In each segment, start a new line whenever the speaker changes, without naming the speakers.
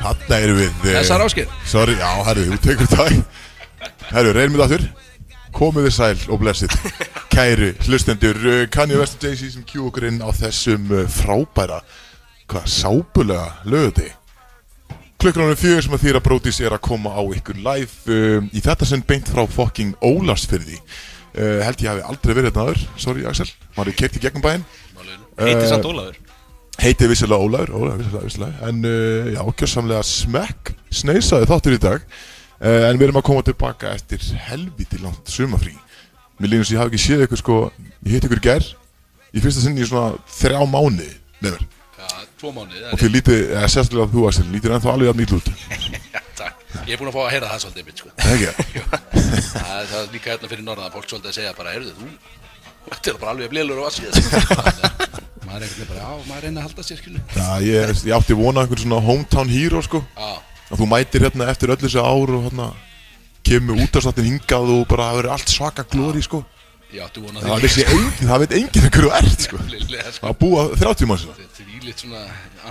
Þarna erum við eh,
Þessar Ásgeir.
Sorry, já, herru, þú tekur þetta Herru, reynum við aftur Komið þið sæl og blessið Kæru, hlustendur, eh, Kanye West og Jay-Z sem kjú okkur inn á þessum eh, frábæra Hvað, sábulega löði Klukkan ánum fjögur sem að þýra brótis er að koma á ykkur live um, Í þetta sem beint frá fucking Ólarsfyrði uh, Held ég hafi aldrei verið þetta aður Sorry, Axel, maður er kert í gegnum bæinn Uh,
Heitir samt Ólafur
Heitið vissilega Ólaður, Ólaður, vissilega, vissilega En uh, já, kjörsamlega smekk Sneisaði þáttur í dag uh, En við erum að koma tilbaka eftir helviti langt sumafrí Mér lífum sem ég hafi ekki séð ykkur sko Ég hitt ykkur í gær Í fyrsta sinni í svona þrjá mánu Nefnir
Já, tvo mánuði,
Og
það
þið lítið, eða sérstaklega þú að sér Lítir ennþá alveg að nýtt út
er takk Ég er búin að fá að heyra það svolítið mitt, sko
Ekki það?
Það það er líka hérna fyrir norðan að fólk svolítið að segja bara Heyrðu, þú, þetta er bara alveg blélur og vassið Maður er einhvern veginn bara, já, maður reyna að halda sér, skilu
Já, ég, ég átti vona einhvern svona hometown hero sko
Já,
að þú mætir hérna eftir öll þessi ár og hérna kemur útastáttin hingað og bara það verður allt svaka glóri sko
ég átti vona
Það vissi enginn, það veit enginn hver þú ert sko
Lillega, sko
Það búa 30 mann síðan
Þetta er ílitt svona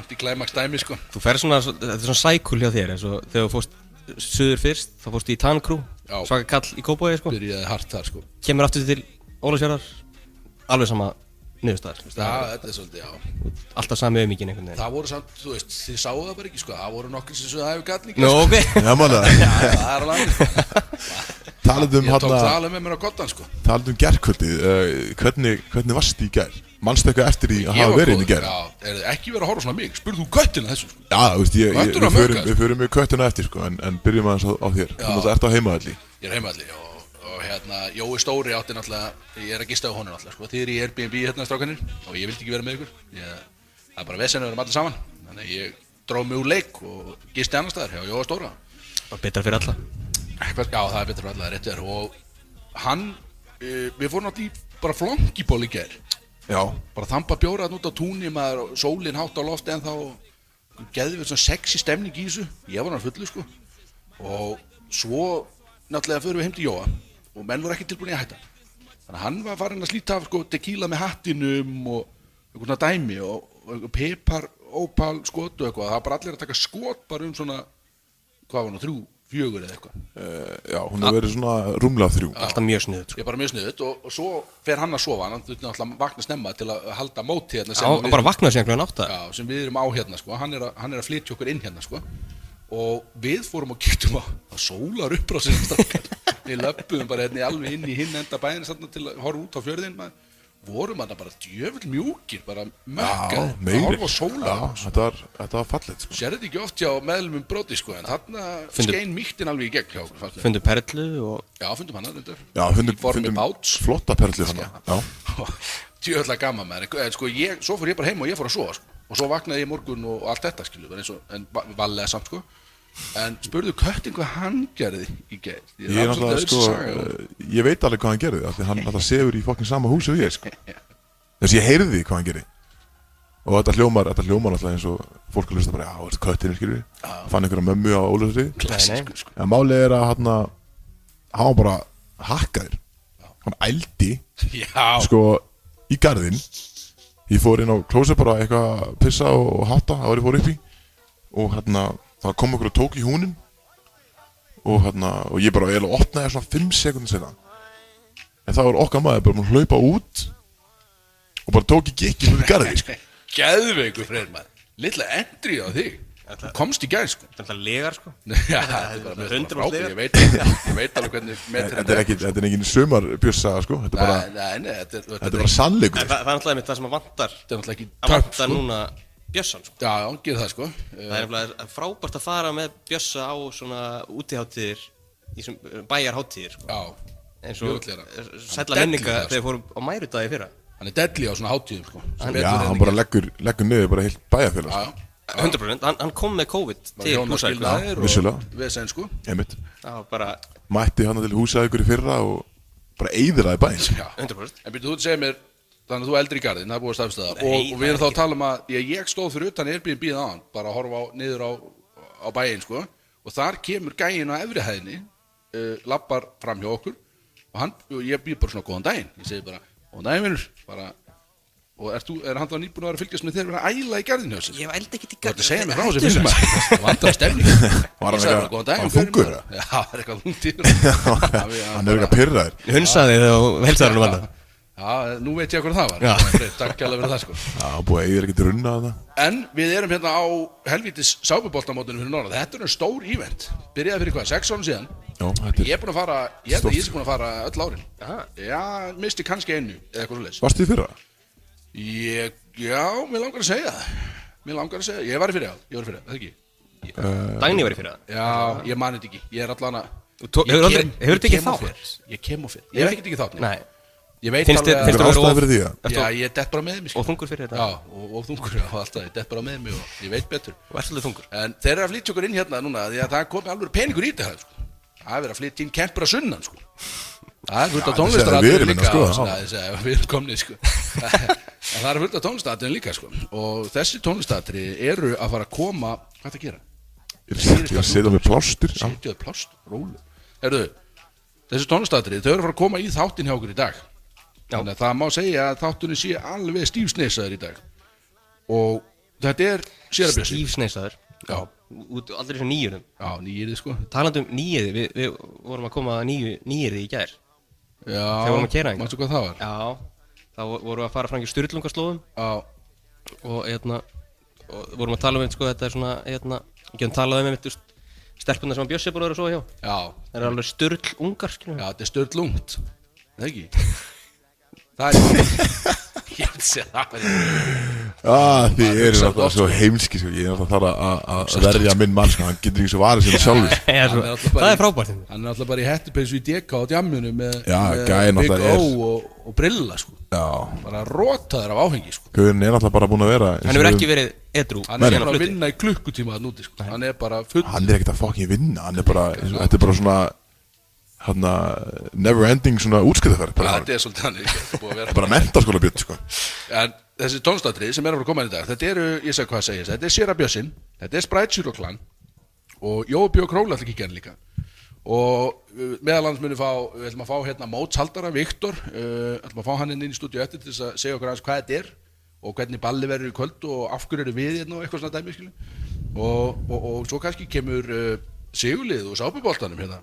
anti-climax dæmi, sko
Þú ferð svona, þetta er svona sækul hjá þér eins og þegar þú fórst suður fyrst, þá fórst í Tankrú
Já.
svaka kall í Kópavæði sko
Byrjaði hart þar, sko
kemur aftur til Ólafsfjörðar alveg sama niðurstaðar þú veist, það
Já, þetta er svolítið, já
er alltaf sami auðmíkin einhvern veginn
Það voru samt, þú veist, þið sáu það bara ekki, sko Það voru nokkur sem svo það hefur gætt líka
Nú,
sko.
ok
Já maður,
Það er alveg
talandi um
Ég tók það
hérna
alveg með mér á gottan, sko
Talandi um gerkvöldi, uh, hvernig, hvernig varst í gær? Manstu eitthvað eftir því að
Ég
hafa
var
verið inn í
góður,
gær? Já,
Já, er ekki verið að horfa svona á mig Spurðu þú göttina þessu, sko
þú veist, ég, ég,
Köttur að
við, förum,
mökka.
við förum með köttuna eftir sko, en, en byrjum aðeins á, á þér Þú náttúrulega ert á heimaðalli
Ég er heimalli og, og hérna Jói Stóri átti náttúrulega Ég er að gista á honum náttúrulega, sko Þið eru í Airbnb hérna strákanir Og ég vildi ekki vera með ykkur ég, Það er bara vesen að vera allir saman Þannig að ég dróð mig úr leik og gisti annar staðar hjá Jóa Stóra
Bara betra fyrir alla
Hver, Já, það er betur fyrir allar réttur Og hann, uh, við fórum náttúrulega í bara flongiból í gær
Já,
bara þampa bjóra þarna út á túnni maður og sólin hátt á lofti en þá geði við svona sexy stemning í þessu ég var hann fullu sko og svo náttúrulega förum við heim til Jóa og menn voru ekki tilbúin í að hætta þannig að hann var farin að slíta af sko tequila með hattinum og einhvern svona dæmi og, og einhver pepar, opal, skot og eitthvað það var bara allir að taka skot bara um svona hvað var nú, þrjú, fjögur eða eitthvað
Eh, já, hún hefur verið svona rúmlega þrjú
alltaf mjög sniðut
ég er bara mjög sniðut og, og svo fer hann að sofa hann þurfti náttúrulega að vakna snemma til að halda móti hérna sem
sko.
við-
bara vaknaði síðan kljóðan átta
Já, sem við erum á hérna sko. hann, er að, hann er að flytja okkur inn hérna sko. og við fórum og kýttum á að sólar upprásin við löpum bara hérna í alveg inn í hinn enda bæðin þarna til að horfa út á fjörðin maður. vorum hann bara djöfull mjúkir bara mökkar,
Já,
að
meiri
horfa
Já,
á sólar
þetta var, þetta var fallegt sko
sér þetta ekki oft hjá meðlumum broti sko, en þarna
Fundu-
skein mýttin alveg í gegn hjá okkur fannst mér.
fundu perlu og
já, fundum hann þetta
Já, fundum,
í formi
fundum
báts
flotta perlu hana Já,
djöðla gaman maður en, en sko ég, svo fór ég bara heim og ég fór að sofa sko. og svo vaknaði ég í morgun og allt þetta skilju en, og, en va- vallega samt sko en spurðu köttin hvað hann gerði í gæð
Ég, er náttúrulega, sko, eh, ég veit alveg hvað hann gerði af því hann alltaf sefur í fokkin sama hús og ég sko. þess ég heyrði hvað hann gerði og þetta hljómar, þetta hljómar alltaf eins og fólk að hlusta bara, já, þetta köttin skilur fann einhverja mömmu á ólöfri
klassísku sko
en málið er að hann hann var bara hakkaður hann ældi
já,
sko í garðin ég fór inn á klósa bara eitthvað að pissa og, og hátta, það var ég fór upp í og hérna, það kom okkur og tók í húnin og hérna og ég bara eiginlega opnaði svona 5 sekundin senna en það var okkar maður bara múin að hlaupa út og bara tók í gikki út í garði sko.
geðveikur freyr maður litla endri á þig þú komst í gæð sko
alltaf legar sko
já, það er bara mér finnst
100%
það frábært. ég veit ég veit alveg hvernig metur
þetta er ekki, þetta er ekki sumar bjössa sko, þetta er bara,
Nei, nei, nei, þetta er
þetta
þetta er
er bara
það,
sannleikur sko.
það er alltaf einmitt það sem að vantar
þetta er náttúrulega ekki
að
törf
vantar
sko
núna Bjössan sko
já, já, gerð það sko Eh,
það er nefnilega frábært að fara með Bjössa á svona útiháttíðir í sem bæjarháttíðir sko.
já
eins og
Mjög öll er það.
eh,
Hann
sælla
dellir
minninga
það, sko.
þegar við fórum á mærudagi fyrra
hann er delli á svona hátíðum sko. Sem
já,
betur en
hann
ekki.
bara leggur, leggur niður bara heilt bæjarfélag
Já,
sko.
já.
100% hann, hann kom með COVID
Bara
til
hjóna
húsæk
skilnaðir og
vissulega.
vesen, sko.
einmitt,
það var bara
mætti hann til húsa ykkur í fyrra og bara eyðilaði bæinn sko.
Já.
100%
en byrju þú segir mér þannig að þú eldri í garðin, það er búið að staðfesta það
Nei,
og, og
það
við
er
erum þá að
ekki.
tala um að ég, ég stóð fyrir utan Airbnb aðan, bara að horfa á, niður á, á bæinn sko. og þar kemur gæinn á efri hæðinni uh, lappar fram hjá okkur og, hann, og ég býr bara svona góðan daginn ég segi bara, góðan daginn vinnur bara og er, þú, er hann þá nýbúin að vera að fylgjast með þér vera að æla í garðinu þessi?
Ég ældi ekki í
Þú ert að segja mér frá
Þetta
þessu fyrir maður Það vantar stemning
Var hann
Ég sagði
eitthvað-
bara, góðan dag,
var hann
gaur,
þungur,
maður.
eða?
Já, það er eitthvað þungt í honum. Já, já,
Hann er
bara-
eitthvað pyrraður
Ég hunsaði þig þegar helsaður hann vann
Já, nú veit ég hvað það var
Já.
Freyr, Takk kjærlega fyrir það sko
Já, búið að eigið er ekkert runna að það
En við erum hérna á helvítis sápuboltamótinu fyrir norða Þetta er nú stór ívent Byrjaði fyrir hvað, sex árum síðan
Já, þetta er
Ég er búin að fara, ég held
Stórt.
að ég sé búin að fara öll árin
Aha.
Já, misti kannski einu eða eitthvað svoleiðis
Varstu í fyrra?
Ég, já, mér langar að segja það Mér langar að segja, ég var í fyrir það, ég var í fyrir það, það ekki
Dagný var í fyrir það
Já, ég mani þetta ekki, ég er allan að
Þú tó-
Ég
hefur
kem-
aldrei- hefur
ég
þetta ekki
kem og
þátt?
fer. Ég kem og fyrir, ég hef ekki ekki þátt nei.
Nei
Ég veit
Finnst þér-
alveg
Það er
finnst þér að vera
ástæða
of-
fyrir því að
ertu
Já,
of-
ég dett bara með mig sko.
Og þungur fyrir þetta
Já, og, og þungur og alltaf, ég dett bara með mig og ég veit betur
Og ert svolítið þungur
En þeir eru að flytja okkur inn hérna núna því að það komi alveg peningur í þetta sko. Það er verið að flytja inn kempur að sunnan sko. Það er fullt
Já, þetta segja við
af tónlistaratvinnum
erum
líka
hérna, sko,
og
já.
svona, þessi, að Við erum komni sko. En það er fullt af tónlistaratvinnum líka sko. Og þessi tónlistatri eru að fara að koma Hvað er það að gera?
Ég er að setja með plástur Já,
Setjaðu plást, rólu Herðu, þessi tónlistatri, þau eru að fara að koma í þáttin hjá okkur í dag
Já.
Þannig að það má segja að þáttunni sé alveg stífsneisaður í dag Og þetta er sérabjössi
Stífsneisaður
Já.
Út aldrei svo nýjunum
Já, nýjirði sko
Talandi um nýjiði Við, við vorum að koma að nýju, nýjiði í gær
Já,
Þegar vorum að keyra hingað.
manstu hvað það var?
Já Þá vo- vorum við að fara fram í styrlungarslóðum
Já,
og hérna og vorum að tala um sko, þetta er svona hérna, ekki hann talaði um einmitt stelpunar sem að Bjössi bara er að sofa hjá
já,
það er alveg styrl ungar skilur
já,
við.
þetta er störtlungt Það ekki Það er Ég vil segja það bara.
ah, þið
Maður
eru
hugsar
náttúrulega
oft,
svo heimski sko. Ég er náttúrulega þar að- að- að verja minn mann sko. Hann getur ekki svo varðið sem sjálfur
Ég er svo-
Hann er alltaf bara
Það
í-
er frábært hérna.
Hann er alltaf bara í hettupeysu í DK á djamminu með,
Já, gæinn
með Big
náttúrulega
O
er-
og, og Brilla sko.
Já
bara rótaður af áhengi sko.
Gauðin er náttúrulega bara búin að vera eins
hann
og
hefur
við-
ekki verið edru
Hann
Nei,
er
nei.
bara að vinna í klukkutíma þann úti sko. Hann er bara full
Hann er ekkert að fucking vinna Hann er bara eins og- Þetta er bara svona Hanna Never ending svona útskriðaferð Bara,
Þetta er svolítið hann er búið að vera
bara mentaskóla bjött sko.
En þessi tónstatri sem er að fara að koma inn í dag Þetta eru, ég segi hvað að segja Þetta er Sera Bjössin, þetta er Sprite Zero Clan Og Jói Björg Róla ætla ekki að gera líka Og uh, meðal hans munum fá Við ætlum að fá hérna mótshaldara Viktor, uh, ætlum að fá hann inn inn í stúdíu eftir Til þess að segja okkur aðeins hvað þetta er Og hvernig balli verður í kvöld og af hverju eru við hérna Og eitthvað svona dæmi skilum og, og, og svo kannski kemur uh, Sigurlið og sápuboltanum hérna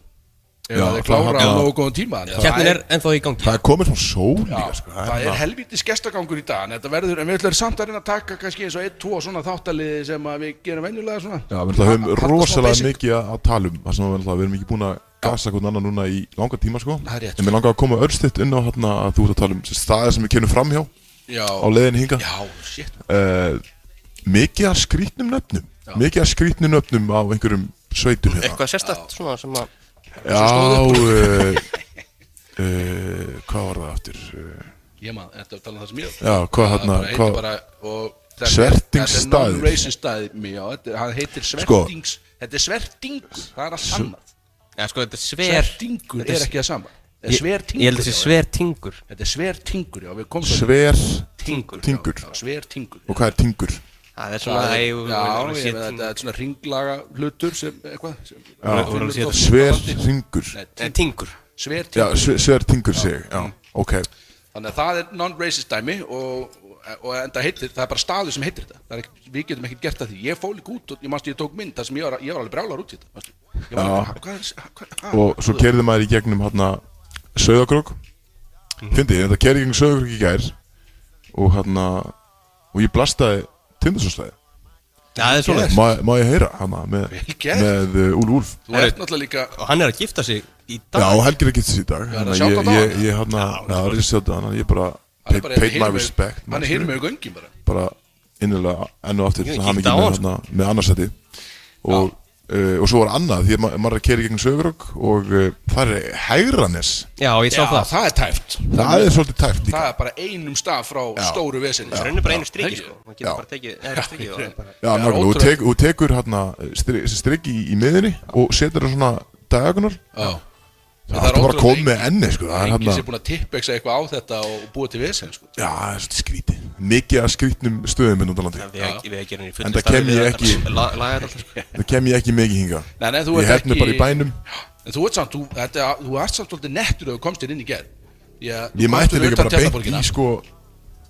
Ef
Já,
það er
það-
klára á
já.
nógu góðan tíma Þannig að það
hérna er ennþá í gangi
Það er komið svona sól líka sko.
það, er,
svona-
helvítis gestagangur í dag en þetta verður, en við ætlum samt að reyna að taka kannski eins og einn, tvo svona þáttaliði sem að við gerum venjulega svona
Já, við náttúrulega höfum
Halda smá
rosalega
basic.
mikið að að tala um Það sem við náttúrulega- við erum ekki búin að gasa hvernig annan núna í langa tíma sko.
Það er rétt.
En mér langar að koma örstitt inn á hérna að þú ert að tala um þessi staðir sem við kennum fram hjá
já,
á leiðinni hinga
já, shit
uh, Mikið að skrýtnum nöfnum Mikið að skrýtnum nöfnum á einhverjum sveitum hérna
eitthvað sérstætt svona sem að
Já, uh, uh, hvað var það aftur? Uh,
ég maður, þetta er að tala um það sem ég
Já, hvað
Það
hérna,
bara heitir
hvað,
bara, og þetta er-
Svertingsstaðir. Sko-
þetta er non-racist staðir, já, þetta er- hann heitir svertings þetta er svertingur, það er allt annað
eða sko þetta er sver
svertingur
þetta er-
er ekki það sama Þetta er
ég,
svertingur,
ég held þessi
já,
sver tingur
þetta er svertingur, já, við komum svo-
sver
tingur
tingur
Já, svertingur
Og hvað er tingur?
það er svona
Já,
æ,
ég
við-
veit að
við-
þetta er svona ringlaga hlutur sem eitthvað sem-
voru að setja-
Sver tingur
Nei,
eh, tingur
sver
Já,
tingur
sver, sver tingur sig, já, ok
Þannig að það er non-racist dæmi og, og enda heitir, það er bara staður sem heitir þetta Það er ekki, Við getum ekkert gert það því Ég fól ekki út og ég manst ég tók mynd þar sem ég var, ég var alveg brjálar út í þetta manstu. Ég var
Já.
alveg, hvað er hvað, hvað,
og svo kerði maður í gegnum hérna Söðakrók
Mhm.
Fyndi, ég þetta kerði í gegnum Söðakrók í gær og hérna og ég blastaði Tindasóstaði
Já, það er svona
má, má ég heyra hana með,
Vel gert.
með uh, Úl Úlf
Þú ert náttúrulega líka
og hann er að gifta sig í
Já,
dag
Helgi er ekki þessi í dag
er að
Þannig að
sjáta
ég, ég,
á hana.
ég hérna, já, það er sjátt á hana ég bara
hann er
paid,
bara
paid my
hinum megin-
respect
Hann er
manstu.
hinum með göngin bara
bara innilega enn og aftur hann
Ég kíkti
ekki
á
með,
hann,
hana, með annarsæti og, uh, og svo var annað því að ma maður er að kerði í gegnum Söðakrók og uh, það er Hægranes
já ég sá það
það er tæft
það er svolítið tæft líka
Það er bara einum stað frá stóru vesinni
það er henni bara einu striki
Já.
sko
Já.
hann getur bara tekið einu striki og það er bara
Já,
Já,
nákvæmlega, þú
ótrúlegt.
tek, þú tekur hérna strikki í, í miðinni og setur það svona diagonal
Já
Það er alltaf bara að koma með enni, sko Það er
Engin
hérna,
sem er búin að tippa eitthvað á þetta og búa til vesinn sko.
já, það er svolítið skríti Mikið að skrítnum stöðum minn út á landi
við ekki við
hérna
ekki henni í fullu
Enda
starfi
kem ég
við að
ekki-
la- laga þetta alltaf sko.
Það kem ég ekki mikið hinga
Nei, nei, þú
Ég
ert
held mig
ekki-
bara í bænum
En þú ert samt, þú, þetta, þú ert samt svolítið nettur ef þú komst þér inn í gerð. Ég,
Ég mætti líka bara beint í, sko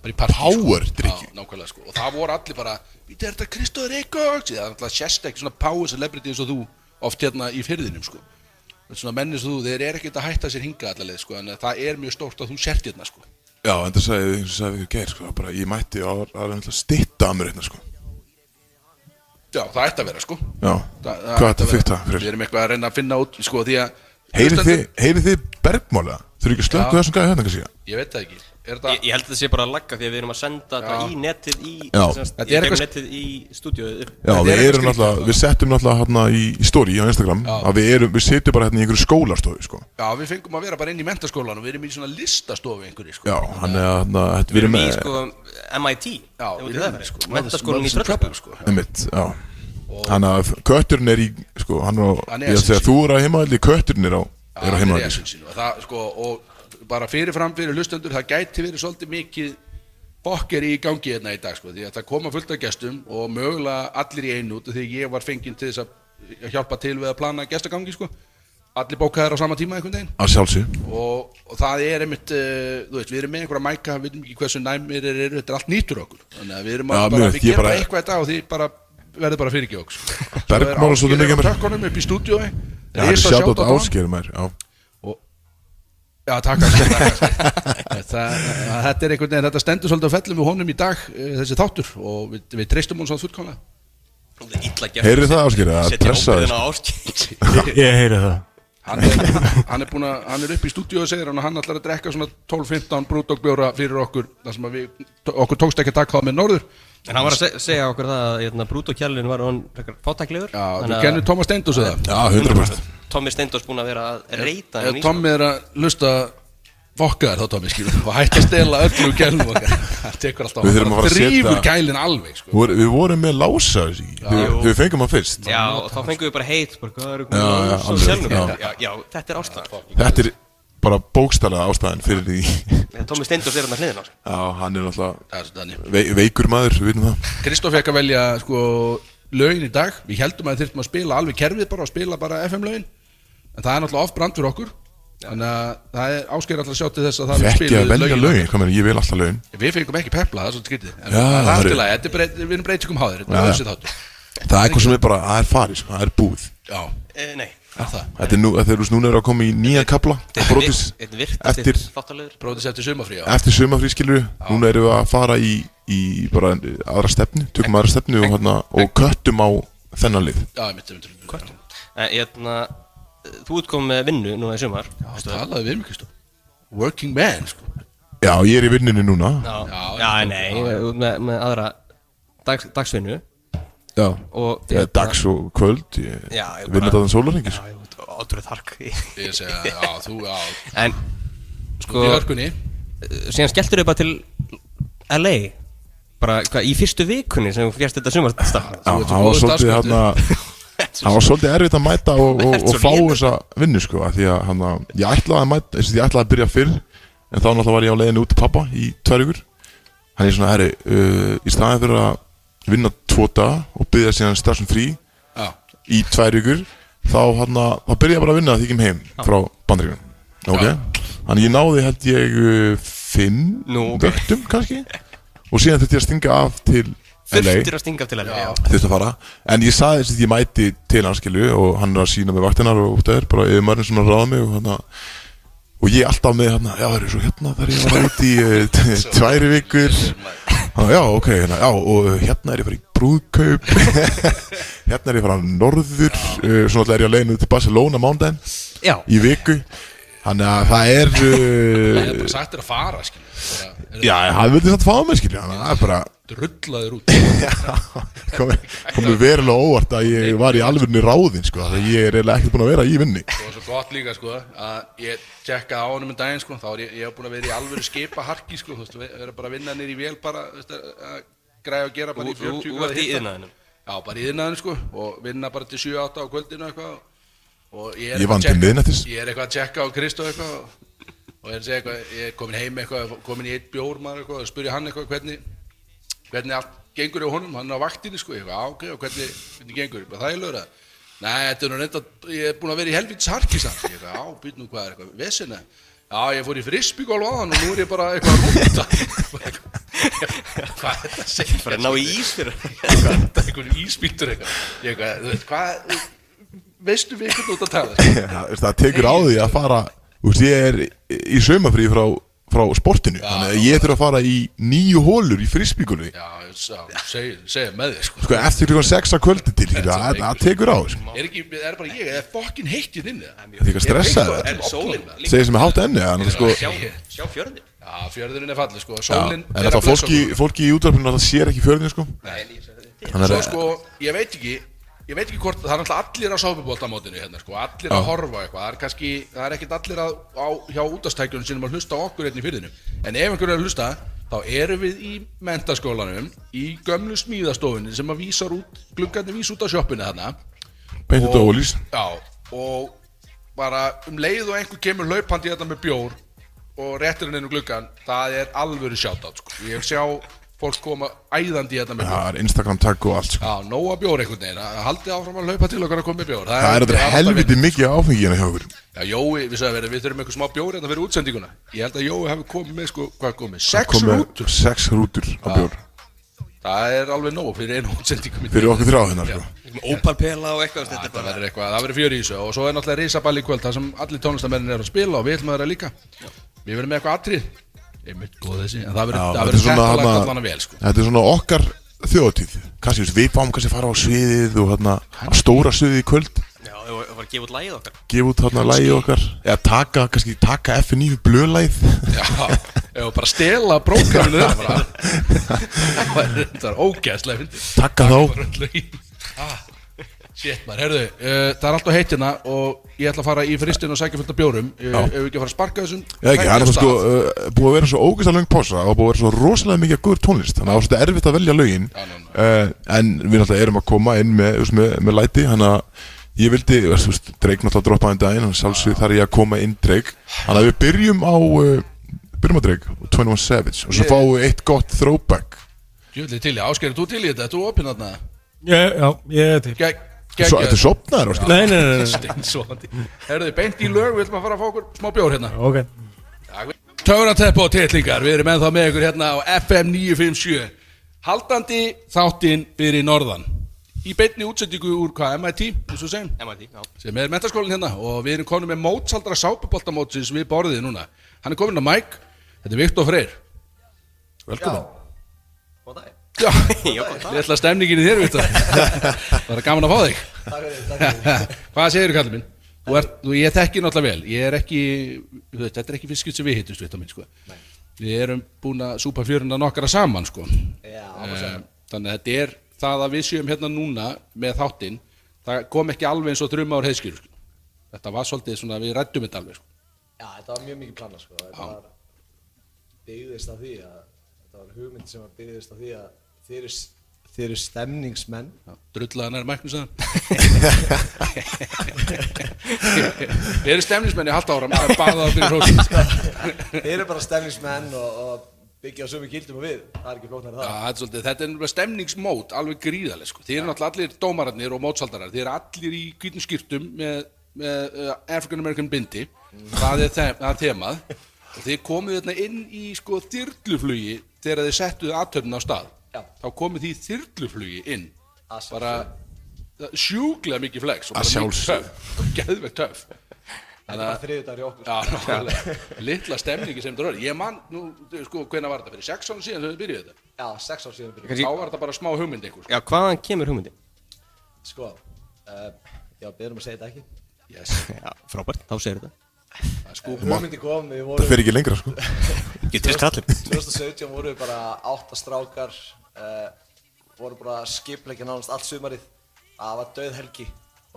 bara í partí
Power
sko.
drykkju.
Já, nákvæmlega sko og það voru allir bara Býta, er þetta Kristóður Reykjavík? Það er alltaf sérst ekki svona power celebrity eins og þú oft hérna í fyrðinum sko Þetta er Svona menni sem þú, þeir eru ekkert að hætta sér hinga allaveg sko En það er mjög stórt að þú sért hérna sko
Já, en það sagði eins og sagði við geir, sko, bara ég mætti á, að reyna að stitta að mér hérna, sko.
Já, það ætti að vera sko
Já,
það,
hvað
ætti
ætti
að
að þetta
vera. Við
fyrir?
erum eitthvað að reyna að finna út sko því að
Heyrið
Hlustandi-
þið, heyrið þið bergmála? Þurfið ekki að slökka
Já.
þessum gæði hérna kannski?
Ég veit það ekki Er það
Ég, ég held að það sé bara að lagga því að við erum að senda þetta
Já.
í netið í
Já.
semst,
Þetta
í
er
gegnum
eitthvað-
netið í stúdíóið upp.
Já,
Þetta
við
er eitthvað
erum
skrítið,
náttúrulega,
sko.
við settum náttúrulega hérna í, í story á Instagram
Já.
að við erum, við setjum bara hérna í einhverju skólastofu, sko.
Já, við fengum að vera bara inn í mentaskólan og við erum í svona listastofu einhverju sko.
Já, hann er að, hérna, þetta- við
Við
erum
erum í
með,
sko MIT.
Já,
ef við til
í
það
rauninni,
fyrir,
sko.
sko. Menntaskólan í
Mann's in
Tröllabæ.
Trouble, sko.
einmitt, já. Hann að, kötturinn er í, sko, hann er á,
Hann er
ég ætla að segja,
essence.
þú eru á heimahaldi, kötturinn er á, er á
Já, hann í
heimahaldi.
essence sínu. Og það, sko, og bara fyrirfram fyrir hlustendur, það gæti verið svolítið mikið bokker í gangi hérna í dag, sko, því að það koma fullt af gestum og mögulega allir í einu út af því að ég var fenginn til þess að hjálpa til við að plana gestagangi, sko. Allir bókaðar á sama tíma einhvern veginn
Að sjálfsög.
og, og það er einmitt, uh, þú veist, við erum með einhverja mæka, við veitum ekki hversu næmir þeir eru, þetta er allt nýtur okkur. Þannig að við erum að
Já,
bara,
mjög,
við
ég
gerum
bara-
bara eitthvað í dag og því bara verður bara fyrir ekki okkur. sko.
Bergmála
Svo
svolítið
er
mikið
Ásgeir
mér.
á tökkunum upp í stúdíói,
Já, hann er
risa
sjátt
sjátt á
átt
hann.
ásker, maður, já.
Og- Já, takk Ásgeir, takk, Ásgeir. Það- að Þetta er einhvern veginn, þetta stendur svolítið á fellum við honum í dag, eh, þessi þáttur og við, við treystum hún svo fullkomlega.
Þetta er illa gert.
Heyrið það ásker, að
Setja
pressa þér,
ábyrðin
sko.
á áskil.
Ég heyri það
Hann er, hann er, búna, hann er upp í stúdíu og segir hann að hann ætlar að drekka svona 12-15 brúdókbjóra fyrir okkur þar sem að við, okkur tókst ekki að taka það með norður
En hann var að seg- segja okkur það að hérna, Brútó Kjallin var hann frekar fátæklegur.
Já, þú kennir Tómas Steindós eða?
Já, 100%.
Tommi Steindors búin að vera að reyta
Ef
hann í sko.
Tommi er að lusta vokkaðar þá Tommi skilur og hætti að stela öllu gælum okkar það tekur alltaf
Við þurfum að fara að
Drífur
setja-
gælin alveg sko.
Vor- Við vorum með lása, þessi ekki? Þegar- þegar Við fengum hann fyrst.
Já, og þá fengum við bara heit, bara hvað eru
Já, já,
komið
alveg,
sjálfum.
já.
Já, já, þetta er ástæðan.
Þetta er bara bókstala ástæðan fyrir því
Tommi Steindors er hann að hliðin á sko.
Já, hann er náttúrulega
Það er svo þannig.
vei, veikur maður, við vitum það
Kristóf fekk að velja sko, lögin í dag við heldum að þurftum að spila alveg kerfið bara og spila bara FM lögin en það er náttúrulega off brand fyrir okkur þannig að það er áskeir alltaf að sjá til þess að það eru
Fekki
spiluð
að velja
lögin okkar.
lögin, hvað meina, ég vil alltaf lögin
Við fengum ekki pepla, það er svolítið skrítið En
Já,
það er
það
allt í
er-
lagi, þetta er breyt- við erum breytingum um háðir Þetta
Já,
er
já.
öðru sér þáttur
Það er eitthvað sem er bara, það er farið, sko, það er búið
Já,
Eh, Nei,
er það
Þetta er nú, þegar þú núna eru að koma í nýja kapla Brotis,
einn virtast
eftir,
eitt þáttalegur.
Bróðis eftir sumafrí já.
eftir sömafrí skilur Núna erum við að fara í, í bara aðra stefnu Tökum aðra stefnu og, hana, og köttum á þennan lið
já, mitt, mitt, mitt Hvað?
En hérna, þú ert komið með vinnu núna í sumar.
Já, talaðu við mig, Kristó Working man, sko
Já, ég er í vinnunni núna
Já,
Já,
já nei, með, með aðra dags, dagsvinnu
Já
og
Ég er dags og kvöld, ég
Já, ég
vinna
bara-
þetta sólarengis
Ótrúið þark
Ég segja, já, þú, já
En sko,
Í örkunni
síðan skelltur þau bara til LA bara hva, í fyrstu vikunni sem þú fjast þetta sumarstarf
Já,
Þú ert svo
það var
góður
svolítið
starfskraftur.
hérna Það var svolítið erfitt að mæta og, og,
Ert
og
svo
fá
lélegur.
þessa vinnu sko af Því að hann að ég ætlaði að mæta þess að ég ætlaði að byrja fyrr En þá náttúrulega var ég á leiðinu út til pappa í tvær ykkur Hann er svona herri uh, Í staðin fyrir að vinna tvo daga Og byrja síðan starfsum frí
Já,
í tvær ykkur Þá hann að þá byrja ég bara að vinna því ég kem heim frá bandryggunum Ok Þannig ég náði held ég uh, fimm
Nú, ok.
vöktum kannski Og síðan þurfti ég að stinga af til LA
Þurftir að stinga af til LA já.
þurfti að fara en ég saði þess að ég mæti til hans skilu og hann er að sína mig vaktinnar og það er bara yfirmaðurinn sem er að ráða mig og hann og ég alltaf með hann já það er svo hérna þar ég var út í eh, t- tværi vikur hann, já ok hérna, já, og eh, hérna er ég farið í brúðkaup hérna er ég farið á norður uh, svona alltaf er ég að leiðinu til Barcelona mándaginn
já,
í viku þannig að það
það er
er uh,
bara sagt þér að fara, skilur
já hann vildi þetta fá mig skilu þannig að það er bara
Drullaður út
komið komi verulega óvart að ég var í alvörni ráðin sko, það ég er eiginlega ekkert búinn að vera í vinni
og svo gott líka sko að ég tjekkaði á honum en daginn sko þá er ég, ég hef búin að vera í alvöru skipa harki sko þú veist, við erum bara að vinna nýri vél bara þú veist, að að græja og gera bara
Þú-
í
þú-
40
þú
gráða
ert í
hita.
iðnaðinum?
já, bara í yðnaðinu sko og vinna bara til 7-8 á kvöldinu eitthvað og ég er
Ég
eitthvað
vann
að
til
tékka-
miðnættis.
ég er eitthvað að tjekka á Kristó eitthvað og- og ég er að segja eitthvað, ég er komin heim eitthvað komin í eitt bjór maður eitthvað og spurja hann eitthvað hvernig hvernig allt gengur hjá honum, hann er á vaktinni sko, ég eitthvað, "Á, ok, og hvernig, hvernig gengur, Ég bara, það er lögur að, nei, þetta er nú reynda, ég er búin að vera í helvits harkistan, ég eitthvað, á, být nú hvað er eitthvað, vesina, já, ég fór í frisbygg alveg aðan og nú er ég bara eitthvað að rúta, Hvað er þetta að segja?
Bara ná í ís fyrir
Þetta er einhvern íspítur eitthvað. Ég eitthvað, þú veist, hvað, veistu við hvernig þú ert að tala? sko?
það, það tekur á því að fara Þú veist, ég er í saumafrí frá, frá sportinu Þannig að ég þurf að fara í nýju hólur í frisbíkunni
Já, já, segja, segja með þér, sko.
Sko eftir klukkan 6 að kvöldi til skilur,
Þetta er
Það
leikur.
það tekur á sko.
Er ekki, er bara ég, er fokkin heitt í þinni?
Það tekur að stressa
það.
það
En sólinn, líka.
Segir sem er hátt enni þannig að, sko,
Sjá, sjá fjörðin
Já, fjörðurinn er fallið, sko.
já,
Sólinn
En það fólki, fólki í útvarpinu Það sér ekki fjörðin sko. Þannig
Svo
að
sko, ég veit ekki Ég veit ekki hvort, það er náttúrulega allir að sáfubóltamótinu hérna sko, allir að
Já.
horfa á eitthvað, það er kannski, það er ekkit allir að, á, hjá útastækjunum sínum að hlusta á okkur hérna í fyrðinu. En ef einhverju er að hlusta, þá erum við í mentaskólanum, í gömlu smíðastofunni sem að vísar út, gluggandi vís út á sjoppinu þarna.
beintu þetta ólís
Já, og bara um leið og einhver kemur hlaupandi þetta með bjór og réttir hann inn um gluggan, það er alvöru sjátátt sko. Ég sjá fólk koma æðandi þetta með bjór.
Það er Instagram tagg og allt sko.
Já, nóg að bjór einhvern veginn, að haldið áfram að laupa til okkar að koma með bjór
Það er þetta
alltaf
helviti
vinna.
mikið áfengi hérna hjá okkur
Já, Jói, við sagðum verið, við þurfum eitthvað smá bjór hérna fyrir útsendinguna Ég held að Jói hefur komið með, sko, hvað er komið, sex
Kom með
rútur
Sex rútur á bjór
Það er alveg nóg fyrir einu útsendingum í
Fyrir okkur þrjá hérna
Já.
sko.
Ópalpela og eitthvað
Já,
Þetta er
Þetta
bara
verður eitthvað, það verður fjör í þessu Og svo er náttúrulega risaball í kvöld, það sem allir tónlistamennin eru að spila og við ætlum að vera líka Við verðum með eitthvað atrið Einmitt góð þessi, en það
Já,
verður- það
þetta er
verður
svona
þetta lagt
hana-
allan að vel, sko
Þetta er svona okkar þjóðatíð Kanski þú veist, við fáum kannski að fara á sviðið og hérna á stóra sviðið í kvöld
Já, það var að gefa út lægið okkar
gefa út hérna lægi okkar eða taka, kannski taka F9 blöðlæð
Já, ef við bara stela prógraminu þeirra bara Það væri reyndar ógæðslega fyndið
taka þá
Lögin. Ah, Shit maður, herðu, uh, það er alltaf heitina og ég ætla að fara í fristinu og sækja fullt af bjórum uh, Ef við ekki að fara að sparka þessum
Já ekki, það er
þætti af
það sko
stað.
uh, búið að vera svo ógeðslega löng pása og búið að vera svo rosalega mikið góður tónlist þannig að það var svolítið erfitt að velja lögin
Já, já,
uh, en við náttúrulega erum að koma inn með, þú veist, með, með læti þannig að ég vildi, þú veist, þú veist, Drake náttúrulega droppaði en daginn og sjálfsög þar er ég að koma inn Drake þannig að við byrjum á uh, byrjum á Drake, 21 Savage og svo fáum við eitt gott throwback
Djöfull er til í, Ásgeir, þú til í þetta, þú opinn þarna
Ég, já, ég er til
Gegg,
Svo, Þetta er sopnaður ástu
Nei, nei, nei, nei, nei.
Steinsofandi Herðu, beint í lög, við ætlum að fara að fá okkur smá bjór hérna
Ok
Töfrateppu og titlingar, við erum ennþá með ykkur hérna á FM 957 Haldandi þáttinn fyrir norðan Í beinni útsendingu úr hvað, MIT, eins og segjum
MIT, já
sem er mentaskólinn hérna og við erum konum með mótsaldra sápuboltamótsins við borðið núna hann er komin á Mike, þetta er Viktor Freyr
Góðan dag
já,
Já, góðan dag.
ég ætla stemningin í þér Viktor það er gaman að fá þig hvað segir þú kallið minn? Þú ert, þú, ég þekki náttúrulega vel, ég er ekki þú veit, þetta er ekki fiskut sem við hittumst Viktor minn sko. við erum búin að súpa fjöruna nokkara saman sko.
Já,
Eh, þannig að þetta er það að við séum hérna núna með þáttinn, það kom ekki alveg eins og þrjum ár heiðskýr þetta var svolítið svona, við rættum þetta alveg sko.
já, þetta var mjög mikið planað sko. Þetta
Já.
var byggðist af því að þetta var hugmynd sem var byggðist af því að þeir eru, þeir eru stemningsmenn
Drullaðan er mæknum sagðan Við erum stemnismenni halda áram að baða það fyrir hrósið sko.
Þeir eru bara stemningsmenn og, og byggja á sömu gildum og við Það er ekki flóknar það
Það er svolítið, þetta er náttúrulega stemningsmót alveg gríðarlega sko. Þið eru náttúrulega allir dómararnir og mótsaldarar Þið eru allir í hvítum skýrtum með, með uh, African American bindi
Mm.
Það er, þem, það er þemað og þið komið þarna inn í sko þyrluflugi þegar þið settuð aðtöfn á stað
Já.
þá komið þið í þyrluflugi inn
Að sjálfsögðu.
bara það- sjúklega mikið flex og
Að
bara mikið
sjálfsögðu.
töff, geðvegt töff
Þetta er bara þriðudagur í okkur sko.
Já, nákvæmlega. litla stemningi sem það er ég man, nú, sko, hvenær var þetta fyrir sex ára síðan sem við byrjuði þetta
Já, sex ár síðan við byrjum
Kannski-
þá var þetta bara smá hugmynd einhver
Já, hvaðan kemur hugmyndin?
Sko, uh, já, beðum að segja þetta ekki
yes.
Já, frábært Þá segir þetta
það er sko,
Hugmyndi kom, við
Það
vorum
fer ekki lengra sko
Getur þess kallið
2017 vorum við bara átta strákar uh, vorum bara að skipleggja nánast allt sumarið það var döð helgi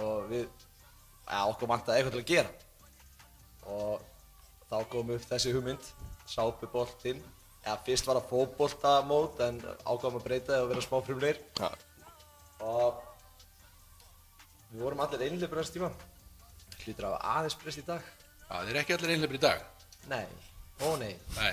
og við ja, okkur vantaði eitthvað til að gera og þá kom upp þessi hugmynd sápuboltinn ja, fyrst var það fótboltamót en ákvæm að breyta það og vera smá frumleir
Já.
og við vorum allir einleipur þess tíma hlutur af aðeins breyst í dag
það er ekki allir einhleipir í dag
nei, ó nei
nei,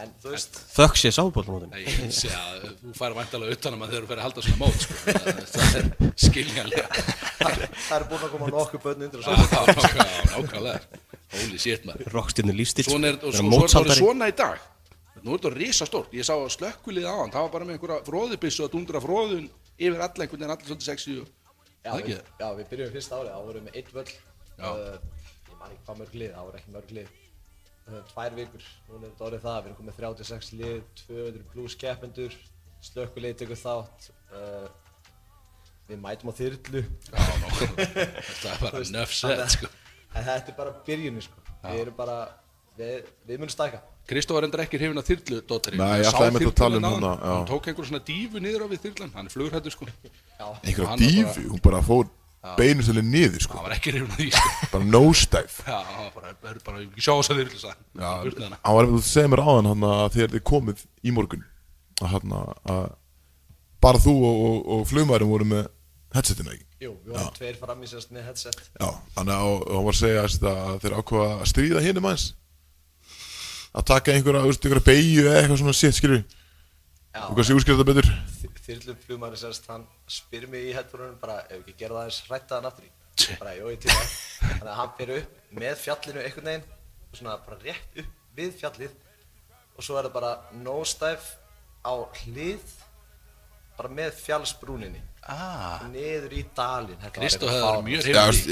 en þú veist
Þökk sé sáfbóltamótin
nei ég sé að þú fær væntalega utan um að maður þegar þú fer að halda svona mót sko. það, það er skiljanlega
það er búin að koma nokkuð börn undir og
Já,
svo
nákvæmlega, nákvæmlega holy shit maður
Rockstjörnu lífstil
svona er, og
Vera
svo, svo er
mótsaldari.
svona í dag nú er þetta risa stórt, ég sá að slökkulið á hann, það var bara með einhverja fróðubissu að dundra fróðun yfir alla einhvern veginn, allir svolítið sexy og
Já,
það ekki
við, já, við byrjum fyrsta árið, þá vorum við með einn völl
Já.
uh, Ég man ekki hvað mörg lið, þá voru ekki mörg lið uh, Tvær vikur, núna er þetta orðið það, við erum komið 36 lið, 200 pluss keppendur Slökkulið tekur þátt uh, Við mætum á þyrlu
það er bara nöfsett sko.
En þetta er bara byrjunni sko Við erum bara, við, við munum stækka
Kristóf var endur ekki hrifin að þyrlu dóttirinn,
Nei,
Hann
ég
sá
ætlaði einmitt að tala um
þyrluna
hana,
áðan,
já.
hann tók einhver svona dífu niður á við þyrlan, hann er flugrættur sko
Já,
einhverja
Hann var bara-
dífi, hún bara fór beinustilega niður sko,
hann var ekki hrifin að því sko.
bara nosedive
já, hann var bara, bara, bara ég vil ekki sjá þess að þyrlu sagði hann. Burt með hana.
hann var eftir að segja mér áðan hann að þegar þið komið í morgun að hann að bara þú og, og, og flugmaðurinn voru með headsetina ekki
jú, við vorum tveir fram í sérst með headset
já, hann, að, og hann var að segja þess að þeir ákvaða að stríða hinum aðeins að taka einhverja, þú veist, einhverja beigju eða eitthvað svona sétt, skilur þú
Já,
kannski útskýra þetta betur
þyrluflugmaður sérst, hann spyr mig í headphone-unum bara, ef ekki gera það aðeins, hrætta hann aftur í. Bara, jú, ég til það. Þannig að hann fer upp með fjallinu einhvern veginn, og svona bara rétt upp við fjallið, og svo er það bara nosedive á hlið, bara með fjallsbrúninni,
Ah,
niður í dalinn. Þetta var
Kristó
eitthvað
hefði verið
fáránlegt.
mjög
Já,
hrifin að
veist,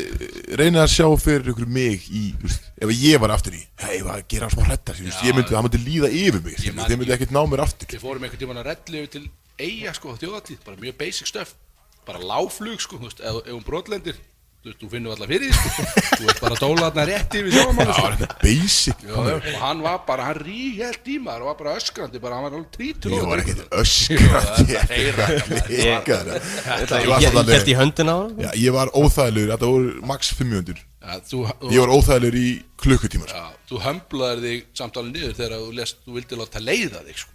því
reyna að sjá fyrir ykkur mig í, þú veist, ef ég var aftur í hei, það gera hann smá hrættar, þú veist, ég myndi, það myndi líða yfir mig, skilur,
man-
þeir myndi ekkert ná mér aftur
Við fórum einhvern tímann að rellu yfir til eiga sko, þjóðatíð, bara mjög basic stuff bara láflug sko, þú veist, ef, ef hún brotlendir þú veist, þú finnum alltaf fyrir því sko. þú veist bara að dóla þarna rétti við sjáumann
það
sko.
var þetta basic
Já, já, og hann var bara, hann ríhjælt í maður og var bara öskrandi, bara hann var alveg trítur
Ég var ekkert
Jú,
öskrandi
það er
eftir að leika þetta. Ég
Ég
var
ég- ég
svolítið
held í höndin á hann
Já, ég var óþægilegur, þetta voru max 500
ja, þú,
Ég var óþægilegur í klukkutíma sko.
ja, þú hömblaðir þig samtalið niður þegar þú, lest, þú vildir láta leiða þig sko.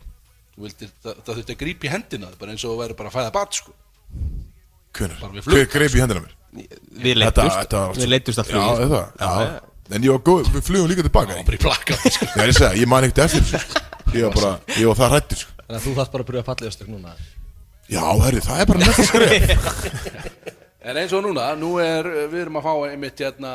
þú vildir, það, það þurfti að grípa í hendina á þér, bara eins og þú væri bara að fæða bat sko.
Hvenær?
Bara við flug-
Hver greip í hendina á mér?
Við leittust, við leittust að
Já,
flugum
þetta já. En ég var góð, við flugum líka tilbaka
það var
Ég
bara í plaka sko.
er að segja, ég man ekkert eftir þessu, sko. Ég var bara, ég var það hrættur sko.
Þannig að þú þarft bara að pröfa falliðastök núna.
Já, herri, það er bara næsta skrif
En eins og núna, nú er, við erum að fá einmitt hérna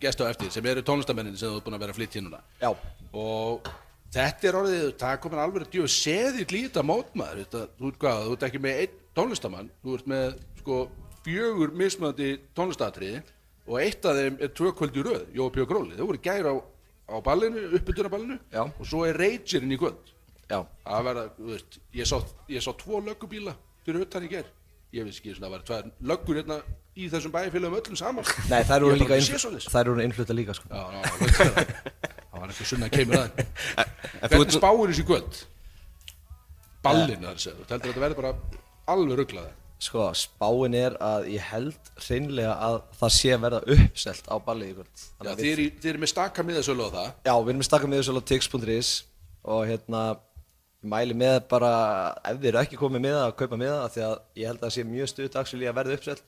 gesta á eftir sem eru tónlistamennin sem þú ert búin að vera að flytja inn núna
Já,
og þetta er orðið, það er komin alveg djöf seðið lítið að mótmaður þetta, þú, ert hvað, þú ert ekki með einn tónlistamann þú ert með sko fjögur mismöndi tónlistatriði og eitt af þeim er tvö kvöld í röð Jóa Pjó Gróli, þau voru í gær á, á ballinu, uppbytunaballinu
Já.
og svo er Ragerinn í kvöld
já.
að verða, þú veist, ég sá, ég sá tvo löggubíla fyrir utan í ger ég veist ekki, svona, það var tvær löggur hérna í þessum bæjarfélagum öllum saman
Nei, þær
Ég
voru
bara
líka
sé
innfl-
svoleiðis.
þær voru innflutta líka, sko.
Já, já, já, gott að vera. það var eitthvað sunna að kemur að þeim.
en þú
hvernig
ert-
spáir þessu í kvöld ballin þar segja, þú heldur að þetta verði bara alveg rugglaði
Sko, spáin er að ég held hreinlega að það sé að verða uppselt á ballið í kvöld.
Já,
Þannig að
þið
við-
eru í- þið eru með stakka miðasölu á það
Já, við erum með stakka miðasölu á tix.is og hérna, ég mæli með bara, ef þið eru ekki komið með að kaupa með það, því að ég held að það sé mjög stutt actually að verða uppselt.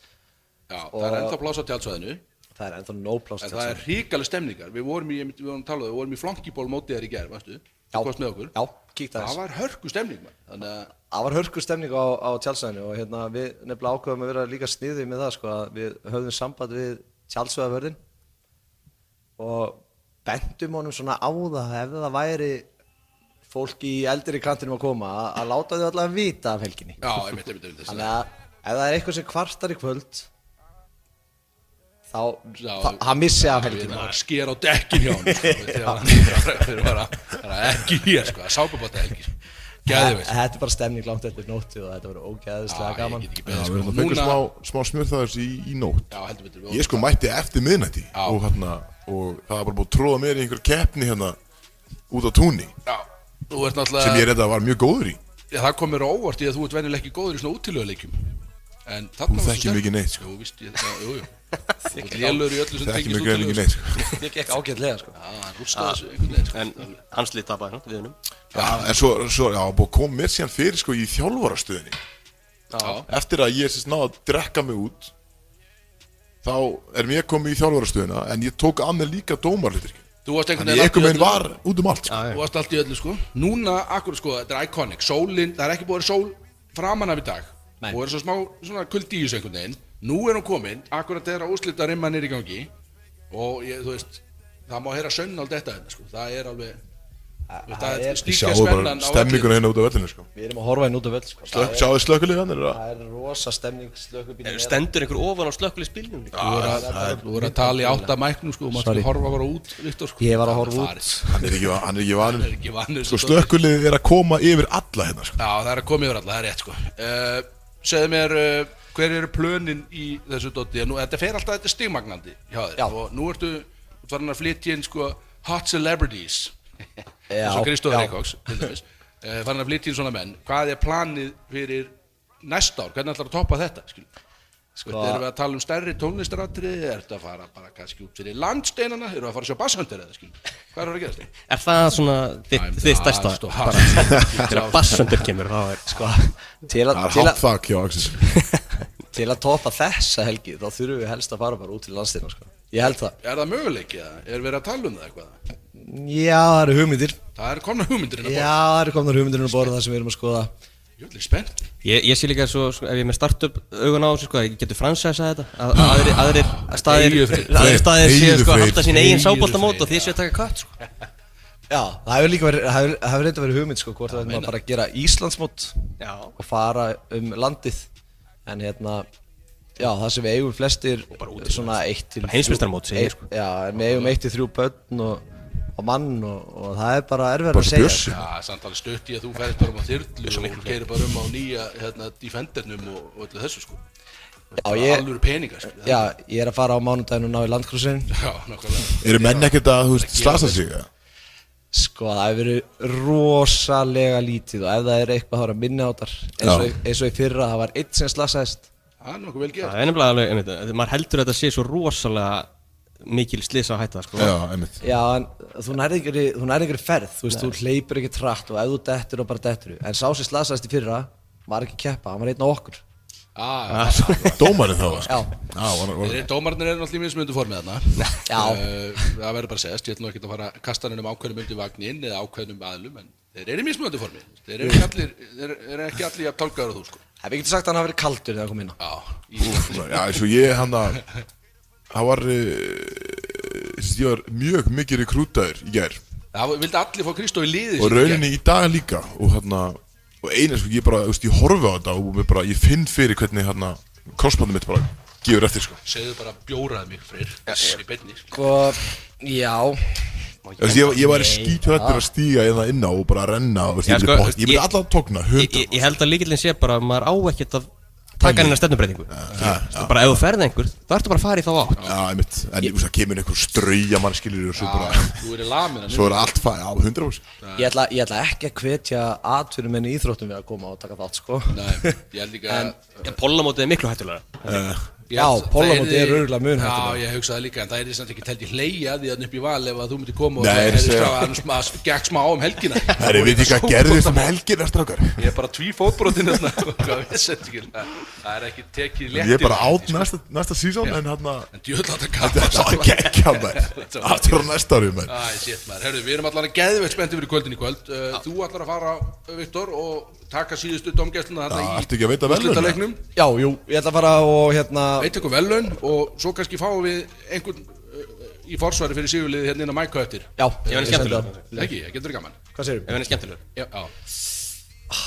Já, það er
Og-
ennþá plása tjálsvæðinu en
Það er ennþá no pláss til
það
þess
er ríkalega stemningar við vorum í, einmitt- við vorum talað, við vorum í flankiból mótið þær í ger, veistu,
Já.
þú kost með okkur
Já, kíktu aðeins.
það var hörku stemning maður. þannig að
Það var hörku stemning á, á tjálsvæðinu og hérna, við nefnilega ákveðum að vera líka sniðið með það, sko, að við höfðum samband við tjálsvæðavörðin og bentum honum svona á það ef það væri fólk í eldri kantinum að koma að, að láta þau allavega vita af helginni
Já, einmitt, einmitt, einmitt, þessi
þannig að ef það er eitthvað sem kvartar í kvöld þá
Já,
þá- hann missi af
Við
helginni
erum að skera á dekkin hjá hann sko, þegar hann er að- þegar hann er að- hann er að ekki hér sko, að sápabata helgi sko. Gæði veit
þetta er bara stemning langt eftir nóttu og þetta verður ógeðislega gaman
Já, við
sko.
erum að fengja smá, smá smjörþaðis í, í nótt
Eh, sko, Já, heldur betur
Ég sko mætti eftir miðnætti
Já.
og, hérna, og það var bara búið að tróða mér í einhver keppni hérna út á túnni
Já, þú ert
sem
náttúrulega
ég reynda var mjög góður í
Já, Það kom mér á óvart í að þú ert venjulega ekki góður í svona útilöguleikjum En þarna
Þú
varstu
þekkir
sterkur.
mig ekki neitt, sko.
Jú, víst, ég, já, jú, jú Þú ert lélur í öllu
Það
sem
er ekki
tengist
mjög grein ekki
útilögu
neitt sko.
þetta gekk ágætlega sko.
Já, hann rústaði þessu einhvern veginn sko.
En Hansli tapaði hann, viðunum
Já, en svo, svo já, búið að koma mér síðan fyrir sko í þjálfarastöðinni
Já,
Eftir að ég sérst náði að drekka mig út Þá er mér komið í þjálfarastöðina En ég tók að mér líka dómarlitur
Þú varst einhvern
Þannig ég
allt í
ekkum einn
öllu.
var út um allt sko.
Þú varst allt í öllu sko Núna, akkur sko, þetta er iconic Sólin, það er ekki búið að vera sól framan af í dag
Nei.
Og er svo smá, svona kuldi í þessu einhvern veginn Nú er hún komin, akkur að þeirra úslita rimman er í gangi Og ég, þú veist, það má heyra sönnald þetta hérna sko Það er alveg, Þetta
Það
er
er,
Ég
stíkja
sjáðu bara
spennan á öllu.
stemminguna hérna út af vellinu sko.
við erum að horfa hérna út af völl sko.
Slök,
það, er,
Sjáðu slökulið hann er það?
það er rosa stemning hérna. slökubílum
Stendur einhver ofan á slökkulisbílnum
Ah,
líka?
Þú voru að, þú voru að tala í átta mæknum sko, og maður
Sorry.
skulle horfa bara út, Viktor sko.
Ég var að horfa
Það
út.
farið.
Hann er ekki, hann er ekki vanur
Það er ekki vanur
Sko slökulið er að koma yfir alla hérna sko.
Já, það er að koma yfir alla, það er rétt sko uh, Segðu mér, uh, hver eru plönin í þessu dotti? Nú, þetta fer alltaf, þetta er stigmagnandi hjá þér
Já.
Og nú ertu, þú farin að flytja inn sko Hot celebrities
Já,
Svo Kristóður
já.
Eikóks, til dæmis uh, Farin að flytja inn svona menn Hvað er planið fyrir næsta ár? Hvernig ætlar að toppa þetta? Skil? Sko, erum við að tala um stærri tónlistaratriði? Ertu að fara bara kannski út fyrir landsteinana? Erum við að fara að sjá basshundir eða skil? Hvað er að gerast þér?
Er það svona þitt þitt stærsta?
sko-
Þegar að bassundur kemur þá er
sko, til, að,
Það er
til,
hátt
að,
þakk hjá Axis
til að topa þessa helgi þá þurfum við helst að fara bara út til landstyrna sko. ég held það
Er það möguleik eða? Er verið að tala um það eitthvað?
já, það eru hugmyndir
Það er komna hugmyndirinn að
já,
borða.
það eru komnar hugmyndir að borða það sem við erum að skoða
Ég er líka spennt.
Ég, ég sé líka svo, sko, ef ég er með startup augun á þessu, sko, ég getur fransæsa þetta að, að aðrir, aðrir staðir,
Eyju Freyr.
aðrir staðir séu
Eyju
sko að
Freyr.
halda sín eigin
Eyju
sábóltamót og
Freyr,
þið séu að taka kött sko.
já, það hefur líka verið, það hefur- það hefur reynda verið hugmynd sko, hvort það er bara að gera Íslandsmót
Já.
og fara um landið en hérna já, það sem við eigum flestir svona eitt til
Bara heimsmeistaramót, segi ég, sko.
já, en við eigum eitt til þrjú börn og, og mann og, og það er bara erfið
Bara
að
svo
segja
Bjössi.
Já, samt alveg stutt í að þú ferðist bara um á þyrlu og hún keirir bara um á nýja hérna, Defendernum og, og öllu þessu sko.
Já,
Bara
ég-
Alvöru peningar sko.
já, ég er að fara á mánudaginn og ná í landkrossin
Já, nákvæmlega.
Eru menn ekkert að, þú veist, slasa sig eða?
sko, það hefur verið rosalega lítið og ef það er eitthvað þá er að minna á þar eins og,
Já.
í- eins og í fyrra, það var eitt sem slasaðist
Það er nokkuð vel gert.
Það er nefnilega alveg, einmitt, að maður heldur að þetta sé svo rosalega mikil slisa að hætta sko.
Já, einmitt
Já, en þú nærði ekki, þú nærði ekki ferð, þú veist, þú hleypur ekki trætt og ef þú dettur og bara dettur þú. En sá sem slasaðist í fyrra, var ekki að keppa, hann var einn á okkur.
Ah,
Dómarinn þá
Já.
sko. Já, var, var,
Þeir- Dómarnir eru náttúrulega í mismundu formið þarna
Já.
Eh, Það verður bara að segjast, ég ætlum ekki að fara að kasta hann um ákveðnum undir vagnin eða ákveðnum aðlum en þeir eru í mismundu formið Þeir eru ekki allir, þeir eru ekki allir að tálkaður og þú sko
Hef ég ekki sagt að hann hafi verið kaldur þegar hann kom inn á?
Já, í
já, eins og ég hann að Það var eh, Ég var mjög mikið rekrútaður í gær
Það vildi allir fá Kristó í liði
og rauninni í dag líka og hérna og eina sko ég bara, þú veist, ég horfi á þetta og mér bara, ég finn fyrir hvernig hérna crossbandið mitt bara gefur eftir sko
Segðu bara bjóraði mig freyr í beinni
Sko, já,
Þú veist, ég, ég væri skítrættur að stíga hérna inn á og bara renna og þú veist,
Já,
ég,
sko,
sko, ég, ég myndi
ég-
alltaf tókna
ég,
hundra
ég, ég held að líkillin sé bara að maður á ekkert að taka hennar stefnumbreytingu Þú bara ef þú ferði einhver, þá ertu bara að fara í þá átt
Já, einmitt, en þú veist, það kemur einhver strauja mann skilur og svo bara,
Þú eru lamin
svo er allt fæ, já, hundra fólks
ég ætla, ég ætla ekki að hvetja atvinnum menn í íþróttum við að koma og taka þátt, sko.
Nei, ég held líka Eh, en,
Pollamótið er miklu hættulega
Já, pollamótið er örugglega mun
Já,
hættulegt.
ég hugsaði líka, en það er samt ekki telt í hleyja því að upp í val ef að þú myndir koma og
Nei,
það
ég
er
segi-
skrá að hann sma- s- gekk smá á um helgina
Það er, veit ég hvað gerðist um helgina, strákar
Ég er bara tví fótbrotinn hérna. þarna hvað vissi þetta ekki Það er ekki tekið léttir
Ég er bara átt næsta, næsta sísón, en hérna
En djöðla þetta
Þetta
gata
er gekkja, menn Aftur á næsta ári, menn
Æ, shit maður, herru, við erum allar að geðveitt spenntið fyrir kvöldin í kvöld uh, Þú allar að fara, Viktor, og taka síðustu domgæsluna
Já,
þarna
ertu ekki að veita verðlaun, eða?
úrslitaleiknum.
Já, jú, ég ætla að fara og hérna,
veit eitthvað velun og svo kannski fáum við einhvern uh, í forsvari fyrir sigurliðið hérna inn á mæka eftir
já,
Ég var
ég sendi
skemmtilegur.
það.
ekki, það getur verið gaman
Hvað segirðu?
Ef hann er skemmtilegur
já, já.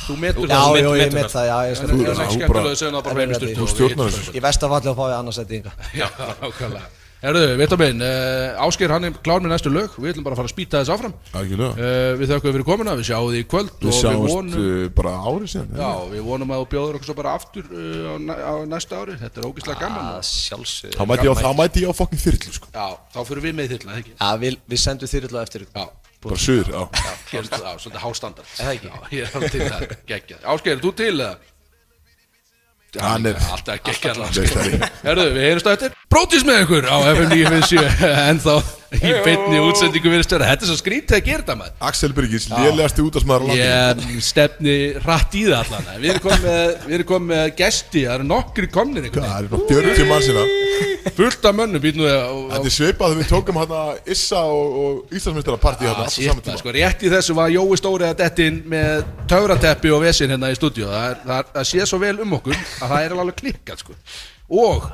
þú metur
Já,
það
já, ég
metur
met
það.
það, já, ég
en
skal
þú-
ef það er
þú
ekki
bara-
skemmtilega segðan það bara
Erfiðar
heim í styrtu
þú
stjórnar þessu.
Ég versta falli að fá í annarsætti ynga.
já, ákvæmlega Herðu, veit að minn, uh, Ásker hann er klár með næstu lög Við ætlum bara að fara að spýta þess áfram uh,
Algjörlega
Við þökkum fyrir komuna, við sjáum þið í kvöld
Við
og við
sjáumst
vonum
uh, bara árið síðan
Já, við vonum að þú bjóður okkur svo bara aftur uh, á, næ- á næsta ári, þetta er ógeðslega gaman
Að sjálfsögðu.
Þá mæti ég á, þá mæti ég á fokkin þyrlu sko
Já, þá fyrir við með þyrla, ekki?
Já, við, við sendum þyrlu á eftir ykkur.
Já,
Bara suður, já
gerist það, já, svolítið hástandard
Er það ekki?
Já, ég er alveg til það, geggjað Ásker, er þú til það?
Hann er
Alltaf geggjað
Veistari
sko. Herðu, við heyrumst á eftir Brótis með ykkur á FM 957 En þá í beinni útsendingu virðist vera Þetta er svo skrítið að gera þetta maður
Axel Birgis, lélegasti útastmaður á landinu
Ég stefni rætt í það allan Við erum komið með, við erum komið með gesti Það eru nokkri komnir einhvern
Það er bara 40 mann sína
veginn Fullt af mönnum býtum við að-
hérna. Þetta er svipað þegar við tókum hérna Issa og, og Íslandsmeistara partí hérna
að
alltaf
síta,
saman tíma
sko, rétt í þessu var Jói Stóri að dettin með töfrateppi og vesinn hérna í stúdíu það, er- það, er- það sé svo vel um okkur að það er alveg klikkað sko. og,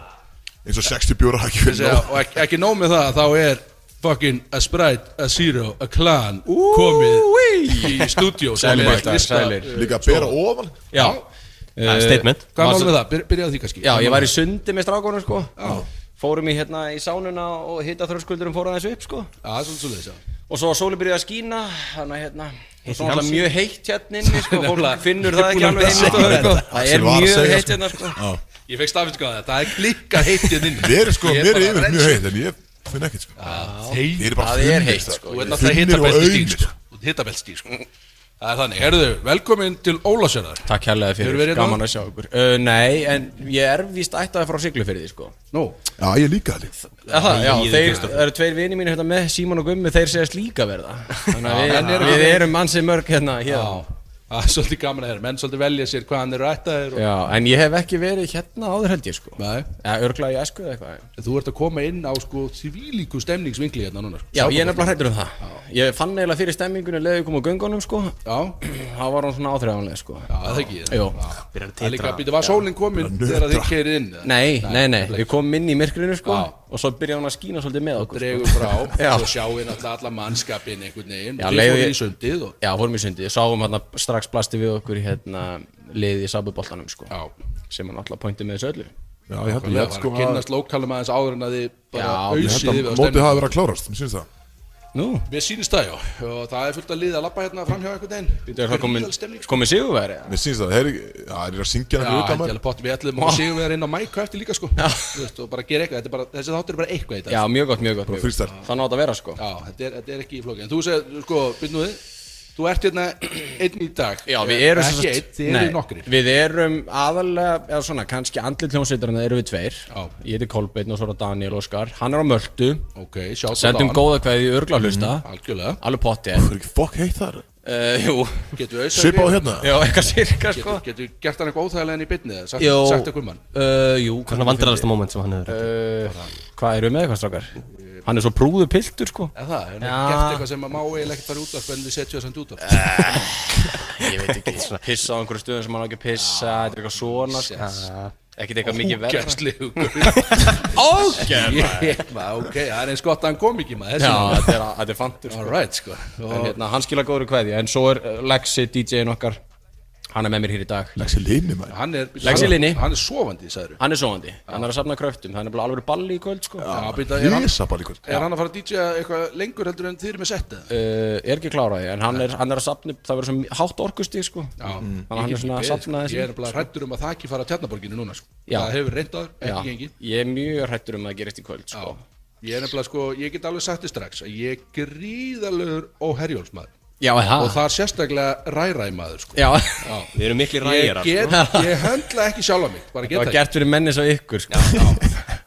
Eins og 60 bjóra haki fyrir
þessi,
nóg
og ekki, ekki nóg með það þá er fucking a Sprite, a Zero, a Clan komið í stúdíó
Sælir,
Komið
sælir,
lista-
sælir.
Líka að bera ofan
Já
er statement.
Sko, Eh, Hvað
Varstu-
málum við það? Byr, byrjaði því kannski
Já, ég var í sundi með strákonum sko Fórum í hérna í sánuna og hitta þröskuldurum fórum þessu upp sko
Já, það er svolítið svolítið já.
Og svo var sóli byrjuð að skína Þannig að hérna Og
Heitt í
svo alltaf
hamsi.
mjög heitt hérna inni sko Fólk finnur það ekki
Ég er búinn
alveg
að
heim
segja
sko.
þetta. Axel var að segja, sko.
Það er mjög heitt hérna sko
Ég fekk stafitskaða þetta, það er klikka heitt hérna inni
Mér er sko,
Ég
mér er yfir mjög
bara rennsli.
heitt en ég finn ekkert sko
Þeir
Þeir eru bara
Það er
þunnir,
heitt,
það.
sko.
hérna Þú ert náttúrulega
Þunnir og aumir,
hittabeltsdýr sko. Þú ert hittabeltsdýr sko Það er þannig, herðu, velkomin til Ólasjörðar
Takk hérlega
Hefurðu verið
fyrir,
hérna?
gaman að sjá ykkur uh, Nei, en ég er víst ættaði frá Siglufyrði sko
Nú,
Já, ég líka allir
Já, það, já,
Líður
þeir
Kristoffer.
það eru tveir vini mínu hérna með Símon og Gummi, þeir segjast líka verða Þannig að
en
við,
eru-
við erum ansi mörg hérna,
já
hérna.
Það er svolítið gaman að þeirra, menn svolítið velja sér hvað hann eru ættaðir og...
Já, en ég hef ekki verið hérna áður held ég sko
Nei,
Já, örglega í æsku eða eitthvað
en þú ert að koma inn á sko civílíku stemningsvingli hérna núna sko.
Já, ég er nefnilega hrættur um það Ég fann eiginlega fyrir stemmingunni leðið kom á göngunum sko
Já,
Það var hún svona áþreifanlega sko
já, það ekki
Jó.
Byrjar að
Það er líka
titra
að býta, var sólinn komin þegar þið keirið inn? eða?
Nei, nei, nei, við komum inn í myrkrinu sko
Já.
Og svo byrjaði hún að skína svolítið með okkur sko.
Dregur frá,
Já.
svo sjáum við náttúrulega alla mannskapin einhvern veginn.
Já,
Þið
leiði-
fóruð í sundið og...
Já, fórum í sundi, sáum hérna strax plasti við okkur í, hérna liðið í sabuboltanum sko
Já,
Sem hann alltaf pointi með þessu öllu
Já, ég held ég
það var
held
að
sko að
kynnast lókalum aðeins áður en að þið bara
Já,
Ég
ausið
held
við
að
á
mótið
stemningu.
hafi verið að klárast, mér syns það
Nú,
Mér sýnist það, já, og það er fullt að liða að lappa hérna fram hjá einhvern veginn.
býttu er það komin,
Gríðarleg stemning, sko.
komin sigurveri eða?
Mér syns það, þeir já, þeir eru að syngja hérna
Já,
hann fyrir utan
held ég
maður
alveg pottum, við ætlum að séum við inn á mæk og eftir líka, sko. Þú veist, og bara gera eitthvað, þetta er bara, þessi þáttur er bara eitthvað í
Já,
dag.
mjög gott, mjög gott, mjög
freestyle.
gott. Þannig átt að vera sko
Já, þetta er, þetta er ekki í flóki. En þú segir, sko, byrjum við, þú ert hérna einn í dag.
Já, við erum sem
Ekki
sagt-
einn, þið
Nei,
eru nokkri.
Við erum aðalega, eða svona, kannski andlit hljómsveitarinn erum við tveir
Já.
Ég heiti Kolbeinn og svo er það Daniel Óskar Hann er á Möldu,
Ok, sjátt
sendum góða kveði örgla hlusta
Mhm, Algjörlega,
Alveg potti
Það er ekki fokk heitt þar
uh, Jú,
getur við auðvitað
Svipa á hérna
já, eitthvað sirka sko
Getur, getur gert hann eitthvað óþægilega enn í bytni eða sagt,
Jó,
sagt eitthvað um hann
uh, jú
Hvernig vandrarasta moment sem hann hefur?
uh, Hvað erum við með eitthvað strákar? Hann er svo prúðu piltur sko
Eða það, hefur hann
Já.
ekki gert eitthvað sem að má eiginlega ekkert fara út af en við setjum þess að út af
Eh. Ég veit ekki, svona Ah, pissa á einhverju stöðum sem hann á ekki að pissa Þetta er eitthvað svona sko Ekkert eitthvað mikið verð
Úgerslegu
Ógæð
Ok, það er eins gott að hann kom ekki maður
Já,
þessi-
þetta er- þetta er fantur sko
Alright, sko
En
Og-
hérna, hann skila góður kveðja En svo er uh, Lexi, DJ-in okkar Hann er með mér hér í dag
Lexi Linni maður
Hann er
Leggst í linni.
Hann er sofandi, sagður
Hann er sovandi, hann er að safna kröftum Það er bara alveg balli í kvöld sko
Já,
uh,
býta, er, hann,
Lisa bara líka
er hann að fara að DJ eitthvað lengur heldur en þið eru með settið?
Eh, Er ekki kláraði, en hann er, hann er að safna Það verður svo hátt orkustig sko Þannig að hann er svona að safna
Ég er
þessi
bara hrættur um að það ekki fara að tjarnaborginu núna sko.
Já.
Það hefur reyndaður, ekki gengi
Ég er mjög hrættur um að það gerist í kvöld sko
Ég er nefnilega sko, ég get alveg sagt þið strax að ég er gríðalegur óherjólsmaður
Já, er það
og það er sérstaklega ræræmaður sko.
Já,
Já.
Við erum mikli
Ég,
ræjarar
get, ég höndla ekki sjálfa mig,
sko.
bara
það
geta
var
ekki
gert fyrir menni svo ykkur sko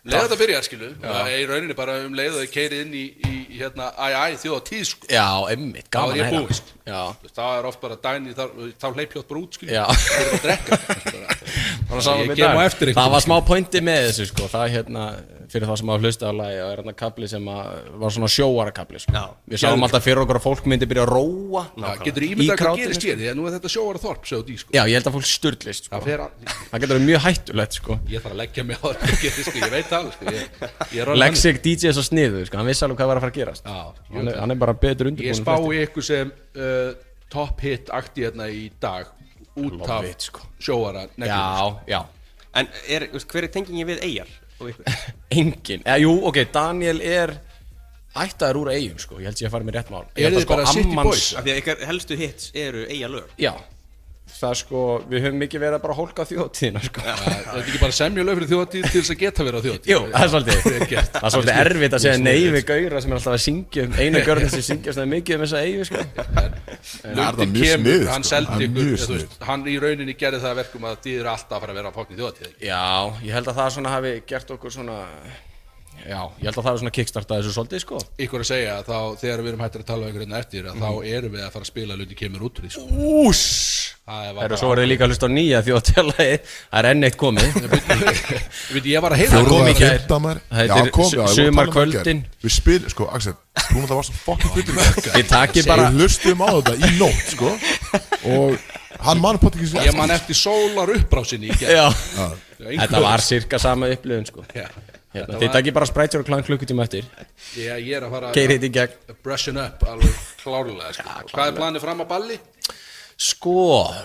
Leða þetta byrjar skilu, það er í rauninni bara um leið og þið keirið inn í, í hérna æ, æ, þjóð og tíð sko.
Já, einmitt,
Þá er
gaman
ég
að
búinn, sko.
Já,
Þú veist, Það er oft bara dæni, þá, þá hleyp hjátt bara út skilu
Já.
Það er að drekka Bara-
Bara sáum
Ég
við í
kem
dag.
á eftir ykkur.
Það var smá pointi með þessu sko Það er hérna, fyrir það sem hafa hlustað á lagi Það er hérna kapli sem að, var svona sjóara kapli sko.
Já.
Við sáum alltaf fyrir okkur að fólk myndi byrja að róa
Já, Getur
Í sko.
ímyndað hvað
krátinu,
gerist hér, því að nú er þetta sjóara þorp, svo dí sko
Já, ég held að fólk styrlist sko.
Það fer að,
Það getur verið mjög hættulegt sko
ég þarf að leggja mig á þetta gerist sko, ég veit það alveg, sko Ég, ég er alveg þannig.
Lexig DJ er svo sniðu sko, hann vissi alveg hvað var að fara að gerast
Já, ég
hann,
veit
er,
það.
hann er bara betur
Ég
undirbúin
spái ykkur sem uh, top hit akti hérna í dag út
Love
af
it, sko.
sjóara neglum.
Já, já
En er, þú veist, hver er tengingin við eigar? Og ykkur?
Engin, eða Eh, jú, ok, Daniel er Ættaður úr eigum sko, ég held ég að fara með rétt mál Ég held
Eruð
að, sko,
þið
sko
bara City
amman-
Boys?
Af því að ykkar helstu hits eru eigalög
Já, það er sko, við höfum mikið verið að bara hólka þjóðtíðina sko
Það er ekki bara semja lög fyrir þjóðatíð til þess að geta verið á þjóðatíð
Jú, það er svolítið
Vel gert.
Það er svolítið erfitt að segja nei við gauðra sem er alltaf að syngja um einu görðin sem syngja svona mikið um þessa eigu sko.
Það er það mjög
kemur,
snið
hann seldi ykkur eða þú veist, hann í rauninni gerði það að verkum að þið eru alltaf að fara að vera á fákn í þjóðatíð ekki?
Já, ég held að það svona hafi gert okkur svona Já, ég held að það hafi svona kickstartað þessu svolítið sko.
ykkur að segja að þá þegar við erum hættir að tala um ykkur hérna eftir að þá erum við að fara að spila luti kemur út úr því sko.
Ús
það var
Það
bara
eru svo verið líka að hlusta á nýja þjóðtjálagi Það er enn eitt komið
Ég veit, ég var að heyra
Fjóru- kom í
Fjóruða
gær.
fyrta maður
Það
Já,
heitir
kom, já, ég
su-
var að tala um
sumarkvöldin.
það í gær. Við spil, sko, Axel Þú náttúrulega varst fokkin fyrir
Ég taki bara
Við hlustum á þetta í nótt, sko Og hann mann pott ekki sér
ég man eftir sólar upprásinni í gerð
Já
Já, einhver-
Þetta var cirka sama upplifun sko.
Já.
Hérna,
Þetta
þið
var-
takkir bara sprætjur og klang klukkutíma eftir
Ég, ég er að fara
Keirið í gegn
að brushin up alveg klárlega sko. Og Hvað er planið fram að balli?
Sko,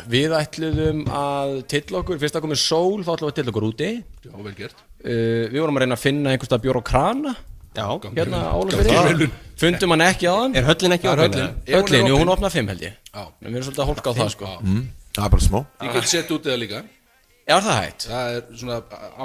við ætluðum að tilla okkur, fyrst að komið sól þá ætluðum við að tilla okkur úti
Já, vel gert
uh, Við vorum að reyna að finna einhverstað bjór og krana
Já,
Hérna álum Fundum hann ekki á hann
Er höllin ekki
Já,
opin,
höllin,
eða? Er hún
höllin,
er
jú hún
opin?
opnaði fimm held ég
Já.
En við erum svolítið að hólka á það sko
Það er bara smá
Ég get sett út eða líka
Já, er það hægt?
Það er svona,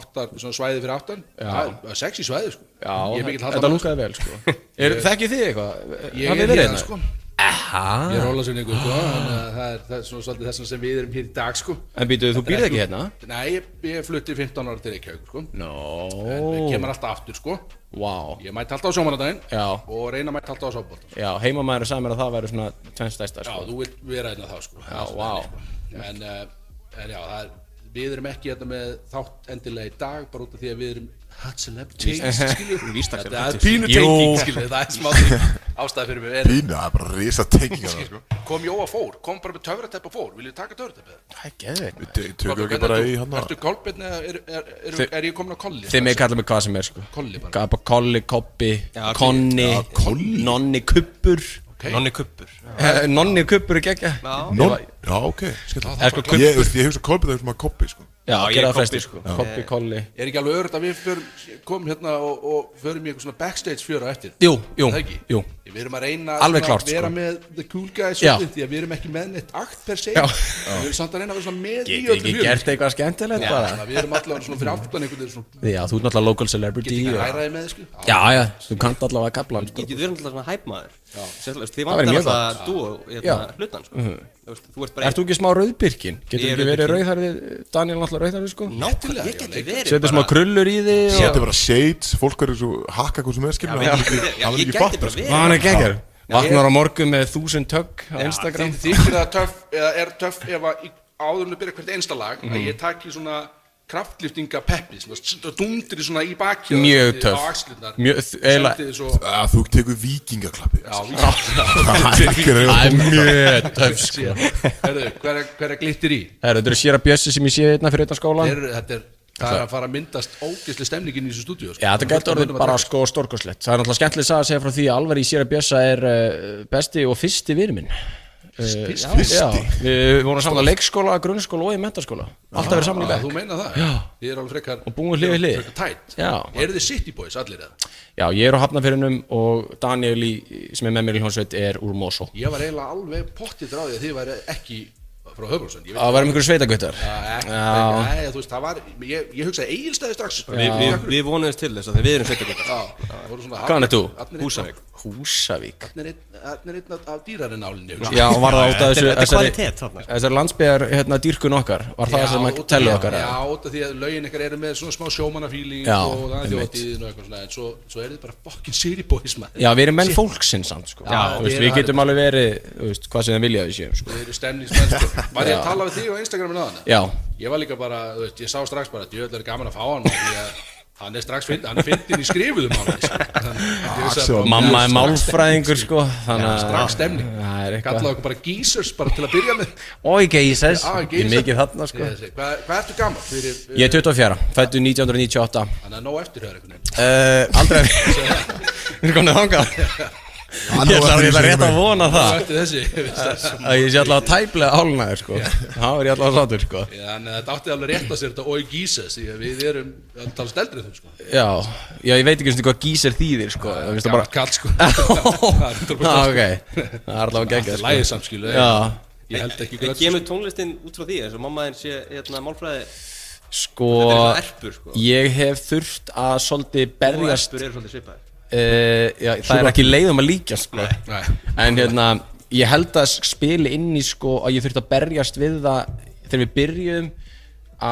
aftar, svona svæði fyrir aftan Það er- það er sexy svæði sko.
Já,
Ég er mikill
þetta
hallamann, sko.
lúkaði vel sko er, Þekkið þið eitthvað?
Ég
Hafið
er
verið
hérna
hérna?
sko Aha. Ég er ólasunningu sko Þannig að það er, það er svona svolítið þess sem við erum hér í dag sko
En býtuðu, þú býrð ekki hérna?
Nei, ég, ég flutti 15 ára til Reykjavík sko En
Nó,
oh. kemur alltaf aftur sko
wow
Ég mætti alltaf á sjómanadaginn
Já.
Og reyna mætti alltaf á sábólta
Já, heimamæður sagði mér að það væri svona tvenst stærsta
Já,
sko
þú vilt vera einna þá sko
Já,
Það
vá.
er svona þannig, sko. en, uh, en já, það er Við erum ekki hérna með þátt endilega í dag bara út af því að við erum hot celebrities, skilju Þetta er pínu tenging, skilju, það er smá ástæð fyrir mig
Pínu, það er bara risa tengingar þarna, sko.
er, Kom Jóa fór, kom bara með töfratepp og fór Viljum við taka töfratepp?
Það er geðveikt
Við te- Tökum ekki bara í hann
Ertu kolbinn eða er, er, er,
Þið-
er ég komin á kolli?
Þið með kalla mig hvað sem er sko
Kolli bara,
Gapa kolli, koppi, konni, nonni kuppur
ok
Nonni kuppur
Eh, Nonni kuppur er geggja
Non, já, Eh, ok, skilja
Er sko kupp-
Ég, þú veist, ég hugsa kolbið það sem að koppi, sko
Já,
ég Eh.
gera
er
það flestir
kobbi.
sko Koppi, kolli
Eh, Er ekki alveg öðrut að við förum, komum hérna og, og förum í eitthvað svona backstage fjör á eftir?
Jú, jú,
Er það ekki?
jú
Við erum að reyna
Alveg
svona
klárt,
að vera
sko.
með the cool guys
Já.
svolítið, því að við erum ekki með neitt akt per se
Já.
Við erum samt að reyna að vera svona með
Getur ekki
hlutunum.
gert eitthvað skemmtilegt bara
Þannig að Við erum allavega svona fyrir aftan einhvern veginn svona
Já, þú ert náttúrulega local celebrity
Getur ekki
og-
hæraði með þig, sko
Já, já, þú kannt allavega að kapla hann
Ég
sko
getur verið alltaf svona hæpmaður Sérlega, Þið
væri
vantar
mjög Mhm.
alltaf dú hérna, hlutan sko.
Mhm.
Þú veist, Þú ert bara
Ert þú ekki smá rauðbyrkin?
Ég
Getur
er
ekki verið
rauðbirkinn.
rauðhærði Daniel náttúrulega rauðhærði sko
Nákvæmlega, ég getur verið
Setur smá krullur í þig og
Þetta er bara shades, fólk verður svo hakka hvað sem er skilja
Já,
Það
ég-
er
já,
ekki,
ég
ekki
gæti
fattar,
bara
sko
verið.
Já, hann er geggjar Vaknar á morgun með þúsund tögg á Instagram
Þið þykir það töff, eða er töff ef að í- áður en að byrja hvert einsta lag
Mhm.
að ég taki svona kraftliftinga peppi svona dundri svona í baki
Mjög töff.
á axlirnar
Mjög- eiginlega- Ah,
Sendið svo
Að Þú tekur vikingaklappi
Já, víst.
Það er ekki reyna
Það er mjög töf
Síðan. Herðu, hver er- hver er glittir í?
Herra, þetta eru sér að bjössi sem ég sé einna fyrir utan skólan
Þeir, eru- þetta er, það er að fara að myndast ógeðsli stemningin í þessu stúdíu sko.
Já, þetta gæti orðið bara sko stórkoslegt Það er náttúrulega skemmtileg saga að segja frá því að Alvar í sér að bjössa er uh, besti og fyrsti vinur minn Eh,
Fyrst-
Fyrsti?
Já, við vorum saman á leikskóla, grunnskóla og í mentaskóla Alltaf verið saman í
Þú
bekk
meina það? Já Þið eru alveg frekar
Og búin hlið við hlið.
Frekar tætt
Já.
Eru þið City Boys allir eða?
Já, ég er á Hafnafyrinum og Daniel í, sem er með mér í hljónsveit er úr Mosó
Ég var eiginlega alveg pottið dráðið að þið væri ekki frá Höfbrússon
Það varum ykkur sveitagöttar Já,
Nei, þú veist, það var Ég, ég hugsaði eigilstæði strax sko.
Við- við- Við vonuðumst til þess að við erum sveitagöndar
Já, það voru svona
Hvaðan ert þú?
Húsavík
Húsavík
Þannig er einn af- af dýrarinálinni hugsa ég.
Já, og var það út af þessu
Þetta er
þessari-
kvalitet þarna, sko.
Þessari landsbyðar, hérna, dýrkun okkar Var það sem að
út af því
tellu
að-
okkar
Já,
eða?
út af því að lögin ykkar eru með svona smá sjómannafíling
Já,
og það er
einmitt.
þjóttíðin og eitthvað svona en svo, svo er þið bara fokkin City Boys maður
Já, við erum menn fólksinn samt, sko
Já,
Þú
við
veist,
erum
Við getum alveg verið, þú veist, hvað sem þeim vilja að við séum, sko
Þið eru stemningsmenn sko Var ég að tala við þig á Instagramin aðan?
Já,
Ég var líka bara, þú veist, ég sá strax bara Djöðlega er gaman að fá hann Því að hann er strax fyndin, hann er fyndin í sko. skrifuðum á hann
Axel var
mamma er málfræðingur, sko Þannig að
Strax stemning
Það er eitthvað
Kallaði okkur bara geysers bara til að byrja með
Ói, geysers
Já,
Ég
geysers.
er mikið þarna, sko
Ég þessi, Hvað hvað ertu gaman fyrir
Ég er 24, fættu 1998 uh,
Þannig að nóg eftir hér einhvern veginn
Eh, Aldrei Við erum komin að þanga
Hann
Ég
á
ætla
eftir þessu
ég ætla rétt
einhvern
að
veginn.
vona
Nóg
það
eftir þessi veist það.
Að ég sé alltaf tæplega álnaður, sko Það er ég alltaf sátur, sko
Þannig að þetta átti alveg rétt að sér þetta Ói geysers Því að við erum að tala steldrið þú sko
Já, já, ég veit ekki um hvað gísir þýðir sko Það finnst það bara
Gammalt kall sko Það er 100%
ah, ok, það er allavega geggjað sko.
Lægið samskilu
Já,
Ég held ekki
En
glöggs-
kemur tónlistin út frá því eins og mamma þinn sé hérna, málfræði
sko
Þetta er svona erpur sko
Ég hef þurft að svolítið
Og
berjast uh,
erpur eru svolítið svipaðir
Eh, já, Það er ekki leiðum að líka sko
Nei.
En hérna, ég held að spili inn í sko að ég þurft að berjast við það þegar við byrjuðum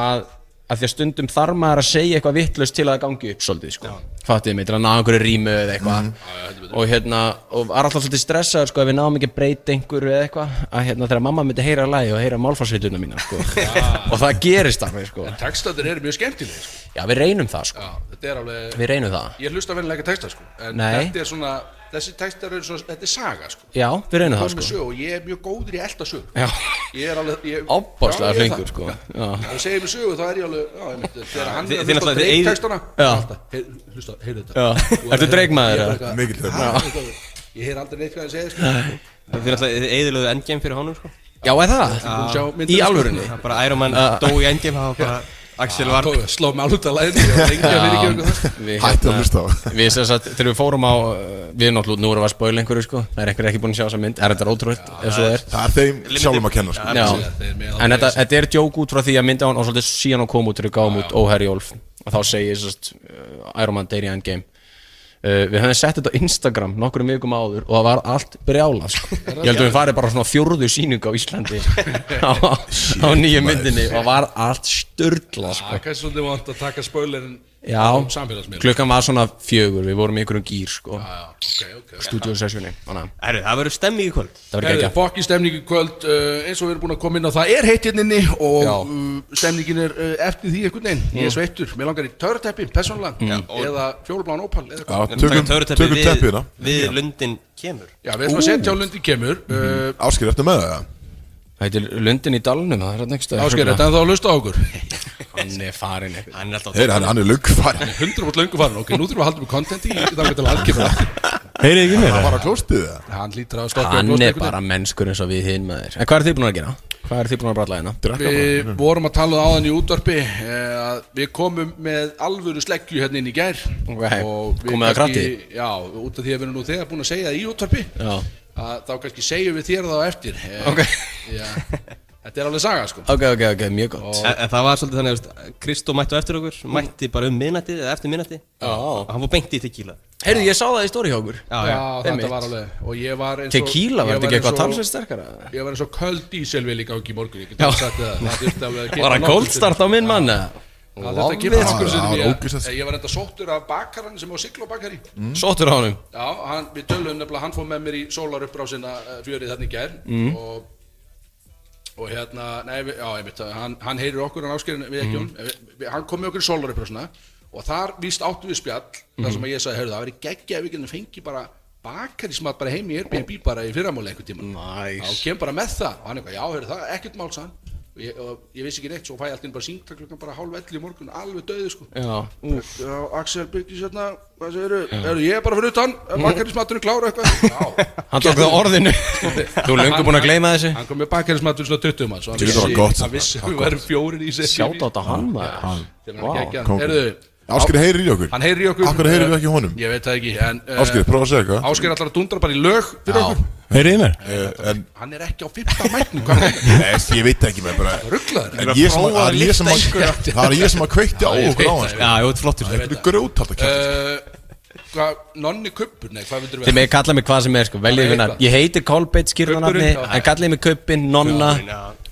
að, að því að stundum þarf maður að segja eitthvað vittlust til að það gangi upp svolítið sko Fattið mig, til að ná einhverju rímu eða eitthvað og hérna, og var alltaf svolítið stressaður sko ef við náum ekki að breyta einhverju eða eitthvað að hérna þegar mamma myndi heyra lagi og heyra málfarsvituna mína sko og það gerist alveg sko
Textatir eru mjög skemmtilegir sko.
já við reynum það sko,
Já, þetta er alveg
við reynum það
Ég hlusta vennilega ekki texta sko En
Nei.
þetta er svona þessi textar eru svona, þetta er saga sko.
Já, við reynum það
Komið
sko
sögu og ég er mjög góður í elda sögu
Já,
ég er alveg ég-
ábáslega
Já, ég er
flengur
það.
sko Já,
Það segir mér sögu, þá er ég alveg, já, ég myndi, þegar hann
Þi-
er
þið
að hlusta
náttúrulega- þið eigið-
dreiktekstana,
Já.
hlusta, heyrðu þetta.
Já.
Og
Ertu
það-
Drake-maður,
ég er
eða?
bara eitthvað,
Mikill Drake-maður.
"Ha?" eitthvað, Ég heyr aldrei neitt hvað hann segir, sko.
Þið náttúrulega eðilöðu endgame fyrir honum sko
já er það?
Búin að sjá myndina,
Í
sko.
alvörunni?
Það bara Iron Man dó í endgame Það var bara Axel var
Tók- Sló mig alveg út af læðinu, ég var lengi að fyrir ekki eitthvað.
við,
Hættu að
hérna,
hlusta á.
Við sem sagt, þegar við fórum á uh, Við náttúrulega, nú erum við að spóla einhverju sko Það er einhver ekki búin að sjá þessa mynd, er þetta ótrúlegt ef svo er
Það er þeim sjálfum að kenna sko.
Já,
þeir með
en þetta, þetta er djók út frá því að mynda hann og svolítið síðan hún kom út þegar við gáum út Óherri Jólf og þá segir sérst uh, Iron Man Dairy Endgame uh, við höfum sett þetta á Instagram nokkrum vikum áður og það var allt brjála sko. ég held að við farið bara svona fjórðu síningu á Íslandi á, á nýju myndinni og var allt störla
Það
sko.
er kannski svolítið vant að taka spoilerin
já,
á samfélagsmiðlum.
klukkan var svona fjögur við vorum í einhverjum gýr sko,
Já, ok, ok.
stúdíosessjóni það
Herru, það verður stemmi í kvöld
var ekki
Herðu,
ekki
fokki stemning í kvöld uh, eins og við erum búin að koma inn á það er heitt hérna inni og
Já.
uh, stemningin er uh, eftir því einhvern veginn, ég er sveittur, mér langar í töruteppi, persónulega, eða fjólubláan ópal eða
Já,
hvað.
tökum, tökum teppið hérna.
Við lundin kemur
Já, við erum að setja á lundi kemur,
Mhm.
uh,
Áskir, Eh, ertu með það?
Þetta er Lundin í dalnum, það er hérna hann ekki
ásker þetta en þá að lusta á okkur.
Hann er farin eitthvað
Hann er alltaf
Heyri, hann, hann er lungfarinn.
100% löngu farin, ok, nú þurfum við að halda um contenti í það til aðkipra.
Heyrið ekki mér?
Það var að klóstið það.
Hann lítur að stokka
Hann er bara mennskur eins og við hinn með þér En hvað er þið búin að gera? Hvað er þið búin að bralla hérna?
Drekka bara.
Við vorum að tala á þann í útvarpi eh, að við komum með alvöru sleggju hérna inn í gær
Ok,
og við
komið að
kannski- Já, út af því að við erum nú þegar búin að segja það í útvarpi
Já.
að þá kannski segjum við þér það á eftir Eh,
Ok.
já, Þetta er alveg saga sko
Ok, ok, ok, mjög gott
En en það var svolítið þannig veist, að Kristó mætti á eftir
Mm.
okkur Mætti bara um minnati eða eftir minnati Og hann fór beint í tequila
Heyrðu, ég sá það í stóri hjá okkur
Já,
Já,
einmitt.
þetta var alveg og ég var eins og
Tequila,
ég
var þetta ekki
eins
eitthvað
og-
talsveit sterkara?
Ég var eins og köld dísel við líka ekki í morgun Ég get ekki sagt það Það þurfti alveg að kippa
Var það
nokkuð
cold start á minn mann?
til- Það þurfti að kippa
Lofið, sko.
nokkur sinnum
Já,
í-
ógeðslegt.
Ég var enda sóttur af bakarann sem á Siglo bakari
Sottur á honum
Já, hann, við tölum nefnilega, hann fór með mér í sólaruppbrásina eh, fjörið þarna í gær og, og hérna, nei, við, já, einmitt, hann, hann heyrir okkur, hann áskerinn við ekki mm. við, hann kom með okkur í sólaruppbrásina og þar víst áttu við spjall, þar sem að ég sagði, heyrðu, það verið geggja ef við getum fengið bara bakarísmat bara heim í Airbnb bara í fyrramóli einhvern tíma
Nice.
þá kem bara með það og hann eitthvað, já, heyrðu, það er ekkert mál sann og ég, og ég vissi ekki neitt, svo fæ ég alltaf bara sínt klukkan bara hálf 11 í morgun, alveg döðu sko
Já
Já, Axel Byggis hérna, hvað segiru? Eru ég er bara fyrir utan,
Mm.
bakkernismaturinn klára eitthvað? Já.
Hann tók það á orðinu Þú er löngu búin að gleyma þessu
Hann kom með bakkernismaturinn svona 20 mann, svo hann
Þetta var gott.
hann vissi að við værum fjórin í sér.
Sjátt á þetta hann maður Vá
kóngurinn.
Erðu,
Áskir, heyrir í okkur.
hann heyrir í okkur. Eh,
Akkur heyrir við ekki í honum?
Ég veit það ekki, en... eh,
Áskir, prófa að segja eitthvað.
Ásgeir ætlar að dundra bara í lög fyrir okkur.
Heyrið mér?
Eh, En,
Hann er ekki á 15 mætnu, hvað er þetta?
nei, ég veit ekki með bara.
Rugglaður.
En ég sem að,
prófa að
það er ég sem að,
lyfta einhverju.
það er ég sem að kveikti á
ég
okkur á
veit
hann,
það,
sko.
Já, ég veit flottur
Það er grjót alltaf kæft.
Eh, Hvað, nonni kuppur, nei, hvað vildur
Þið
við?
með kalla mig hvað sem er sko, veljið
Hvað
vinnar
heita?
Ég heiti Kolbeitt skýrðanafni
Kubburinn, já.
En kallið mig Kubbin, Nonna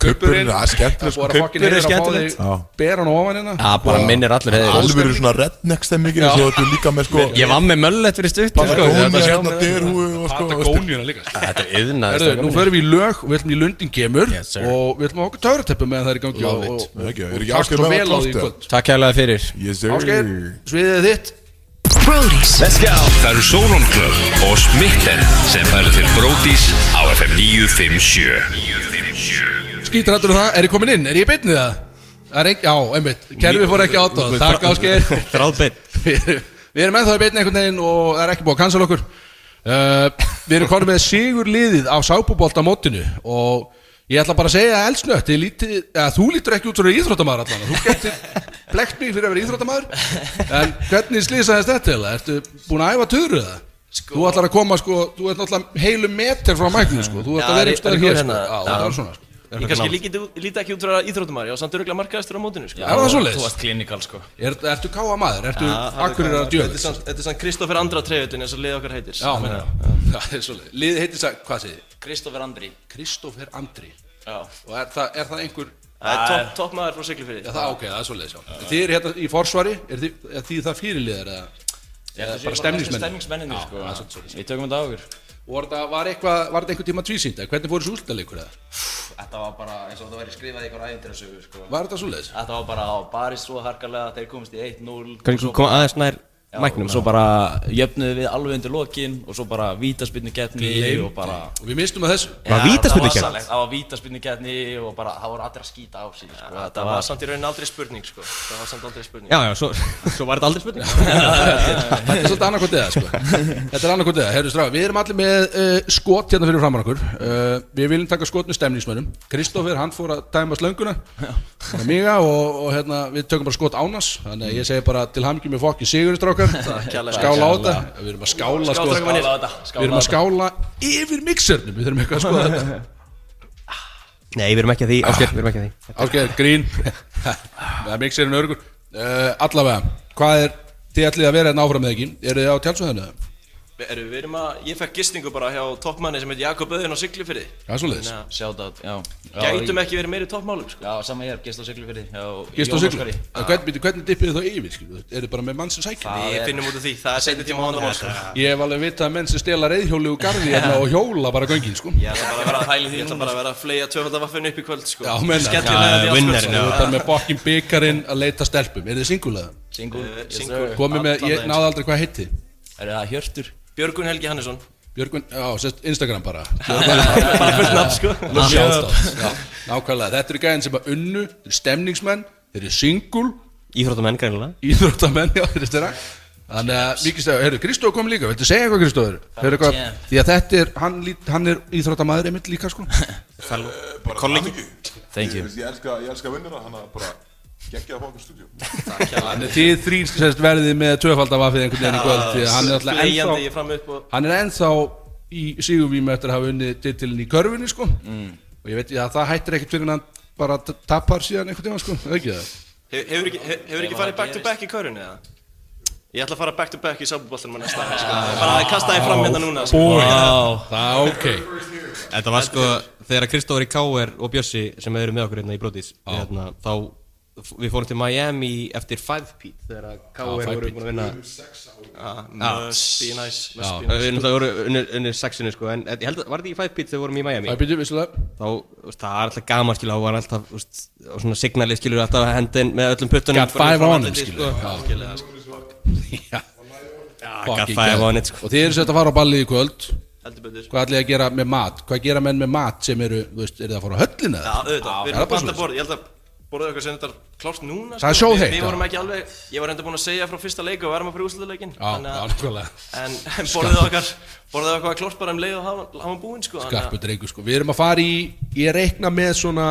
Kuburinn, það er
Það
skemmtilegt,
er
sko.
bara fokkin
Kubbur er
heyra að fá
skemmtilegt.
þig beran ofan hérna.
Já, bara minnir allir heðir
Alveg verið svona redneck stemmingin, svo þetta er líka með, sko,
Ég var með möllett fyrir stutt sko,
patagóni,
þetta sjá
hérna,
mig.
derhúi og, sko, veist,
Patagóníuna líka. sko.
Þetta er yðnað
Herðu, nú förum við í lög, við ætlum í lundin kemur
Yes, sir.
og við ætlum að okkur töfrateppu meðan það er í gangi
Love
og,
it.
og,
Ekki, er
og
ekki
takk
Ásgeir
svo
með
vel á
að
því í
klárt, sko.
kvöld
Takk hérlega fyrir
Yes,
Ásgeir,
sir.
sviðið er þitt
Brody's
Það eru Solon Club og Smitten sem færa til Brótis á FM 957
Skítrættur um það, er ég komin inn, er ég í beinni það? það er ekki, já, einmitt, kerfið fór ekki átt á það. Takk Ásgeir
Þráðbeitt
Við við erum ennþá í beinni einhvern veginn og það er ekki búið að cancel okkur uh, Við erum konum með sigur liðið á sápubolt á mótinu og ég ætla bara að segja að elsnött lítið, að þú lítur ekki út svona íþróttamaður allan þú getur blekt mig fyrir að vera íþróttamaður en hvernig slýsaðist þetta til? Ertu búin að æfa töru það? Þú ætlar að koma sko, þú ert náttúrulega heilu metr frá mæknum sko, þú ert
Já,
að vera
er-
einhvers staðar
er
hér
góð
sko,
hérna.
já, það er svona sko.
Ég kannski líti, líti ekki út frá íþróttumar, já, samt öruglega markaðistur á mótinu, sko. Já,
það er svoleiðis.
Þú varst klinikal, sko.
Er, Ertu káa maður? Ertu akkurir að
Þetta er
djöfis?
samt- þetta er sann Kristoffer Andra treyðutin eins og lið okkar heitir.
Já, meina, það er svolítið. Liðið heitir það, hvað segir þið?
Kristoffer Andri.
Kristófer Andri.
Já.
Og er það, er það einhver,
Það er topp topp maður frá
já
Siglufyrði.
það ok, það er svolítið sjá. Þið eru hérna í forsvari, er þið, er þið það fyrirliðar eða?
Já,
bara stemningsmenn.
Stemningsmenninni, sko. Já,
svolítið svoleiðis.
Við tökum þetta á okkur.
Og var það, var eitthvað, var þetta einhver tíma tvísýnd, eða hvernig fóru súltaleikur eða?
Þetta var bara eins og þetta væri skrifað í ykkur æfintirasögu, sko.
Var þetta svolítið?
Þetta var bara á barist svo harkalega, þeir komist í 1-0.
Kannu koma aðeins nær mæknum
Svo bara jöfnuðu við alveg undir lokin og svo bara vítaspinnu getni og bara
Og við mistum að þessu
Var vítaspyrnukeppni?
Það var salegt, það var vítaspinnu getni og bara það voru allir að skýta á sig sko.
Það var samt í rauninni aldrei spurning sko Það var samt aldrei spurning
Já, já, svo, svo var þetta aldrei spurning
Þetta er svolítið annarkvæmt eða sko Þetta er annarkvæmt eða, herru strá Við erum allir með uh, skot hérna fyrir framann okkur uh, Við viljum taka skot með stemningsmönnum Kristófer, hann fór að dæma slönguna með Miga og, og hérna, við tökum bara skot ánans Þannig að ég segi bara til hamingjum með fokkin siguristrákar
kærlega.
Skála á þetta Við erum að skála sko
Skáldrakmanir.
Við erum að
skála
skála yfir mixernum Við þurfum eitthvað að skoða þetta
Nei, við erum ekki að því, Ásker, við erum ekki að því
Ásker, grín Það er mixerinn örgur uh, Allavega, hvað er Þið ætlið að vera hérna áfram með ekki, eru þið á tjálsöðinu?
Við erum, við erum að, ég fekk gistingu bara hjá toppmanni sem heit Jakob Öðun á Siglufyrði
Það er svoleiðis.
Þannig að
Shoutout, já
Gætum ekki verið meiri toppmálum sko
Já, sama ég er, gist á Siglufyrði
Gist og siglu En hvern, bíddu, hvernig dippið þið þá yfir? skilu? Er þið bara með mann sem sækja?
Við finnum út af því, það er setið tíma hóndamál sko
Ég hef alveg vitað að menn sem stela reyðhjóli úr garði hérna og hjóla bara göngin sko
Ég ætla bara að vera að hæli því, ég ætla bara að vera að fleia tvöfaldavaffinu upp í kvöld sko
Já, meina.
Skellir með því
Þú ert bara
sko.
með bokkin byggarinn að leita stelpum Er þið singulega?
Eh,
Single, yes
single.
sir
Komið með, ég
Allan
náði aldrei hvað heiti
Er það Hjörtur?
Björgun Helgi Hannesson
Björgun, já, sérst Instagram bara
Bara fullt nafn sko
Sjálfstátt Nákvæmlega, þetta eru gæðin sem að unnu Þeir eru stemningsmenn, þeir eru singul
Íþróttamenn greinilega
Íþróttamenn, já, þeir eru þeirra Þannig að mikið stæðu, heyrðu, Kristóð kom líka, viltu segja eitthvað Kristóður? Heyrðu hvað,
Champ.
því að þetta er, hann, lít- hann er íþróttamæður einmitt líka sko
bara kollegi
Thank you.
ég, ég elska, ég elska vinnuna hann að bara geggja það á okkur stúdíu
Þannig að þið þrýr sérst verðið með tvöfaldavafið einhvern veginn í kvöld því að hann er alltaf
Fleigjandi ég
ennþá
fram upp og
hann er ennþá í sigurvímu eftir að hafa unnið titilin í körfunni sko
Mm.
og ég veit ég að það hættir ekkert fyrir en hann bara t- tapar síðan einhvern veginn sko, er ekki það?
Hefur- Hefur ekki, he- hefur ekki farið back to back í körunni eða? Ég ætla að fara back to back í sábuboltanum á næsta ári, sko. Bara að kasta þið fram hérna núna sko.
Vá
Það er ok
Þetta var sko, þegar Kristóður í K.R. og Bjössi sem eru með okkur hérna í Brodís hérna, Þá, við fórum til Miami eftir 5 pít Þegar að K.R. voru búin að vinna
Ah, Must be nice, must be
Við erum það voru unnir- unnir sexinu sko En en ég held að, var þetta ekki 5 pít þegar við vorum í Miami?
Það er býtið vissulega
þá, úst, það er alltaf gaman skilur, hún var alltaf, úst, og svona signalið skilur alltaf að hendin með öllum puttunum
Gat five on him, skilur.
nice sko.
Já,
gat
fucking
five
hell.
on it, sko.
Og þið eru sett að fara á ballið í kvöld
Heldur betur
Hvað ætlið þið að gera með mat? Hvað gera menn með mat sem eru, þú veist, eru það að fara á höllina?
Já, auðvitað, við erum
það er
að
bara
banta
svoleiðis.
borð, ég held að borðið okkar sem þetta klárt núna
Það er
sko. Við-
sjóðheitt,
Við
já.
vorum ekki alveg, ég var enda búinn að segja frá fyrsta leik og við erum að fara í úrslutaleikin
Já, nákvæmlega
En en borðið okkar, borðið okkar var klárt bara um leið og hafa, hafa búinn sko þannig að-
Skarpur drengur sko Við erum að fara í Ég reikna með svona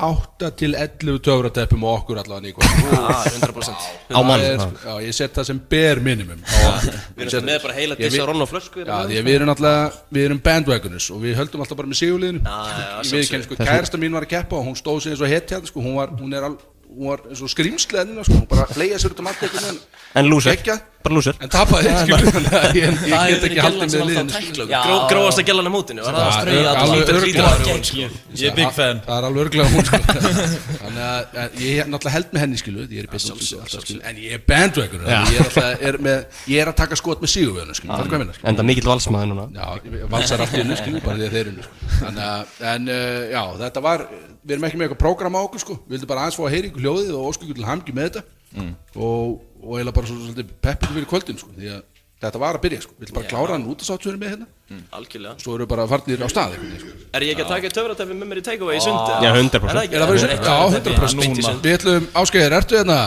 8 til 11 töfrateppum og okkur allavega nýkvæm
Ah, 100%
á mann
Já, ég set það sem ber minimum
Við erum með bara heila
Ég
dissa
vi-
ronn og flösku
Já, því að við erum alltaf Við erum bandwagoners og við höldum alltaf bara með sigurliðinu
já,
Ég veit sko Kærasta mín var að keppa og hún stóð sér eins og hett hérna sko Hún var, hún er al, hún var eins og skrimsli hérna sko Hún bara leiða sér út um allt eitthvað
en lúsur,
Gekka
bara lúsur
En tapaði skilur þannig að Ég ég
Það
get
hefur verið gellan
ekki haldið
sem
með
alltaf
liðinu
tækla
Gró, gróðast að gæla hann á mótinu var það?
Það er alveg örglega
Ég er big fan
Það er alveg örglega hún sko Þannig að að ég er náttúrulega held með henni skilu Ég er í best útlýsum alltaf skilu En ég er bandwagon Ég er alltaf er með Ég er að taka skot með síguvöðunum skilu Það er hvað minna skilu
enda mikill valsmaður núna
Já, ég- valsar allt í hennu skilu Bara því að þeir eru sko. Þannig að En uh, já, þetta var Við erum ekki með eitthvað prógram á okkur sko Við vildum bara aðeins fá að heyra ykkur hljóðið Og ósku ykkur til hamgi með þetta Og og eiginlega bara svo svolítið peppið fyrir kvöldin sko Því að þetta var að byrja sko Við vildum bara klára hann út að sáttu með hérna
Algjörlega
Svo eru bara farnir á stað einhvern veginn, sko.
Er ég ekki að taka töfratæfi með mér í takeaway í sundi?
Já, 100%.
Er það ekki?
Er það verið sund? Já, 100%
Beint í
núna
sund.
Við ætlum, Áskeiðir, ertu hérna?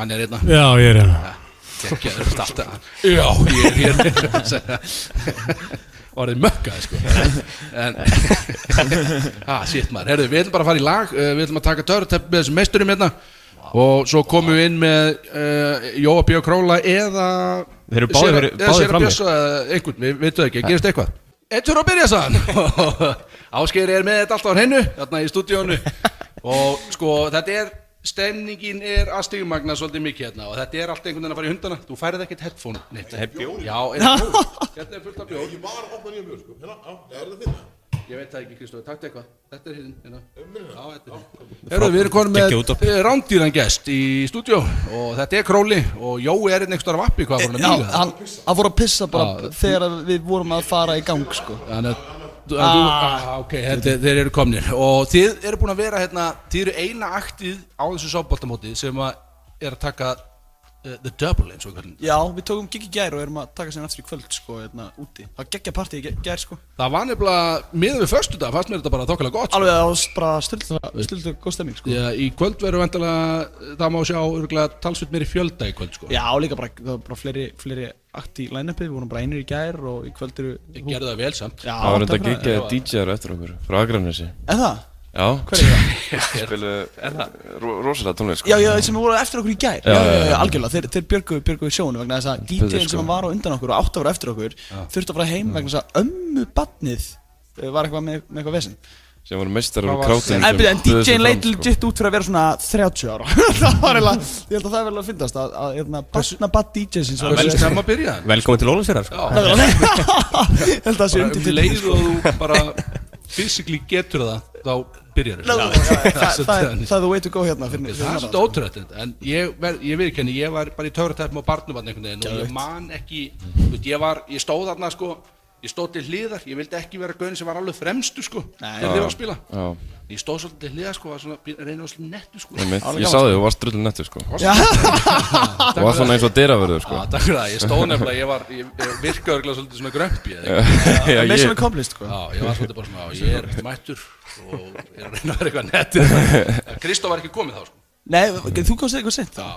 Hann er hérna
Já, ég er hérna
Gekkjaður starta Já, ég er hérna Orðið mökkaði sko En ah, Sitt maður, herðu, við ætlum bara að fara í lag uh, Við ætlum að taka törrtepp með þessum meisturum hérna Og svo komum við inn með uh, Jóa Björn Króla eða
Þeir eru báðir-
Séra- eh,
báðir
Séra
frammi.
Bjössa eða einhvern, við veitum ekki, gerist eitthvað Eittur á byrja sann Áskeir er með þetta alltaf á hennu Þarna í stúdíónu Og sko, þetta er Stemningin er að stigmagna svolítið mikið hérna Og þetta er allt einhvern veginn að fara í hundana Þú færið ekkert headphone neitt Þetta er bjór Já, er bjór Hérna er fullt af bjór
ég var að opna nýja mjög sko hérna, á, er það þinn?
Ég veit það ekki, Kristofi, takk eitthvað Þetta er hinn, hérna Já, þetta er Herru, við erum konum með eh, rándýran gest í stúdíó Og þetta er Króli Og Jói er Ah, einn einhver vappi, hvað var hann
Eh, Já,
að mýga
hann, hann fór að pissa bara
Já.
þegar að við vorum að fara í gang sko
Þannig að þú- að þú, ah, ok, þetta, þeir eru komnir og þið eru búin að vera hérna, þið eru eina aktið á þessu sábóltamóti sem að er að taka uh, The Double eins og hvernig
Já, við tókum gig í gær og erum að taka sér aftur í kvöld sko, hérna, úti. Það geggja partí í gær- gær sko.
Það var nefnilega miður við förstu dag, fannst mér þetta bara þokkilega gott
Alveg það var bara styrla, styrla góð stemming sko.
Já, í kvöld verður vendilega, það má sjá örgulega talsveit meiri fjölda í kvöld sko
Já, líka bara, það var bara fleiri, fleiri akt í line-upi, við vorum bara einir í gær og í kvöld eru... Ég
gerði það vel samt.
Já,
Það var
þetta
þetta
er bara-
gigið DJ-ar eftir okkur frá Akranesi
Er það?
Já
Hver er það?
Spilu ro rosalega tónlist sko.
Já, já, sem voru eftir okkur í gær
Já, já, já.
algjörlega, þeir, þeir björguðu björguðu sjónu vegna þess að
Betur,
DJ-in
sko.
sem hann var á undan okkur og átt að vera eftir okkur þurfti að fara heim vegna þess að ömmu badnið eh, var eitthvað með, með eitthvað vesinn
sem voru meistar úr
Hvað var-
krátunum
En, en DJ-in leit
sko.
legit út fyrir að vera svona 30 ára Það var eiginlega, ég held að það er vel að fyndast að, hérna, að, að batna bad DJ sinns
Velkomin til Ólafsfjörðar sko.
Held að það sé
Bara um
undir
leið og þú bara fysikli getur það, þá byrjar
Lá-
þetta.
já, já, það- það er-
þannig.
það er the way to go hérna fyrir-
Ok,
fyrir
Það er
norðan,
svolítið ótrúrætt En ég, ver, ég viðkenni, ég var bara í töfratæfum á barnubann einhvern veginn og
Geðveikt.
ég man ekki þú veist, ég, var, ég stóð þarna sko Ég stóð til hliðar, ég vildi ekki vera gauðin sem var alveg fremstu sko Þegar þið var að spila
Já
Ég stóð svolítið til hliðar sko, var svona að reyna að slið nettu sko
Einmitt.
Alveg
Ég sá
gaman, sko.
þig, þú varst drullu nettur sko
Já.
Og var svona eins og dyraverður sko
Já, takk fyrir það, ég stóð nefnilega, ég var, ég, ég virkaði örgulega svolítið svona grömpi eða
Já, Já,
ég- mission accomplished, sko.
Já, ég var svolítið bara svona, já, ég er ekkert mættur og ég er að reyna að vera eitthvað nettir Kristó var ekki komið þá, sko,
Nei, þú komst eitthvað sent Já,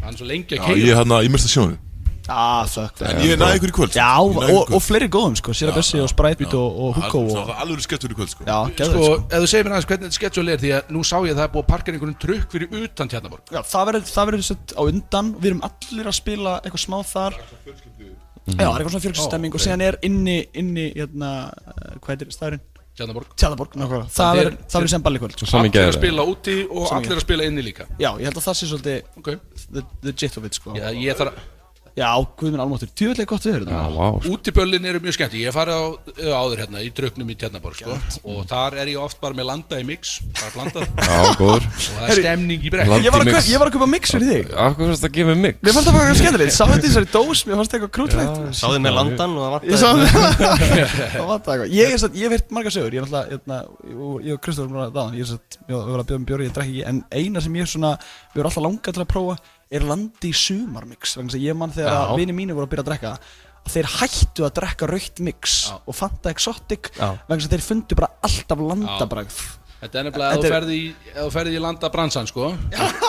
hann er svo lengi
Já,
að keyra
ég er hérna, ég mista sjónu
Ah, fuck
En ég næði ykkur í kvöld, sko.
Já,
Ég næði ykkur í
og,
kvöld.
og fleiri góðum sko Sýra Bessi og Sprætbít og, og Hugo
Það
og,
var alveg skettur í kvöld sko
Já,
Sko,
geðveikt, sko.
ef þú segir mér aðeins hvernig þetta schedule er því að nú sá ég að það er búið að parkera einhverjum trukk fyrir utan Tjarnaborg
Já, það verður það verður sett á undan Við erum allir að spila eitthvað smá þar
Mhm.
Já, það er eitthvað svona fjölskyldsstemming Og síðan er inni, inni, hérna, eh, hvað er staðurinn?
Tjarnaborg
Tjarnaborg, nákvæmlega Það verður- það verður sem balli kvöld sko.
Allir að spila úti og
Sami
allir
gæði.
að spila inni líka
Já, ég held að það sé svolítið
okay.
the, the gist of it sko
Já, ég þarf að
Já, guð minn almáttur, djúvillega gott hérna. við erum
Já, vá
Útiböllin eru mjög skemmt, ég hef farið á, ö, áður hérna í tröknum í Tjarnaborg sko, og þar er ég oft bara með landa í mix, bara blandað
Já, góður.
Og það er stemning í brekk
Landi
Ég var að
mix.
kaup- ég var að kaupa mix fyrir þig.
Akkur fannst að gefa mig mix
Mér fannst það bara eitthvað skemmtilegt, sá þetta í þessari dós, mér fannst það eitthvað krútlegt
Já, sáðu með landan
og það vantaði-
Ég sá það vantaði eitthvað Ég er satt, ég hef hert margar sögur, ég er náttúrulega, hérna, ég- ég og Kristóf erum ráðan dáðan Ég er satt, við varum að bjóða um bjóri, ég drekki ekki En eina sem ég svona, við erum alltaf langað til að prófa Er landi í sumarmix, vegna þess að ég mann þegar
Já.
að vini mínu voru að byrja að drekka að Þeir hættu að drekka raukt mix og fanta exotic
Já.
Vegna þess að þeir fundu bara alltaf landabrægð
Þetta er nefnilega að þú
Þetta er-
ferði í, ef þú ferði í landa bransan sko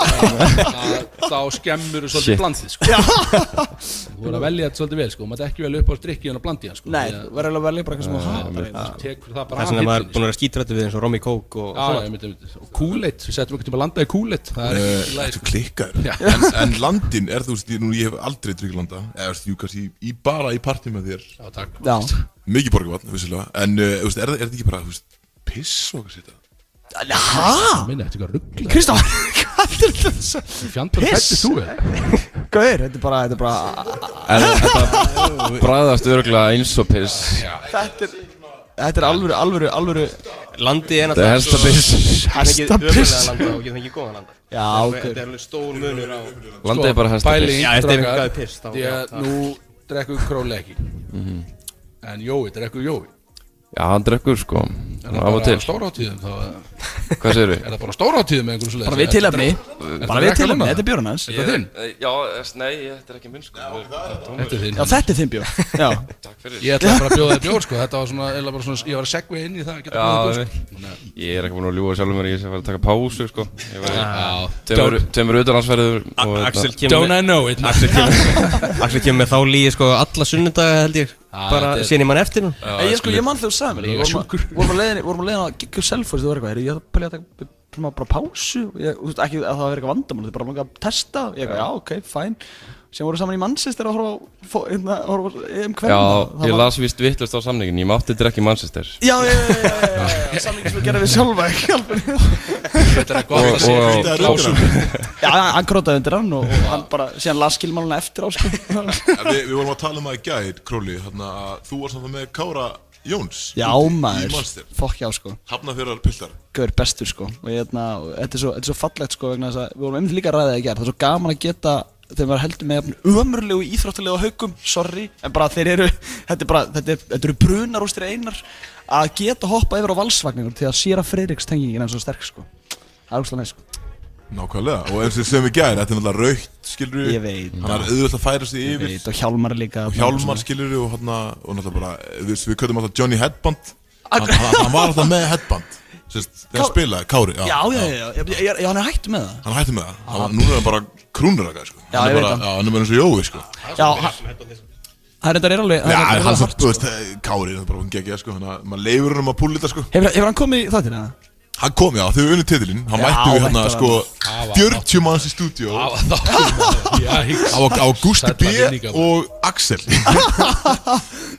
þá- þá skemmur þú
Shit.
svolítið blandið sko
Já.
Þú voru að velja þetta svolítið vel sko, maður ekki vel upp á strikki en að blandi hann sko
Nei,
Því að-
verður alveg að velja bara eitthvað sem þú hatar eiginlega, sko.
Tekur það bara
Þess vegna
af
maður
hillunni,
búin að vera skítrættu við eins og Romy Coke og
Já, já, ég myndi, myndi. Og Kool-Aid, við settum einhvern tíma að landa í Kool-Aid Það er ekki í lagi,
Þú
sko.
Eh, klikkar
Já.
en, en landin er þú veist, ég, nú, ég hef aldrei drukkið landa Eða þú veist, jú, kannski í, í bara í partí með þér
Já, takk
Já.
Mikið borgarvatn, vissilega En uh, þú veist, er, það- er þetta ekki bara, þú veist, piss og hvað sér þetta?
Hæ?
Minni, þetta er eitthvað ruggla
Kristoffer, Ah! hvað er þetta?
Fjandur fættist þú eða?
Gauðir, þetta er bara, þetta er bara
En þetta bræðast örgulega eins og piss
Þetta er, þetta er alvöru, alvöru, alvöru
Landi er
Þetta er helsta piss.
Helsta
Helsta
piss
piss.
Landi og getum ekki góðan landa
Já,
Þetta er-
ok.
Þetta er alveg stór munur á
Landið er bara helsta piss.
Já, þetta er eitthvað piss þá-
Því að nú drekkum við królega ekki
Mhm.
En Jói, drekkum við Jói
Já, hann drekkur sko
Er það
Af og
bara
til
stórhátíðum þá
Hvað segirðu?
Er það bara stórhátíðum með einhverjum svoleiðis?
Bara við
Ertu
tilefni.
að drekka-
Bara við
ertu að drekka
tilefni,
núna?
þetta er bjórinn hans.
Er það þinn?
Ég- eh, Já, þess- nei, ég- þetta er ekki minn sko Þetta
er þinn.
Já, þetta er þinn bjór Já
Takk fyrir
Ég ætlaði bara að bjóða þér bjór sko Þetta var svona, eiginlega bara svona Ég var að segja inn í það að geta
Já,
bjóða þér
ég-
bjór sko. Nei.
ég er ekki búin að ljúa sjálfur mér, ég sé að fara að taka pásu sko Ég var í
Já.
tveimur-
Don't-
Tveimur utanlandsferður og-
Axel
hérna-
kemur með- Axel kemur Axel kemur með þá líi sko alla sunnudaga held ég Bara
þetta er-
síðan ég mann eftir nú
En ég sko, ég mann þegar þú sagði mér
Ég
þetta, vorum
var
að- Vorum að leiðin, vorum að leiðin að gigga self-host Þú var eitthvað, er ég að pælja að taka svona bara pásu ég, Þú veist ekki að það var eitthvað vandamál Þið bara langaði að testa Ég eitthvað, já, ok, fæn Sem voru saman í mannsistir að horfa á fó- hérna, horfa á EM kvenna.
Já,
Það
ég
var-
las vist vittlust á samningin, ég mátti drekki Manchester
Já, já, já, já, já, já, já, samning sem við gerðum við sjálfa ekki alveg
Þetta er
gott að Og- sé og- hvíta klásum.
Já, hann grótaði undir hann og og hann bara, síðan las skilmáluna eftir á sko
En Við við vorum að tala um það í gær, Króli Þannig að þú varst þarna með Kára Jóns
Já
úti Í
maður,
Manchester
fokk já sko
Hafnafjörðar piltar
Gaur bestur sko og ég, hérna, og þetta, er svo, þetta er svo fallegt sko vegna þess að við vorum einmitt líka að ræða það í gerð það er svo gaman að geta þegar maður heldur með jafn ömurlegu íþróttilegu á haukum sorry, en bara þeir eru þetta, er bara, þetta, er, þetta eru brunar úr styrir einar að geta hoppa yfir á valsvagningur til að séra Freiriks tengingin er svo sterk sko það er úrslega næst sko
Nákvæmlega, og eins og sem við gæðir, þetta er náttúrulega raukt, skilur
Ég veit.
Hann er auðvitað að færa sig
Ég
yfir
veit, og Hjálmar líka,
Og
svona.
Hjálmar, skilur og hann og náttúrulega bara, eh, við, við köttum alltaf Johnny Headband Hann, hann, hann var alltaf með Headband Sérst, þegar hann
Ká-
spilaði, Kári
Já, já, já, já, já, já, já, hann er hættur með það
Hann hætti með það, hann, var- núna er hann bara krúnuraka, sko
Já,
hann
ég
er
veit
bara,
það.
já, hann er bara eins og Jói, sko
Já, hann- hann reyndar er alveg
Já,
hann er
hann
alveg
samt,
hart sko.
þú veist, eh, Kári, það er bara hún geggja, sko Þannig að maður leifur hann um að púla þetta, sko
Hefur, hefur hann komið í þáttinn eða?
Hann kom, já, þau unni titilinn, hann
Já,
mætti við
mættu
hérna,
hann.
sko,
Það var
40 manns í stúdíó Það var á Gusti B og Axel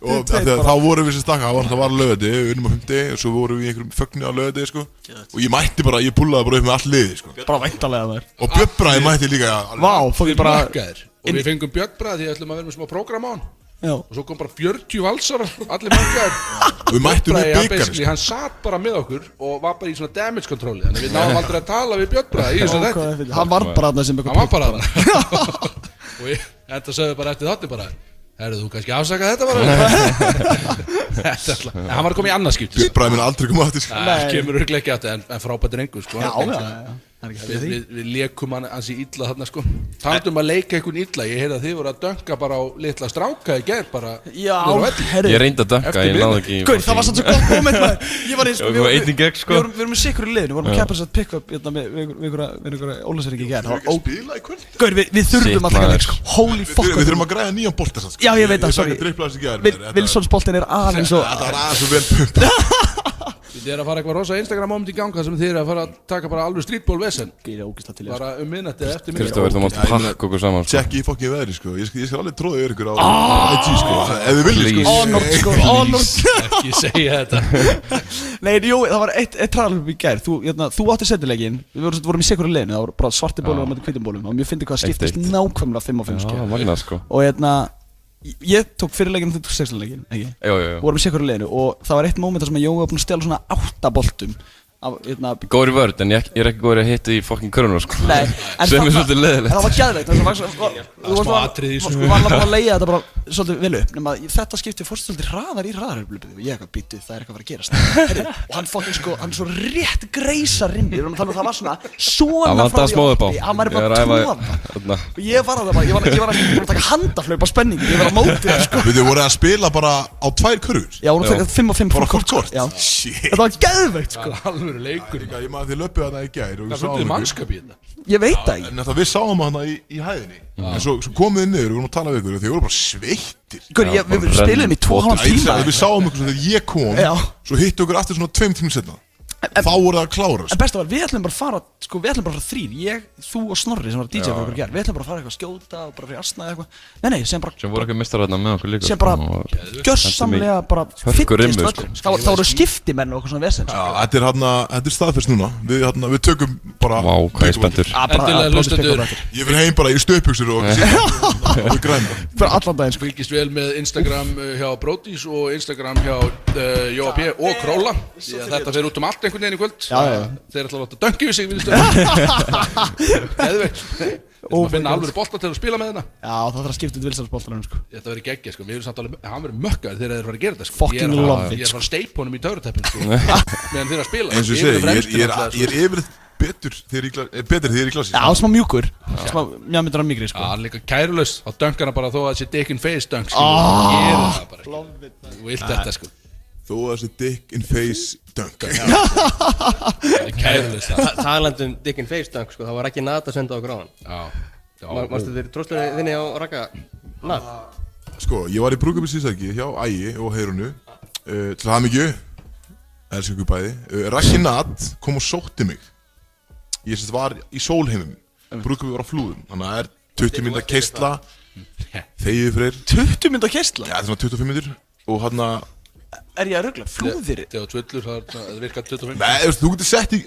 og af því að þá vorum við sem stakka það var- það var lögði, við unnum á 50 og svo vorum við í einhverjum fögnu á lögði sko. og ég mætti bara, ég pullaði bara upp með allt liði sko.
Bara væntalega þær
og Björn Bræði mætti líka alveg-
Vá, fokkin bara
Mökkaðir. Og við fengum Björn Bræði því að við ætlum að vera með smá prógram á hann
Já.
Og svo kom bara 40 valsara, allir mörgæður
Og við mættum við bikar, sko.
Hann satt bara með okkur og var bara í svona damage controli Þannig að við náðum aldrei að tala við Björn Bræði í þessu
Já, hvað er
þetta
fyrir- hann var bara þarna sem eitthvað
Hann var bara
prick
þarna Og ég, þetta sögðu bara eftir þáttin bara Herðu þú kannski afsakað þetta bara Þetta ætla En hann var að koma í annað skipti
Björn Bræði minn aldrei koma aftur sko.
Það kemur örglega ekki aftur en, en frábætt rengu sko.
Já,
Hann-
já, já, já. Það er ekki
Við,
fyrir því.
við, við leikum hann hans í illa þarna sko Taldum að leika einhvern illa Ég heyrði að þið voru að dönka bara á litla stráka í gerð bara
Já,
niður á velli.
herri.
Ég reyndi að dönka,
Eftir
ég náði
miðnætti.
ekki-
Gauð, það var samt svo gott moment maður Ég var eins
Já, við vorum einn í gegn, sko.
Við vorum, við vorum með sikur í liðinu, við vorum að
Já.
keppa þess að pick up hérna, með við við einhverja, við einhverja ólæsarík í gerð
Þurfum við ekki að spila í kvöld?
Gauð, við, við
Sitt,
þurfum að taka
maður.
leik sko Holy
Við
fuck
þurfum- við þurfum að græða nýjan bolta samt, sko.
Já, ég veit
Ég
það,
fekk að dripla þessu í gær, maður. Þetta-
sorry Vilsonsboltin er aðeins og
Þetta var aðeins og vel pumpa
Þið er að fara eitthvað rosa Instagram moment í ganga sem þið er að fara að taka bara alveg streetball vesen
Ég er ógæslega til
Bara um minnætti eða eftir
Kristófer, þú mátt
Já, ég meina-
pakka okkur saman sko.
Tjekk í fokkin veðri sko Ég skal, ég skal alveg tróða yfir ykkur á IG sko Ef þið viljið
Please.
sko
Ah! Honor, sko,
Please.
honor.
Ekki segja þetta
Nei, en Jói, það var eitt, eitt trælum í gær Þú, jæna, þú átti setjulegin Við vorum, vorum í sikur í liðinu Það voru bara svarti bólum
Já.
og mæti hvítum bólum Og mér fyndi hvað
Eitt,
skiptist
eitt.
nákvæmlega 5 á 5
Já, magnað sko
og hérna ég- ég tók fyrirlegin og þú tók sexlegin ekki?
Jú, jú, jú.
vorum í sekkur leginu og það var eitt móment þar sem að Jói var búinn að stjála svona átta boltum af, hérna,
Góður í vörð, en ég, ég er ekki góður í að hitta í fucking körnur sko
Nei, en
Sem er
þarna-
svolítið
en það
leðilegt
var gæðilegt það var, var,
smá
var, var,
atriði í þessu.
sko, var alveg bara að leiða þetta bara svolítið vel upp nema að þetta skipti fórst svolítið hraðar í hraðaröflubið og ég eitthvað býtu það er eitthvað að fara að gerast Heyrðu, og hann fokkin sko hann svo rétt greisar inn við erum að tala um það var svona
Það
svona
vantaði smá upp á
hann var
Ég
bara
að
að
æfa-
tóða
þarna.
og ég var að það bara ég var ég var að ég var að taka handaflaup á spenningu ég var að móti það sko
Við þið voruð að spila bara á tvær körfur
Já, hún fekk 5 og 5
Bara kort kort
sko. Já
Shit
Þetta var geðveikt sko
Alveg leikur
Ég maður þið löpið þarna í gær og við
Það
sáum
fundið
ykkur.
mannskap í þetta
Ég veit það ekki
En þetta við sáum hana í, í hæðinni En svo, svo komið þið niður og við vorum að tala við ykkur og Þið voru bara sveittir
Guður, ég- við spilum í 2
Bara
hálf
Ég
tíma
sagði, Við sáum ykkur svo þegar ég kom
Já.
Svo hittu ykkur aftur svona tveim tímum setna Þá voru það að klára
En
sko.
besta var, við ætlum bara að fara Sko, við ætlum bara að fara þrýr Ég, þú og Snorri sem var DJ
Já.
fyrir okkur gerð Við ætlum bara að fara eitthvað að skjóta og bara fyrir asna eða eitthvað Nei, nei, sem bara
Sem voru ekki mistar þarna með okkur líka
Sem bara
sko, og-
gjörsamlega bara
Hörku rimmu,
fyllist
sko.
völlurinn. Það var- það voru skiptimenn og eitthvað svona sko. vesens
Já, þetta er hérna, þetta er staðfest núna Við, hérna, við tökum bara
Vá, hvað ég er spenntur
Endilega hlustendur
Ég fyrir heim bara í stöpuksur og og í græna
Fyrir allan daginn sko
Fylgist vel með Instagram uh, hjá Brodís og Instagram hjá uh, Jóa P. og Króla Því að þetta fer út um allt einhvern veginn í kvöld
Já, já.
Þeir ætla að láta döngi við sig við Eðvegt Þeir
Oh
oh
my
finna
God.
alveg bolta til að spila með hérna
Já, það þarf að skipta út vilsansbóltanum sko
Þetta verður geggja sko, við erum samt alveg, hann verður mökkaður þegar þeir verður að gera þetta sko
Fucking
Ég er að-
love it,
Ég er að
sko.
fara að steipa honum í töruteppin sko Meðan þeir eru að spila
eins og ég
Yfir
segi, ég,
fremstu
ég, er-
náttúrulega,
ég er yfirleitt betur þegar ég, er í kla- eh, betri þegar ég er í klassi
Já, smá mjúkur Smá mjámyndur af mýgri
Já,
sko
hann er líka kærulaus þá dönkar hann bara þó að þessi dick in face dönk skilur,
Ah.
oh, gera það bara skilur. Þú vilt þetta sko,
Þó að þessi dick in face dunk
hann er kærulaus það
Ta- Talandi um Dick and Face Dunk, sko, það var ekki nat að senda okkur á hann
Já, já
Mástu þér tróslega þinni á rakka nat?
Sko, ég var í brúkum í síðsæki hjá Ægi og Heyrunu uh, Til hamingju Elsku ykkur bæði uh, Raki Nat kom og sótti mig Ég sérst var í sólheimum Brúkum var á flúðum Þannig að það er 20 minna keistla Þegið freyr
20 mynd á kestla
Já, þetta er svona 25 minnir Og hann að
Er ég að ruggla? Flúðir
Þegar þú tvillur það er- það virkar 25
Nei, þú veist, eh, þú getur sett í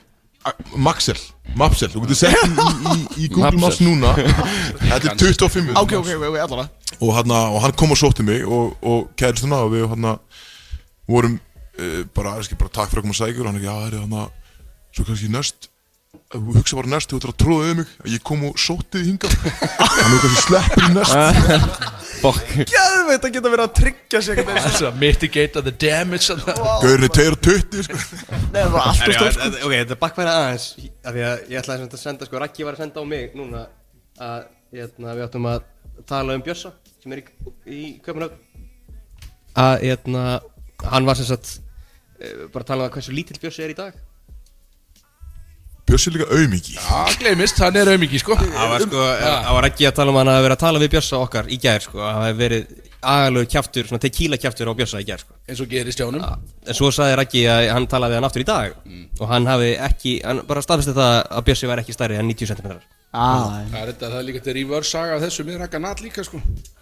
a- Maxel, Mapsel, þú getur sett í, í, í, í Google Maps
Mapsel.
núna Þetta er 25 mínútur.
Ok, ok, ok, ok, allavega
og, hana, og hann kom og sótti mig og, og kæristuna og við hérna e, hana, vorum uh, bara, er ekki, bara takk fyrir að koma að sækja og hann ekki, já, það er hann svo hérna, kannski næst hugsa bara næst, þú ætlar að tróða við mig að ég kom og sótti þig hingað hann er kannski sleppur í næst Fuck
Gæðveit að geta verið að tryggja sig einhvern veginn, sko.
að mitigata the damage
Gaurinn er 22 sko.
Nei, það var allt
Herri,
of stórt sko.
að- að- Ok, þetta er bakkværa aðeins af því að ég ætlaði sem að senda, sko, Raggi var að senda á mig núna að hérna, við áttum að tala um Bjössa sem er í, í Köpenhöfn að hérna, hann var sem sagt eh, bara að tala um að hversu lítill Bjössi er í dag
Bjössi er líka aumingi
Já, gleymist, hann er aumingi sko
Það var sko,
Já.
það var ekki að tala um hann að vera að tala við Bjössa okkar í gær sko, það hefði verið agalögur kjaftur, svona tequila kjaftur á Bjössa í gær sko.
Eins og gerist hjá honum
Ah,
En svo sagði Raggi að hann talaði við hann aftur í dag og hann hafi ekki, hann bara staðfesti það að Bjössi væri ekki stærri en 90 cm.
Ah.
Það er þetta, það er líka þetta reverse saga af þessu með Ragga Nat líka sko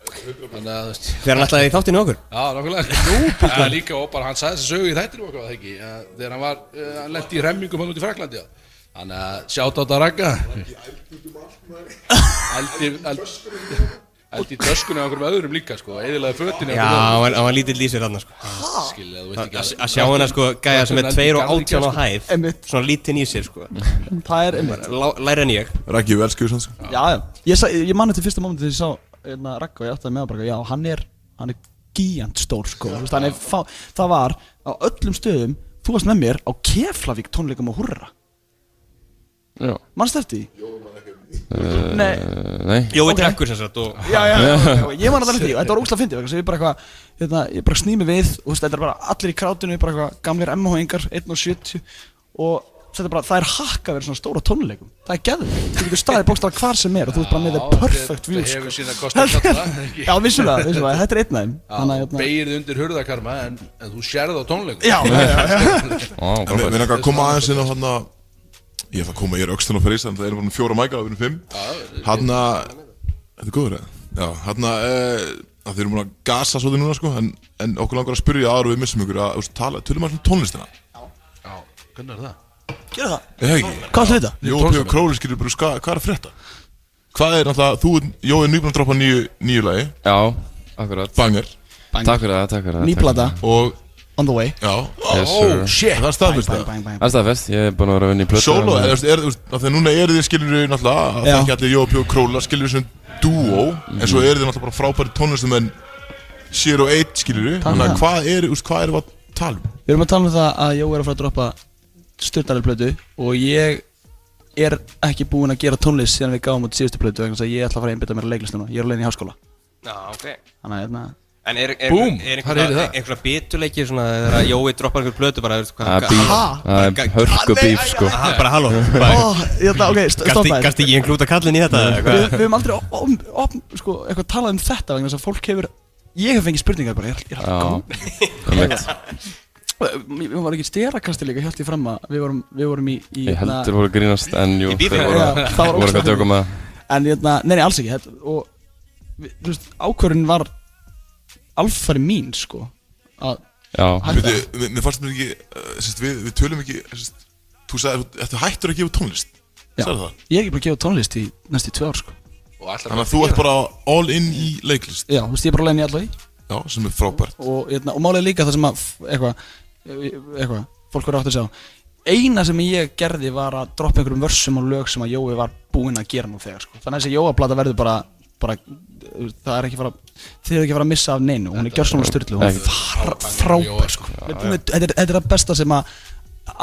Þannig að þú veist
Þegar hann ætlaði í þáttinu okkur.
Já, nákvæmlega, nú búin Líka og bara hann sagði þess að sögu í þættinu okkur var það ekki að Þegar hann var, uh, hann lendi í remmingum hann út í Fraklandi já. Þannig að sjáta á þetta Ragga Eldi, eldi Eldi í töskunni á einhverjum öðrum líka sko Eðilaði fötinu
Já, hann hann var lítill í sér þarna sko.
Ah, Skilja, þú veit
Að
ekki
að sjá hann sko, gæja sem er 2 og 18 á hæð,
Einmitt.
svona lítinn í sér sko.
Það er einmitt
Bara lá- Læri en ég.
Raggi velskjöðu sann sko.
Já, já Ég, sa, ég man þetta í fyrsta mómenti þegar ég sá hérna, Ragga og ég áttaði með að bara Já, hann er, hann er gíjant stór sko Þú veist, hann er, fá, Það var á öllum stöðum Þú varst með mér á Keflavík tónleikum á Hurra
Já.
Manst eftir því?
Eh,
Nei.
Nei
Jói Ok. drekkur sem sagt og- Já, já, já, já, ég man alltaf eftir því og þetta var ógslag fyndið vegna þess að ég bara eitthvað, hérna, ég bara sný mig við og þú veist, þetta er bara allir í krátinu, bara eitthvað gamlir MH-ingar, 1 og 70 og þetta er bara, það er hakka verið svona stóra tónleikum, það er geður, þú getur staðið bókstara hvar sem er og þú ert bara með
Já,
það perfect view,
þetta
sko.
hefur sína kosti og galla, ekki?
Já, vissulega, vissulega, þetta er einn af þeim, þannig að,
Þú
hérna,
beigir þið undir hurðakarma en, en þú sérð á tónleikum
Já, já,
En við erum að koma aðeins inn á hann að Ég ætla að koma, ég er aukstan og freysa en það erum bara með fjóra mæka og við erum fimm Hann að Þetta er góður eða? Já, hann að Það þeir eru múin að gasa svo núna sko en, en okkur langar að spyrja ára við missum ykkur að þú veist, tala, tölum aðeins um tónlistina
Hvernig er það?
Gerðu það?
Er það ekki?
Hvað ætlum við þetta?
Jó, P.O. Króli skilur bara, ska- hvað er að frétta? Hvað er náttúrulega, þú, Jó er nýbúin að droppa nýju, nýju lagi
Já, akkurat
Banger
Banger. Takk fyrir það, takk fyrir það,
Ný
takk fyrir
plata.
Og
on the way
Já
Yes, sir.
Það er staðfest
Bang,
það
bang, bang,
Það er staðfest, ég er búin að vera að vinna í plötu
Solo,
þannig
eða þú
að-
veist, er, þú veist, af því að núna eru þið skilur við náttúrulega að
Já.
þekkja allir Jópi og Króla skilur við sem duo en svo eru þið náttúrulega bara frábæri tónlistum en Zero Eight skilur við
Takk
þannig
fyrir.
að hvað er, þú veist, hvað erum við að tala um?
Við erum að tala um það að Jó er að fara að droppa styrtarlega plötu og ég er ekki búinn að gera tónlist síðan við gáum út síðustu plötu vegna þess að ég ætla að fara að einbytta mér að leiklist núna, ég er á leiðin í háskóla
Já, ok.
Þannig að hérna
En er, er,
Búm, þar er
er einhverja,
það.
einhverja bituleiki svona þegar að Jói droppar einhver plötu bara veist,
Það er bíf, það er hörku bíf sko
Aha, bara halló
Ó, hérna, ok, st-
Gast-
stoppaðu.
gast ekki einn klúta kallinn í þetta, eða
Við,
hvað?
við höfum aldrei op, op, op, sko, eitthvað talað um þetta vegna þess að fólk hefur Ég hef fengið spurningar bara, ég er- ég er
Já,
alltaf
einmitt.
gaman Við varum ekki styrakasti líka, held ég fram að við vorum, við vorum í, í hérna-
Ég heldur voru að grínast en jú
Í bíl.
þeir
Já,
voru
það var
voru
ógeðslega
að dögum að
En hérna, nei, nei, alls ekki þetta, Og, við- þú veist, ákvörðin var Alfari mín, sko Að hætta.
Veitu, mér- Mér fannst mér ekki, uh, sérst, við, við tölum ekki sérst, Þú sagði, þetta hættur að gefa út tónlist
Já,
Sagði það?
ég er ekki bara að gefa tónlist í næstu tvö ár, sko
Þannig að þú ert bara all in í leiklist
Já, þú veist, ég er bara leiðin í allaveg
Já, sem er frábært
og, hérna, og málið er líka það sem að f- eitthvað, eitthvað, fólk verður átt að sjá eina sem ég gerði var að droppa einhverjum vörsum og lög sem að Jói var búinn að gera nú þegar sko. þannig að þessi Jóa-plata verður bara, bara uh, það er ekki fara þið eru ekki fara að missa af neinu, hún er gjörsamlega styrlu hún er
Ekki.
far- frábær sko.
Já,
Við-
já.
við- þetta er- þetta er það besta sem að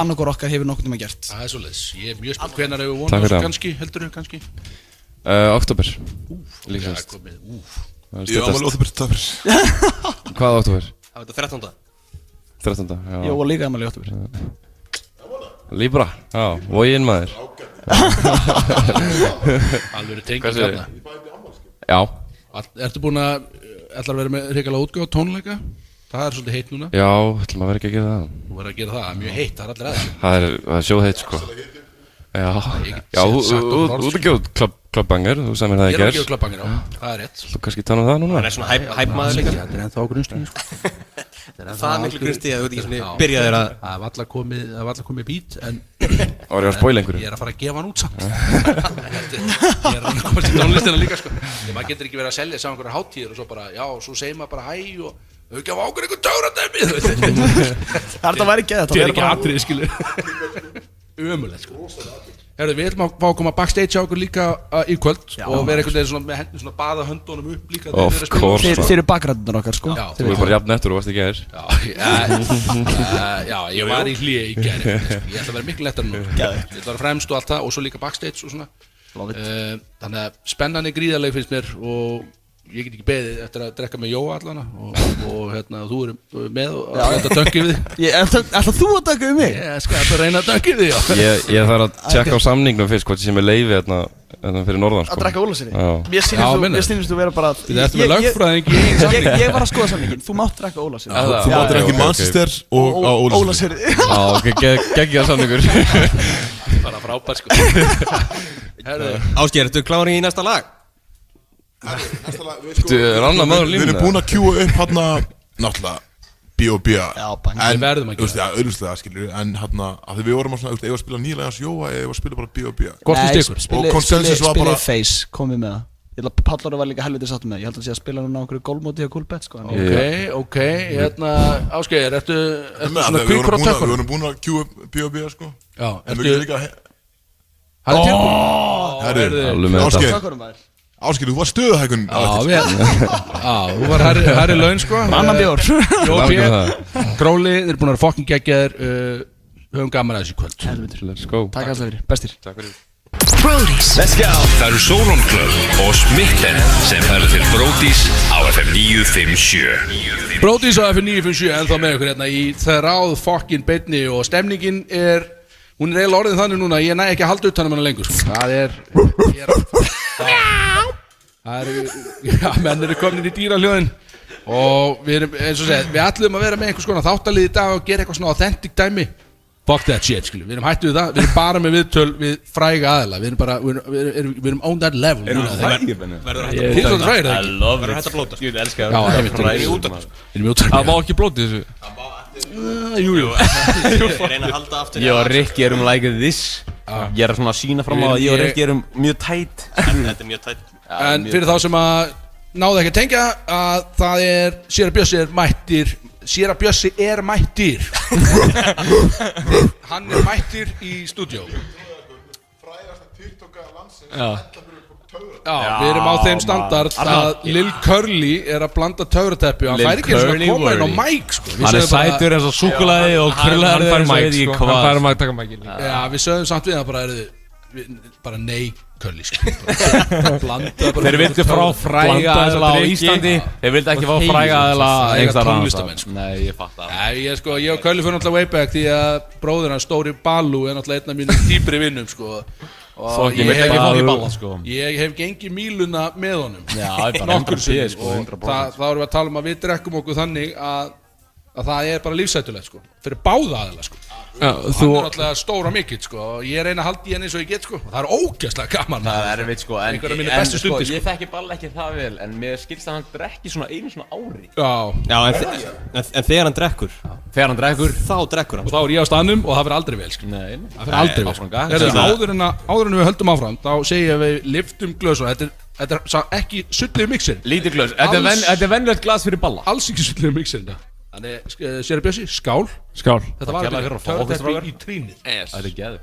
annarkor okkar hefur nokkurn tíma gert
Það er svo leiðis, ég er mjög spennt hvenar hefur
Takk
vonað
fyrir
þessu
það.
kannski, heldur þau kannski
Eh, Oktober
já,
Líkast
komið, úf.
Ég
Það er
var
styttast.
alveg óþabert tapir
Hvað oktober?
Það var þetta 13.
13. já.
Jó, og líka afmæli í október.
Libra, já, vógin maður
Alvöru tenging
Hversu-
þarna.
Já,
All- Ertu búin að, ætlar að vera með reykjala útgáð tónleika? Það er svolítið heitt núna
já, ætlum að vera ekki að gera það
Þú verður að gera það, það er mjög heitt, það er allir aðeins
Það er, það er sjóðheit sko Já, já, þú
sagt
þú-
það
þú ert að gefa klubbangar, þú sagði mér það
Ég
í
er að
gerð
gefa út klappangar á,
Mm.
það er rétt
Þú kannski
um
tannum það núna
Það er svona hæp- hæpmaður líka.
Þetta er ennþá grunnstíð sko. Þetta er ennþá
Það er miklu
algjör-
grunnstíð að þú ert ekki svona
Já.
byrjaðir að-
Það var alltaf komið, það var alltaf komið bít en
Var ég að spoila einhverju?
Ég er að fara að gefa hann út samt Ég er að reyna að komast í tónlistina líka sko Þegar maður getur ekki verið að selja saman einhverja hátíðir og svo bara, já, svo segir maður bara hæ og Þau gaf ákveð einhver töfradæmi þú veist.
Það er þetta væri geðvægt, það
Þetta
væri
er ekki
bara-
atrið, skilu Ömulegt sko Herru, við ætlum að fá að koma backstage á okkur líka uh, í kvöld
Já,
og
maður.
vera einhvern veginn svona með hendur svona baða höndunum upp líka
Of
þegar við erum að spila.
course,
Þeir, þeir eru bakræðunar okkar sko
Já.
Þú er bara jafn eftir og varst ekki aðeins
Já, já, ég var í hlýja í gerð Ég ætla að vera miklu lettar nú Ég
Geðveikt.
ætla að vera fremst og allt það og svo líka backstage og svona uh, Þannig að spennan er gríðarleg finnst mér og ég get ekki beðið eftir að drekka með Jóa allana og, og hérna, þú eru með og
Já.
ætla að döngi við þig
Ég- ætla- Ætla þú að taka um mig?
Ég skal alltaf reyna að döngi við þig já.
Ég, ég þarf að tjekka á samningnum fyrst hvort sem er leiði hérna, hérna fyrir norðan sko.
Að drekka ólusinni? Mér
Já
sýnist
Já,
þú,
meinar.
mér sýnist þú vera bara
Bíddu, ertu með
Ég- ég-
lögfræðing í
ég-
samninginn?
Ég var að skoða samningin, þú mátt drekka ólusinni
Já, það-
Þú
Já,
máttir
já,
ekki
ok, ok.
Manchester og á
Ó-
Ólafsfirði.
Ólafsfirði.
Já, ok, gegg- geggjaður samningur
Bara frábær sko Herðu,
Ásgeir, ertu klári í næsta lag?
Næsta lag, við
Þú er annað maður á
Við
línunni,
erum búin að kjúa upp hérna Náttúrulega B.O.B. Við
Við verðum að gera
það Auðvitað skilur við, En hérna af því Við vorum að svona Eða að spila nýlega hans Jóa Eða að spila bara B.O.B.
Nei,
Og
spili-
konsensus
spili-
var bara
Spilið face, komið með það Ég held að Pallara var líka helviti satt með Ég held að sé að spila núna á okkur gólmóti og gólbett sko en-
Ok, ok, hérna, Ásgeir, ertu, ertu
Nei,
svona
við
kvíkur á
vorum búin að- Við
tökunum?
vorum búin að kjúa upp B.O.B. sko
Já,
En
ertu-
við getum líka
Hann
Alveg
er tilbúinn.
Herru
með
Ásgeir
þetta.
Ásgeir, þú var stöðahækun
Já, við Já, þú var herri, herri laun sko
Annan bjór.
Jó,
Langar
bjór
það.
Gróli, þeir eru búin að vera fokkin geggjaðir uh, Höfum gaman að þessu í kvöld
Let's go
Takk allir fyrir, bestir
Takk fyrir
Brody's Let's go Það eru Solon Club og Smitten sem færðu til Brody's á FM 957
Brótis á F957 ennþá með ykkur hérna í þráð fokkin beinni og stemningin er Hún er eiginlega orðin þannig núna að ég næ ekki að halda utanum hana lengur sko. Það er, ég er Það eru, já, menn eru komin í dýraljóðin og við erum, eins og segja, við ætlum að vera með einhvers konar þáttalið í dag og gera eitthvað svona authentic dæmi Fuck that shit, skilju, við erum hættu við það, við erum bara með viðtöl við fræga aðila, við erum bara, við erum, við erum, við erum on that level
Erum
núna.
við frægir, Benni?
Verður
Ég-
hættu að fræga
I
það ekki?
love it.
hættu að blóta?
Ég elska
Já,
það.
einmitt.
Frægir.
Við erum í útvarpi. Við erum í útvarpi.
Það má ekki blóti þessu
Uh, Jú, jú,
Ég reyna að halda aftur
hérna.
Ég
af-
og Rikki erum
like this Ég er svona að sína fram á að ég og Rikki erum mjög tætt Þetta er mjög tætt
En fyrir þá sem að náðu ekki að tengja að það er Sýra Bjössi er mættir Sýra Bjössi er mættir Hann er mættir í stúdjó Já. Já, við erum á þeim standard
maður.
að Lil Curly er að blanda töfrateppi og hann
Lil
færi ekki einu
Curly
sinni að koma inn á
Wurly.
mæk sko. Við
Hann er
sögðum bara-
sætur eins og súkkulaði og krullaður
Hann- hann fær
eins og
mic,
veit ég
sko.
hvað.
Hann fær
mic, taka mækinn.
Já, við sögum samt við það bara, er, við, bara nei Curly sko. Bara blanda bara-
Þeir vildu frá fræga
Blanda
aðla á
drykki.
Íslandi Þeir vildu ekki fá
Og
fræga
þeir-
aðla
fræga
einhverstað
tónlistamenn, sko.
Nei, ég fatt það
Nei, ég sko, ég og Kölli fyrir náttúrulega way back því að bróðir hans, Stóri Balú, er náttúrulega einn af mínum dýpri vinnum, sko. Og
Fucking
ég hef-
Balú. Balla, sko.
Ég hef gengið míluna með honum.
Já, ég bara 100%
Nokkur sinnum,
sko,
og
100%.
það, þá erum við að tala um að við drekkum okkur þannig að, að það er bara lífsætulegt, sko. Fyrir báða aðeins, sko.
Já,
Og
þú-
Hann er náttúrulega stóra mikill, sko, og ég reyna að halda í henni eins og ég get, sko. Og það er ógeðslega gaman.
Það er erfitt, sko, en-
Einhverja mínu
en,
bestu
sko,
stundir, sko.
ég þekki Balla ekki það vel En mér skilst að hann drekki svona einu svona ári
Já,
Já, en
En, en þegar hann drekkur
Þegar hann drekkur
Þá drekkur hann
og þá er ég á staðnum og það verður aldrei vel sko.
Nei,
það fyrir aldrei vel sko. Herðu, áður, en að, áður en við höldum áfram þá segja við liftum glösun þetta er, þetta er sa, ekki sullið mixin
Lítið glös Þetta er ven- þetta er venjulegt glas fyrir Balla
alls ekki sullið mixin þannig sér Bjössi skál
Skál.
þetta var
Takk kærlega fyrir að fá okkur, strákar.
í trínið
Yes. Þetta er geðu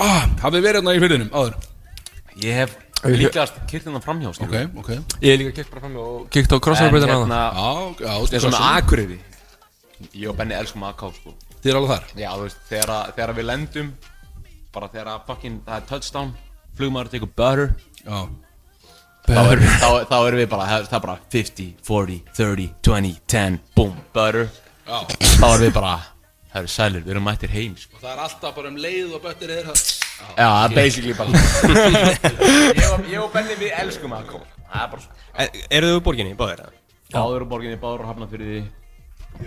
ah, hafið verið hérna í fyrirnum áður
Ég hef líkast kyrt hennan framhjá
ok ok
Ég hef líka kikkt bara fram og kíkt á crossoverbreytina
En hérna
Já, já,
Þetta er svona
crossover.
akureyri Ég og Benni elskum AK sko
þið er alveg þar
Já þú veist Þegar, að- þegar við lendum Bara þegar að fucking Það er touchdown Flugmaður tekur butter
Já
Þá erum, þá, þá erum við bara, það það er bara 50, 40, 30, 20, 10, boom, butter
Já.
Þá erum við bara, það eru sælir, við erum mættir heim sko.
það er alltaf bara um leið og böttir er það
Já, það er basically bara Ég og- Ég og Benni við elskum að koma Það er bara svo
Eru þau úr borginni, báðir það?
Báður á borginni, báður á hafnafyrði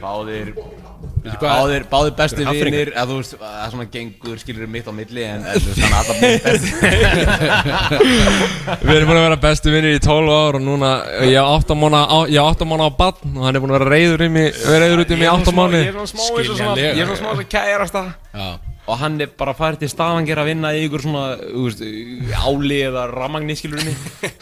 Báðir
hvað?
Báðir, báðir bestu
Eru Hafnfirðingar?
vinir eða þú veist, það er svona gengur skilur mitt á milli en en þú veist, þannig að það er alltaf mitt
Við erum búin að vera bestu vinnir í 12 ár og núna ég á 8 mánu á, ég á 8 mánu á badn og hann er búin að vera reyður, í mig, reyður út um í mig í 8 mánu
Ég er svona smá eins og svona Ég er svona smá eins og kærasta Og hann er bara færið til Stavanger að vinna í ykkur svona þú veist, áli eða ramagni skilur mig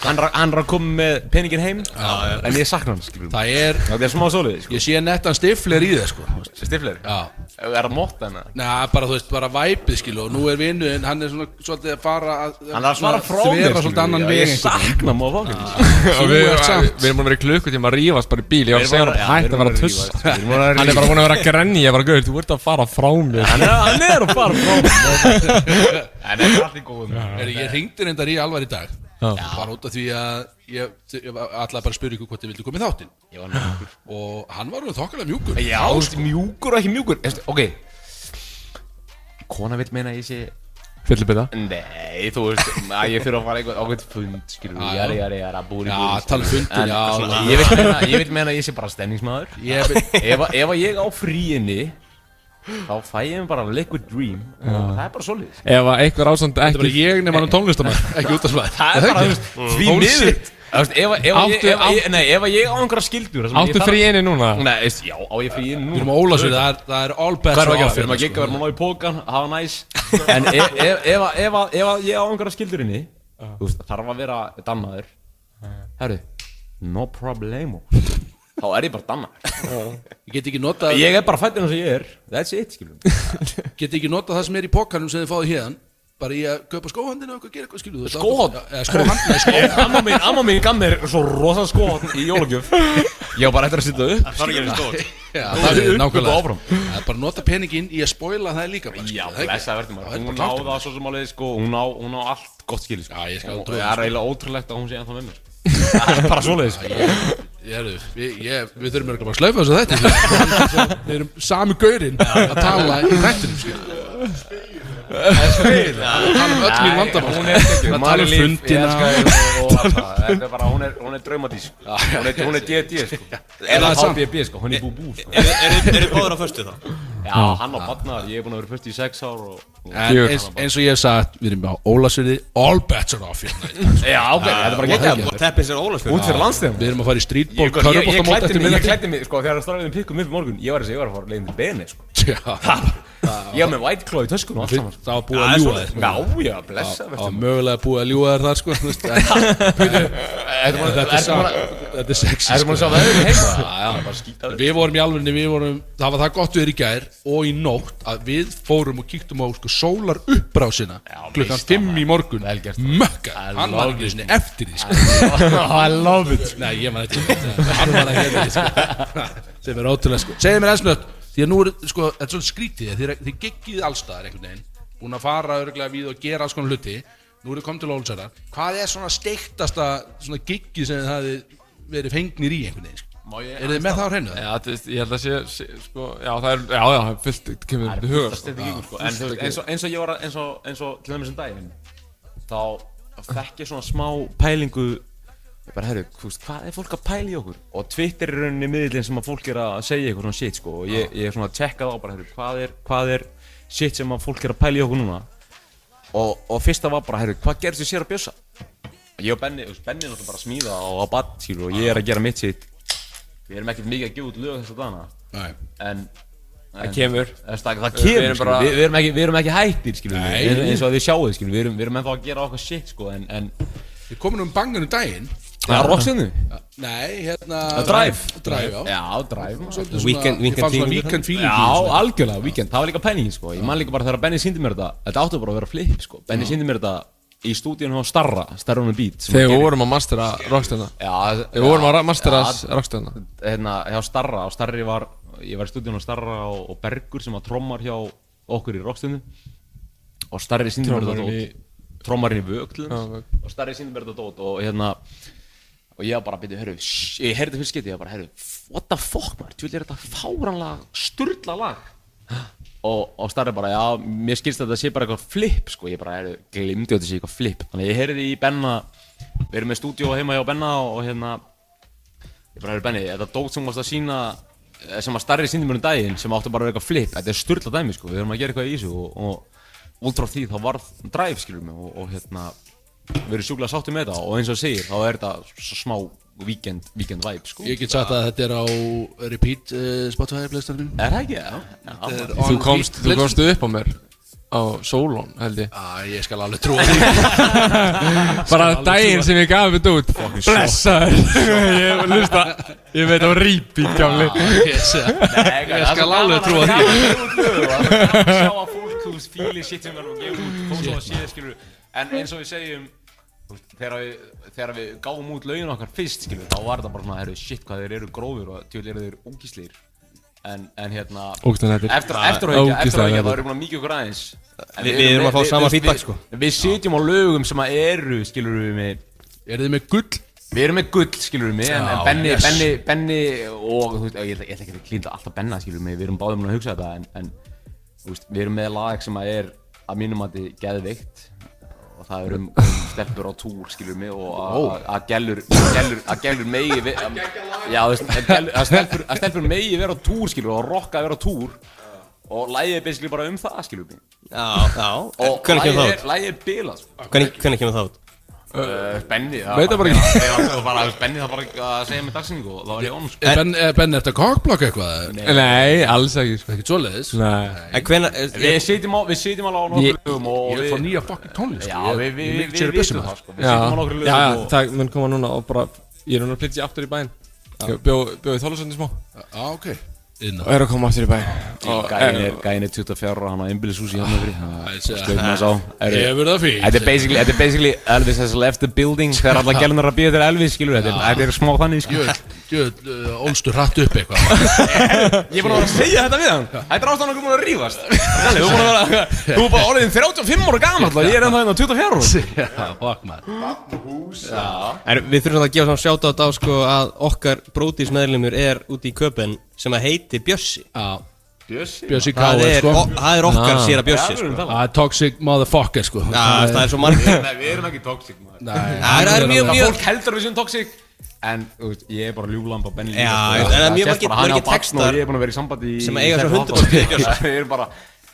hann, er að- hann er að koma með peningin heim já. En ég sakna hann skilur mig
það er
Það er smá svolítið sko
ég sé nettan stifler í það sko
Stifler?
já
Er það mótt hana?
Næ, bara þú veist, bara væpið skilu og nú er vinnuðinn, hann er svona svolítið að fara að
Hann er að svara frá
mér
mér,
Þvera svolítið annan
skilurðu, já,
veg
ég sakna móð fólk,
Og Við
ert samt.
við erum búin að vera í klukkutíma að rífast bara í bíl Ég var að segja hann
Já,
að hætta að
við erum
vera að
búin að
tussa
rífast, við erum búin að
Hann er bara búin að vera
rífast.
að grenja Ég var að gauður, þú ert að fara frá mér
Hann er- hann er að fara frá mér.
En
er allt í góðu.
Er, ég ringdi reyndar í alvar í dag
Já.
Bara út af því að ég, ég allar bara að spyrja ykkur hvort þið vildu komið þáttinn Ég var mjúkur Og hann var alveg þokkalega mjúkur
Já, þú veist, mjúkur og ekki mjúkur Eftir, Ok Kona vill meina að ég sé
Fyllibita
Nei, þú veist að ég þurfa að fara eitthvað ákveðt fund skilur
Já,
við,
já.
jari, jari, jari, að búri,
Já,
búri
tala um fundinn,
En
já,
svona,
já.
ég, vil meina, ég vil meina að ég sé bara stemningsmaður
Ég vil-
ef, að- ef að ég á fríinni þá fæ ég mér bara liquid dream og það er bara svolítið
Ef að einhver ásand ekki
Þetta er bara ég nema hann er
tónlistamæð
Ekki Mm. út af svæð
Það er bara, þú veist, því miður Þú veist, ef að- ef að ég-
Áttu-
ef að ég- Nei, ef að ég á einhverja skildur það sem ég
Áttu
þarf-
frí inni núna?
Nei, veist, já, á ég frí inni núna
Við erum á Ólafsfirði, það er- það er all bets
Hvað er að gera?
á
Við erum
Ólafsfirði,
að
sko.
gigga, við erum að ná í pókan, hafa næs En ef- ef ef að- ef að- ef að ég á einhverja skildur inni
Ah.
Þú veist, þarf að vera dannaður Herru, no problemo Þá er ég bara dannaður
Ég get ekki notað
Ég er bara fættin eins og ég er That's it, skilur
Get ekki notað það sem er í pokanum sem þið fáðu hérðan Bara í að kaupa skóhandinu og eitthvað gera eitthvað skilu
Skóhorn?
Skóhandinu, skóhandinu
Amma mín, amma mín gaf mér svo rosa skóhorn í jólugjöf Ég var bara eftir að sitja upp
Það þarf ekki að vera stórt. Já,
Góð
það er
upp, upp
nákvæmlega.
og áfram.
Það er bara að nota peninginn í að spoila það líka bara,
Já,
skilur, það er ekki-
blessa verður
Það
maður
er
Hún
bara
á
klárt.
það svo sem alveg, sko Hún á, hún á allt gott skil, sko Já, ég
skal trúa
trúið
því,
Það
sko.
er eiginlega ótrúlegt að hún sé ennþá með mér sko. Það er bara svoleiðis
Já, ég- ég er- við- ég- Við þurfum örugglega bara að slaufa þessu þetta Við við erum sami gaurinn að tala í þættinum sko. skilur.
Spil
Það tala um öll mín vandamál
Hún er ekki
Það tala um fundina um
Þetta er bara, hún er, hún er draumadís sko. Hún er, hún er DD, sko
Er
Eða
það samt?
HBB, sko, hún er búbú, sko
Er- er- er- eru báðir á föstu þá?
Já, hann á badnar, ég er búin að vera föstu í sex ár og
En eins, eins og ég hef sagt, við erum á Ólasviði All bets are off hérna í dag, sko.
Já, ok, þetta er bara geggjað.
geggjað.
What happens in Ólafsfirði? Út fyrir landsliðum.
Við erum að fara í
Ég,
streetball,
ég, ég, ég
körfbóltamót
klætti
eftir
mig, ég
miðnætti
klætti mig, sko, þegar stráðum pikkum upp í morgun, ég var að segja, ég var að fara leiðin til Bene, sko.
Já.
Ég var með white claw í töskunum og allt saman.
sko. Það var búið að ljúa þér
Já, já, blessa,
Það var mögulega búið að ljúa þér þar sko þú veist, en-
ertu búin að-
Þetta
ertu
er
búin
sa-
að-
þetta er sexy sko.
ertu búin að sjá veðrið heima?
Já, já,
bara skýta
Við vorum í alvegni, við vorum Það var það gott við erum í gær og í nótt að við fórum og kíktum á sko sólar uppbrásina klukkan 5 í morgun Mökka, hann var ekki sinni eftir því sko.
I love it
Nei, ég maður þetta Hann var ekki eftir því sko. sem er ótrúlega sko segðu mér aðsnött því að nú er sko þetta er svolítið skrítið því að þið geggið allstaðar einhvern veginn búin að fara örgulega við og gera alls konar hluti nú eru komið til Ólsæðar hvað er svona steiktasta svona geggið sem þið hafi verið fengnir í einhvern veginn sko? eru þið með það á hreinu það?
Já, þú veist, ég held að sé, sé sko, já, það er, já, já, það er fullt, það kemur upp í huga
Þetta er ekki, sko, en þú veist, eins og- eins og ég var að, eins og, eins og til dæmis um daginn, þá þekk ég svona smá pælingu, ég bara, herru, þú veist, hvað er fólk að pæla í okkur? Og Twitter er í rauninni miðlinn sem að fólk er að segja eitthvað svona shit, sko, og ég, ég er svona að checka það á bara, herru, hvað er, hvað er shit sem að fólk er að pæla í okkur núna? Og, og fyrsta var bara, herru, hvað gerðist þið sér að bjösa? Ég og Benni, þú veist, Benni er náttúrulega bara að smíða og að badd, skilur, og ég er að gera mitt shit. Við erum ekkert mikið að gefa út lög þess að dana.
Nei.
En,
Það
en-
kemur.
Það, það, það
Við- við
kemur,
erum
við,
bara-
við, við, erum ekki, við erum ekki hættir, skilur við,
Nei.
við erum- eins og að þið sjáuð, skilur við, við erum, við erum ennþá að gera okkar shit, sko, en, en
Við komum um bangan um daginn
Já, rockstjörnu?
Nei, hérna
Að Drive.
Drive, já
Já, Drive
Svolítið svona- ég fann svona weekend feeling
Já,
í þessu.
algjörlega, weekend, það var líka penningin, sko, ég man líka bara þegar Benny síndi mér þetta, þetta áttu bara að vera flip, sko, Benny síndi mér þetta í stúdíunum á Starra, Starrunum Beat sem
Þegar
hann
við
gerir.
vorum að mastera rockstjörna
Já,
Við vorum að
já,
ra- mastera
já,
rockstjörna
Hérna, hjá Starra, á Starri var, ég var í stúdíunum á Starra og, og Bergur sem var trommar hjá okkur í rockstjörnu og Starri síndi mér
Trommarinn
þetta
í-
dót Trommarinn í vög til
Já,
þess og Starri síndi mér þetta dót og hérna og ég var bara að byrja, herru, shh, ég heyrði fyrst getið, ég var bara, herru, what the fuck maður, þú vil er þetta fáranlega sturla lag og, og starfið bara, já, mér skilst að þetta sé bara eitthvað flip, sko, ég bara er, glimti að þetta sé eitthvað flip, þannig að ég heyrði í Benna, við erum með stúdíó heima hjá Benna og, og hérna, ég bara heyrði Benni, þetta dót sem varst að sína, sem að starrið síndi mér um daginn, sem átti bara að vera eitthvað flip, þetta er styrla dæmi, sko, við erum að gera eitthvað í þessu og, og út frá því þá varð drive, skilur mig, og, og hérna, við erum sjúklega sáttið með þetta og eins og þú segir, þá er þetta svo smá weekend, weekend vibe, sko.
Ég get sagt að þetta er á repeat uh, Spotify playlistanum
Er það ekki, já?
Þetta er
Þú
on
komst,
repeat
þú komst
playlistan.
upp á mér á Solon held ég
Æ, ég skal alveg trúa því
Bara daginn sem ég gaf þetta út
Fucking shock.
Blessaður Ég lusta Ég veit á rýpi gamli
Ah, ég sé það. Nei,
Ég skal alveg trúa því
Sjá að fólk hús fíli shit sem er að gefa út Fólk svo að sé það skilur En eins og við segjum þú veist, Þegar við, þegar við gáum út laugin okkar fyrst skilur Þá var þetta bara svona, herru shit hvað þeir eru grófur Og tjóðlega eru þeir ógíslir En, en hérna
Ógeðslega nettir.
Eftir, eftir á ekki, eftir á
Ógeðslega
ekki, þá
nettir.
erum við búin að mikið okkur aðeins En
Við- við erum að fá sama
við-
feedback, sko.
Við, við sitjum á lögum sem að eru, skilur við mig
Eru þið með gull?
Við erum með gull, skilur við mig, en, en
Já,
Benni,
yes.
Benni, Benni og, þú veist, ég ætla, ég ætla ekki að klínda alltaf Benna, skilur við mig, við erum báðum búin að hugsa þetta, en, en, þú veist, við erum með lag sem að er, að mínum að þið geðveikt, og það er um, um stelpur á túr, skilur við mig, og að-
Ó.
að- að gellur, gellur, að gellur megi, vi, að, já, þú veist, að, gellur, að, stelpur, að stelpur megi vera á túr, skilur við, og að rokka að vera á túr, og lagið er basically bara um það, skilur við mig.
Já, já. En
Og
hvenær kemur það
lagið
út?
er, lagið er bilað, sko.
Hvernig, hvernig kemur það út?
Uh, Benni, það
Veit það bara ekki.
Ég var bara, Benni það bara að segja með dagsinningu og það var Jón sko.
En-
Eh, Ben, er ben eftir að kokblokka eitthvað?
Nei, alls ekki
sko. Ekkert svoleiðis?
Nei.
En hvena...
Við sitjum á, við sitjum alveg á nokkur
Ég-
lögum og
Ég er að fá nýja fucking tónlist, sko.
Já,
Ég- ég
við, við, við,
mikið
við,
sér
við
bestum
vitum
það,
það
sko.
sko Við
Já,
sitjum á nokkur
já,
lögum og
það mun koma núna og bara Ég er núna að flytja aftur í bæinn Ég bjó- Bjó í Þólasandi smá
Já, ok
Og er að koma aftur í bæinn Og-
Gæin
eh,
er, gæin er 24 ára, hann á hérna einbílis húsi hjá mér
sé það.
Slöfum hans á Eru-
Hefur það fínt.
Þetta er basically, þetta er basically Elvis has left the building Þegar alla gælunar að býja þér Elvis, skilur þetta er-
Já.
Þetta er smá þannig, sko
Jöld, jöld, ólstu hratt upp eitthvað
Ég er búin að vera að segja þetta við hann Þetta er ástæðan okkur búin að rífast Þannig, þú er búin að vera Þú er bara orðin 35 ára gamall og ég er ennþá hérna 24 ára
Já, fuck maður Hús Já
En við þurfum samt að gefa saman sjátátt á sko að okkar brótis meðlumur er úti í köpen sem að heiti Bjössi
Já
Bjössi
Bjössi
Það
Káir,
er-
sko
o- það er okkar
Ah.
Já.
séra Bjössi, sko.
Það er toxic motherfucker, sko
Já, það er svo margir.
Nei, við erum ekki toxic maður
Nei.
Það
Það
er
er
mjög,
alveg-
mjög Fólk heldur að við sem toxic En, þú veist, ég er bara ljúlamb á Benny
Já,
líka, sko.
en það er mjög
sést
margir-
bara, hann
margir
á barn
textar
og Ég er búin að vera í sambandi í
sem að eiga svo sko.
16
100% við Bjössa.
Við erum bara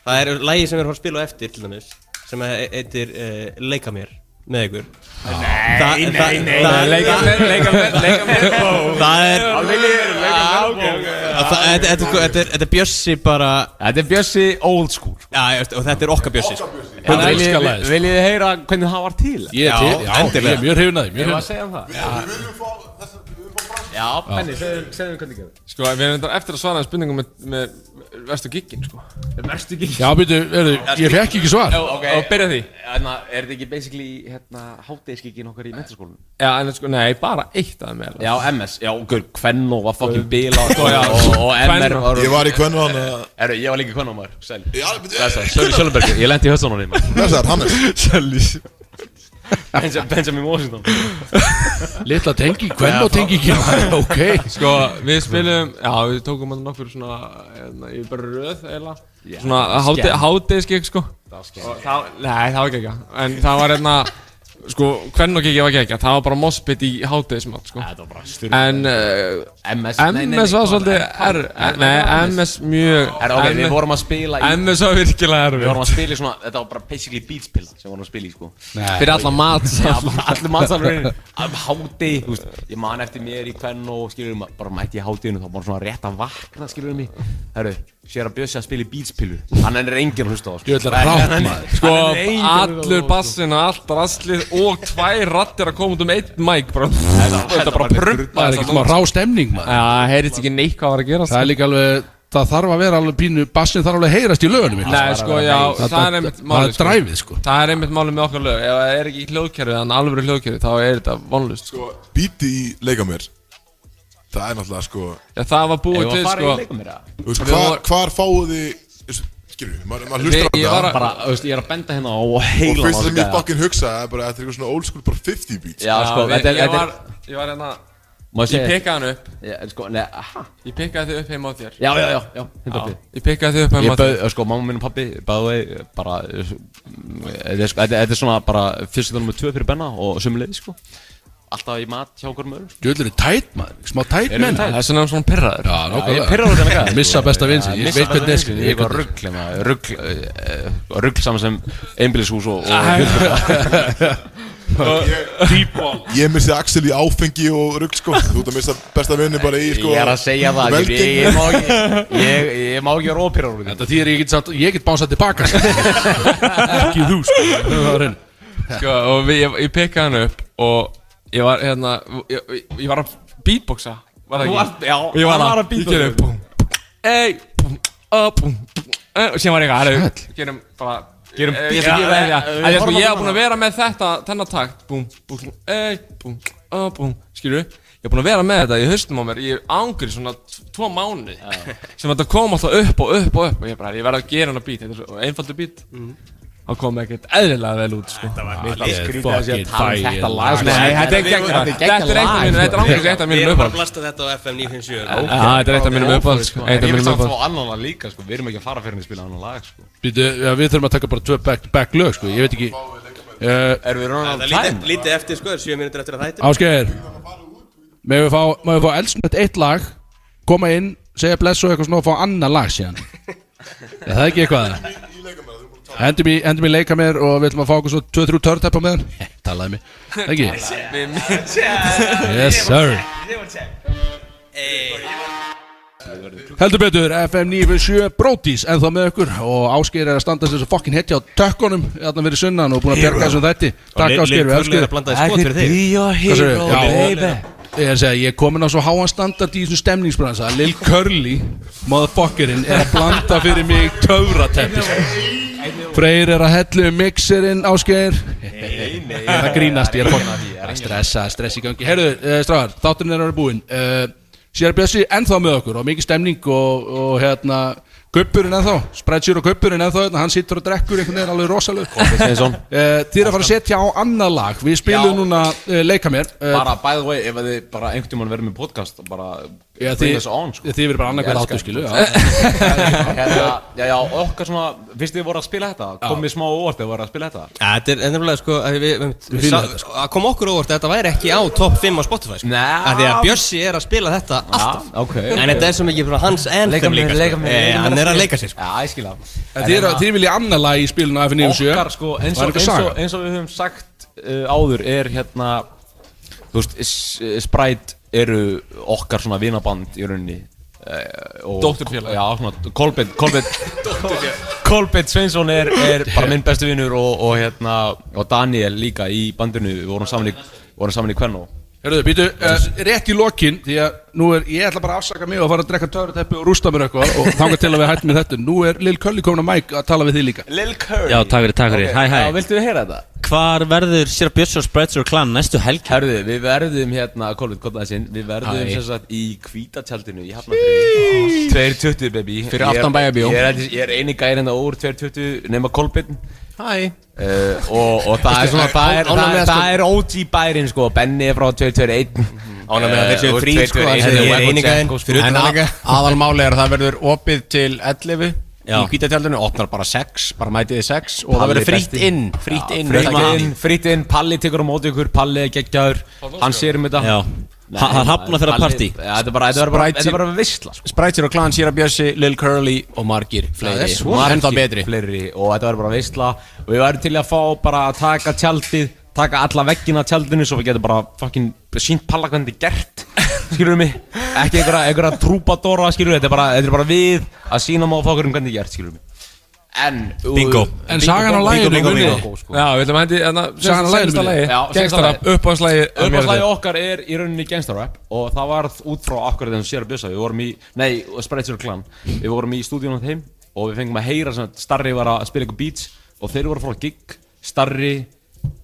Það er lægi sem við erum að spila á eftir til dæmis sem að heitir uh, Leika mér með ykkur
Nei,
Það-
nei,
það-
nei,
það-
nei, leika mér, leika mér, leika mér
Það er
Á, leika mér, leika mér,
að það- þetta- þetta er- Þetta er- þetta er Bjössi bara
Þetta er Bjössi old school
Já, ég veist, og þetta er okkar Bjössi sko.
Hann
Viljið-
elskar lagið, sko. Viljið þið heyra hvernig það var til?
Ég er til, já,
ég er mjög hrifinn af því, mjög
Ég
hrifinn.
var að segja um það Já, Benni, segðu segðu mér hvernig gerðu
Sko, við erum þetta eftir að svara spurningum með, með verstu giggin, sko
Verstu giggin?
Já, byrju, heyrðu, ég fekk ekki svar.
Já, ok
Og byrja því
Þannig að er þetta ekki basically hérna hátdeisgiggin okkar í mentaskólanum?
Já, en sko, nei, bara eitt að með
Já, MS, já, okkur, Kvenno var fucking bila og,
já.
og, og MR
Kvennó. Ég var í Kvennó, hann, eða?
Erðu, ég var líka í Kvenno maður, sæl Blessar, Sölvi Sjölberg, ég lendi í höstunum þín maður
Blessaður, Hannes.
Sölvi
Benja- Benjamin Washington
Litla tenging, Kvennó tengingin, ok.
Sko, við spilum, já, við tókum hann nokkur svona, hérna, í bara röð, eiginlega
Já,
Svona
skemmt.
hátdeisgig, sko
Það var skemmt.
Og það- Nei, það var ekki ekki En það var hérna, sko, hvern og gigi var ekki ekki Það var bara mospit í hádeismat, sko
Það var bara styrk
En, uh,
MS, nei, nei, nei,
MS var
hvað
svolítið
var
er,
það? Hvað-
nei,
hvað var
MS mjög
Er, ok, við
M-
vorum að spila í
MS var virkilega erfið
Við vorum að spila í svona, þetta var bara basically beatspilla sem við vorum að spila í sko
Nei. Fyrir alla matsalinn.
Já, bara alla matsalurinn Af háti, þú veist, ég man eftir mér í kvenn og skilurum að bara mætti ég hátiðinu þá bara svona rétt að vakna skilurum mig Herru, sér að Bjössi að spila í beatspillu Hann er enginn að hlusta á það, sko.
Djöfull er rátt,
Hann-
maður.
Sko,
hann er enginn að hlusta á
allur
það, sko.
bassin og allt rastlið og tvær rattir að koma út um einn mæk bara Þetta bara prumpa
Það er ekki svona rá stemning, maður.
Já, það heyrðist ekki neitt hvað var að sko. gera
Það er líka alveg, það þarf að vera alveg pínu, bassin þarf alveg að heyrast í lögunum ykkur.
Nei, sko, já, það, er einmitt
Það
málið
er dræfið, sko.
Það er einmitt málið með okkar lög Ef það er ekki hljóðkerfið, þannig alvöru hljóðkerfið, þá er þetta vonlust sko.
Bíti í leika mér Það er náttúrulega sko
Já, það var búið Eigum við að til, fara í sko. Leika Mér, eða?
Þú veist,
Við
hvar,
vorum-
hvar fáið þið Skilju, maður maður hlustar á
Ég var
þetta
að-
Bara, þú veist, ég er að benda hérna á
Og fyrst
heilan á
sem ég
þetta.
bakkin hugsaði er bara Þetta er eitthvað svona old school bara 50 beats
Já, sko,
við-
þetta er-
Ég
þetta er-
var, ég var hérna
Má
Ég
ég segja-
pikkaði hann upp
Já, en sko, nei, aha
Ég pikkaði þig upp heima á þér
Já, já, já, já,
Já, Ég pikkaði þig upp
Ég
heima á
bauð,
þér
sko, mamma minn og pabbi bæði bara eh, þetta er sko- þetta þetta er svona bara fyrstu nummer 2 fyrir Benna og sömulegði sko alltaf í mat hjá okkur mögur
Djöfull eru tætt, maður. Smá tætt
Erum við
menn.
tæt?
Það er svona svona pirraður.
Já,
Já,
nákvæmlega.
ég er pirraður út í þennan gæja, sko.
Missa besta vin sinn.
Já,
Ég
missa
veit
besta
hvernig
vin
er,
sinn.
sko.
Ég er bara rugl hérna, rugl eh, eh, rugl saman sem einbílishús og, og
Æ.
fjölskylda.
Deepball Ég misti Axel í áfengi og rugg sko Þú ert að mista besta vinni bara í sko
Ég er að segja það, ég, ég, ég, má, ekki- ég, ég má ekki vera ópyrrar
Þetta þýðir ég get, samt- ég get bánsað tilbaka sko. Ekki þú sko Það var hreinu.
Sko, og við, ég, ég pekkaði hann upp og ég var hérna, ég, ég- ég var að beatboxa, var það
Þú
ekki?
varst- já,
Og ég
hann
var
var
að,
að
ég gerði
beatboxa.
búm, ey, búm, a, búm, búm, eh, og síðan var ég eitthvað, herru, gerum bara,
Gerum-
eh,
ég
já,
ætla ekki
eh,
að veðja.
já, af
Eh,
því að sko,
horfum
ég
á
hef búin að vera með þetta, þennan takt, búm, búm, ey, búm, a, búm, skilur Ég hef búin að vera með þetta í haustum á mér, ég ángri svona t- tvo mánuði sem þetta kom alltaf upp og upp og upp og ég bara, ég verði að gera hana bít, þetta er svo einfaldur bít
Mhm.
Það kom ekkert eðlilega vel út sko Þetta var
alveg skrítið að sé að tala um þetta lag, sko.
Nei, þetta er
Við
gegn
vorum-
Þetta er eitt af
sko.
mínum, þetta er ángríns eitt af mínum
Við erum bara að
uppáhalds
blasta þetta á FM 957
Já, þetta er eitt af mínum uppáhalds sko Eitt af
Ég vil
mínum
samt
uppáhalds
fá annan lag líka sko, við erum ekki að fara fyrir henni að spila annan lag sko
Býtu, já, Við þurfum að taka bara tvö back, back lög sko Ég veit ekki uh,
Erum við
Það er lítið- lítið eftir sko, það er 7 minútur eftir að það heitir
Ásgeir Megum við fá, megum við fá elsnett eitt lag Koma inn, segja bless og eitthvað svona og fá annað lag síðan Er það ekki eitthvað?
um
Hendum í, hendum í leika mér og við ætlum að fá okkur svo 2-3 törtepp á meðan Heh, Talaði mig, Það ekki? Yes sir Heldur betur, FM 957 Brótis en þá með ykkur og Ásgeir er að standa sér svo fokkin hetja á tökkunum þarna fyrir sunnan og búin að bjarga þessum þætti Takk Ásgeir, við elskum þig. Hvað segirðu? Já, Ég er að segja, ég er komin á svo háan standard í þessum stemningsbransa að Lil Curly, motherfuckerinn, er að blanda fyrir mig töfrateppi sko. Freyr er að hellu um mixerinn Ásgeir
Nei, nei.
Það grínast, ég er að
Ég er
fokkin Stressa, stress í gangi Herðu, uh, strafar, þátturinn er að vera búinn uh, Sér Bjössi ennþá með okkur og mikið stemning og, og hérna Kuppurinn ennþá, spreadsjur og kuppurinn ennþá hérna, Hann sittur og drekkur einhvern veginn alveg rosalega uh,
Sveinsson.
Þið er að fara að setja á annað lag Við spilum núna uh, Leika mér
Eh.
uh,
Bara, by the way, ef að þið bara einhvern tímann verður með podcast bara
Já,
bring
þið-
us on, sko
já, þið verður bara annað
Ég
hvert
elska
áttu, skilu, já.
þetta. Hérna, Já, já, okkar svona, fyrst þið voru að spila þetta komið smá á óvart ef voru að spila þetta
Ja, þetta er ennumlega sko að við, við,
Við
við,
fílum
sá,
þetta,
sko, að koma okkur á óvart að þetta væri ekki á top 5 á Spotify sko. að því að Bjössi er að spila þetta alltaf
ok.
eh,
en þetta er svo mikið bara hans
Leika
anthem
mér,
líka
leika
sko.
mér,
Eh,
leika mér.
hann er að leika sér sko.
Já, ég skil það
En eh, Þið, er, þið vilja annað lag í spilinu af FN97
okkar sko eins og, eins og, eins og við höfum sagt
Eh,
uh, áður er hérna þú veist s- eh, Sprite eru okkar svona vinaband í rauninni uh,
Dótturfélag.
já svona Kolbett Kolbett Kolbett Sveinsson er, er bara minn bestu vinnur og, og hérna og Daniel líka í bandinu við vorum saman í vorum saman í Kvenno
Hörruðu, býtu, uh, rétt í lokin Því að nú er, ég ætla bara að afsaka mig og fara að drekka töruteppi og rústa mér eitthvað og þanga til að við hættum með þetta Nú er Lil Curly komin að Mike að tala við þig líka
Lil Curly
Já, takk fyrir, takk fyrir. Hæ, hæ.
Viltu við heyra þetta?
Hvar verður sér Björnsson Spreadsur klan næstu helgi?
Herðu, við verðum hérna, Kolvitt, gott aðeins inn Við verðum
Hæ.
sem sagt í hvítatjaldinu í Hafnarfriði 2.20 baby
Fyrir
Ég er-
aftan bæjarbíó.
Ég er, held ég- ég er eini gæri hérna úr 2.20 nema Kolvitt
Hæ
Uh, og, og það er svona, það er, það, er, það er OG bærin sko, Benni er frá 221
Ána með að þeir séu
Eh, og
frí
221,
sko, þeir
og
eru
Wacko
einingaðinn
Tjekko, sko.
fyrir
En
utan
að-
líka.
Aðalmáli er að það verður opið til 11
Já.
í hvítatjaldinu, opnar bara 6, bara mætiði 6 og það
Palli
verður frýtt
besti.
inn, frýtt
Já,
inn
Frýtt inn, frýtt inn, Palli tekur á móti ykkur, Palli er geggjaður Hann sér um þetta
Já.
Nei,
Ha- hann hafnar þeirra
Palli-
partí.
Já, Þetta er bara, þetta er bara, þetta er bara sko. veistla
Sprætsir og Klan, Sýra Bjössi, Lil Curly og margir fleiri og
margir
ennþá betri
fleiri og þetta verður bara veistla og við verðum til að fá bara að taka tjaldið taka alla veggina af tjaldinu svo við getum bara fucking sínt palla hvernig þetta er gert skilur við mig ekki einhverja, einhverja trúpadóra skilur við þetta er bara, þetta er bara við að sína máfokkur um hvernig þetta er gert skilur við mig en
Bingo.
Bingo,
En sagan á
bingo,
laginu
bingo,
muni-
bingo, sko.
Já, við ætlum að hendi hérna,
Sagan á laginu
senasta
muni.
lagi.
Já, senasta
Gangsta
lagi.
rap, uppáhaldslagið, um mér
Uppáhaldslagið
þetta.
okkar er í rauninni gangsterrap og það varð út frá akkurat þeim sér að bjösa Við vorum í, nei, Spreadshirt Clan Við vorum í stúdíunum þeim og við fengum að heyra sem að Starri var að spila eitthvað beats og þeir voru að fara á gig Starri,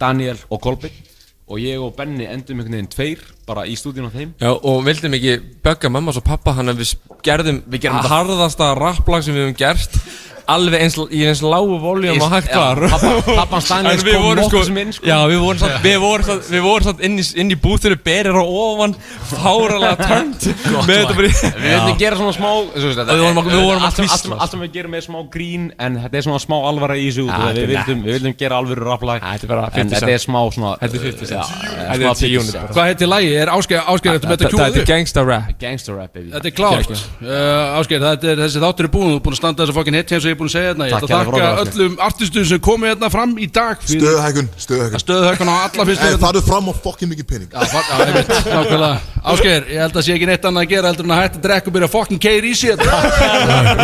Daniel og Kolbeinn og ég og Benni endum einhvern veginn tveir bara í stúdíunum þeim
Já, og vildum ekki bögga mamma og pappa hann að við s- gerðum, við gerðum
þetta-
harðasta rapplag sem við höfum gert alveg eins, í eins lágu voljum
Í-
og hægt
já,
var
pabba- pabban Stanley
En við
kom
vorum
nokkuð sem inn, sko.
Já, við vorum samt, við vorum samt, við vorum samt inn, í, inn í búþinu berir á ofan, fáralega törnt
Gott
með þetta
lag.
bara í-
Við vildum gera svona smá svo,
Og við vorum að- við vorum að
eh, allt sem- allt
tvísla,
sem- Allt sem við gerum er smá grín En þetta er svona smá alvara í þessu út
Ja,
og
þetta
Við
er
vildum, við vildum gera alvöru raflag En
bara 50
þetta er
cent.
smá svona
Þetta er 50 cent.
já, eh,
Þetta er tíu unit
Hvað heitir lagi? Er Ásgeir, Ásgeir, ertu með þetta kjúðu?
Þetta er gangsta rap Gangsta rap, baby
Þetta er klárt uh, Ásgeir, þetta er, þessi þáttur er búin Þú er búin að standa þessu fokkin hitt eins og ég er búin að segja hérna Ég
Takk
ætla að
kærlega
þakka
fyrir okkur, Ásgeir.
öllum artistum sem komið hérna fram í dag fyrir-
Stöðuhækun, stöðuhækun
Stöðuhækun á alla fyrstu
Það eru Eh, fram á fokkin mikið pening
Já, fa- já, einmitt, nákvæmlega Ásgeir, ég held að sé ekki neitt annað að gera heldur en að hætta að drekka og byrja að fokkin keir í sér Ég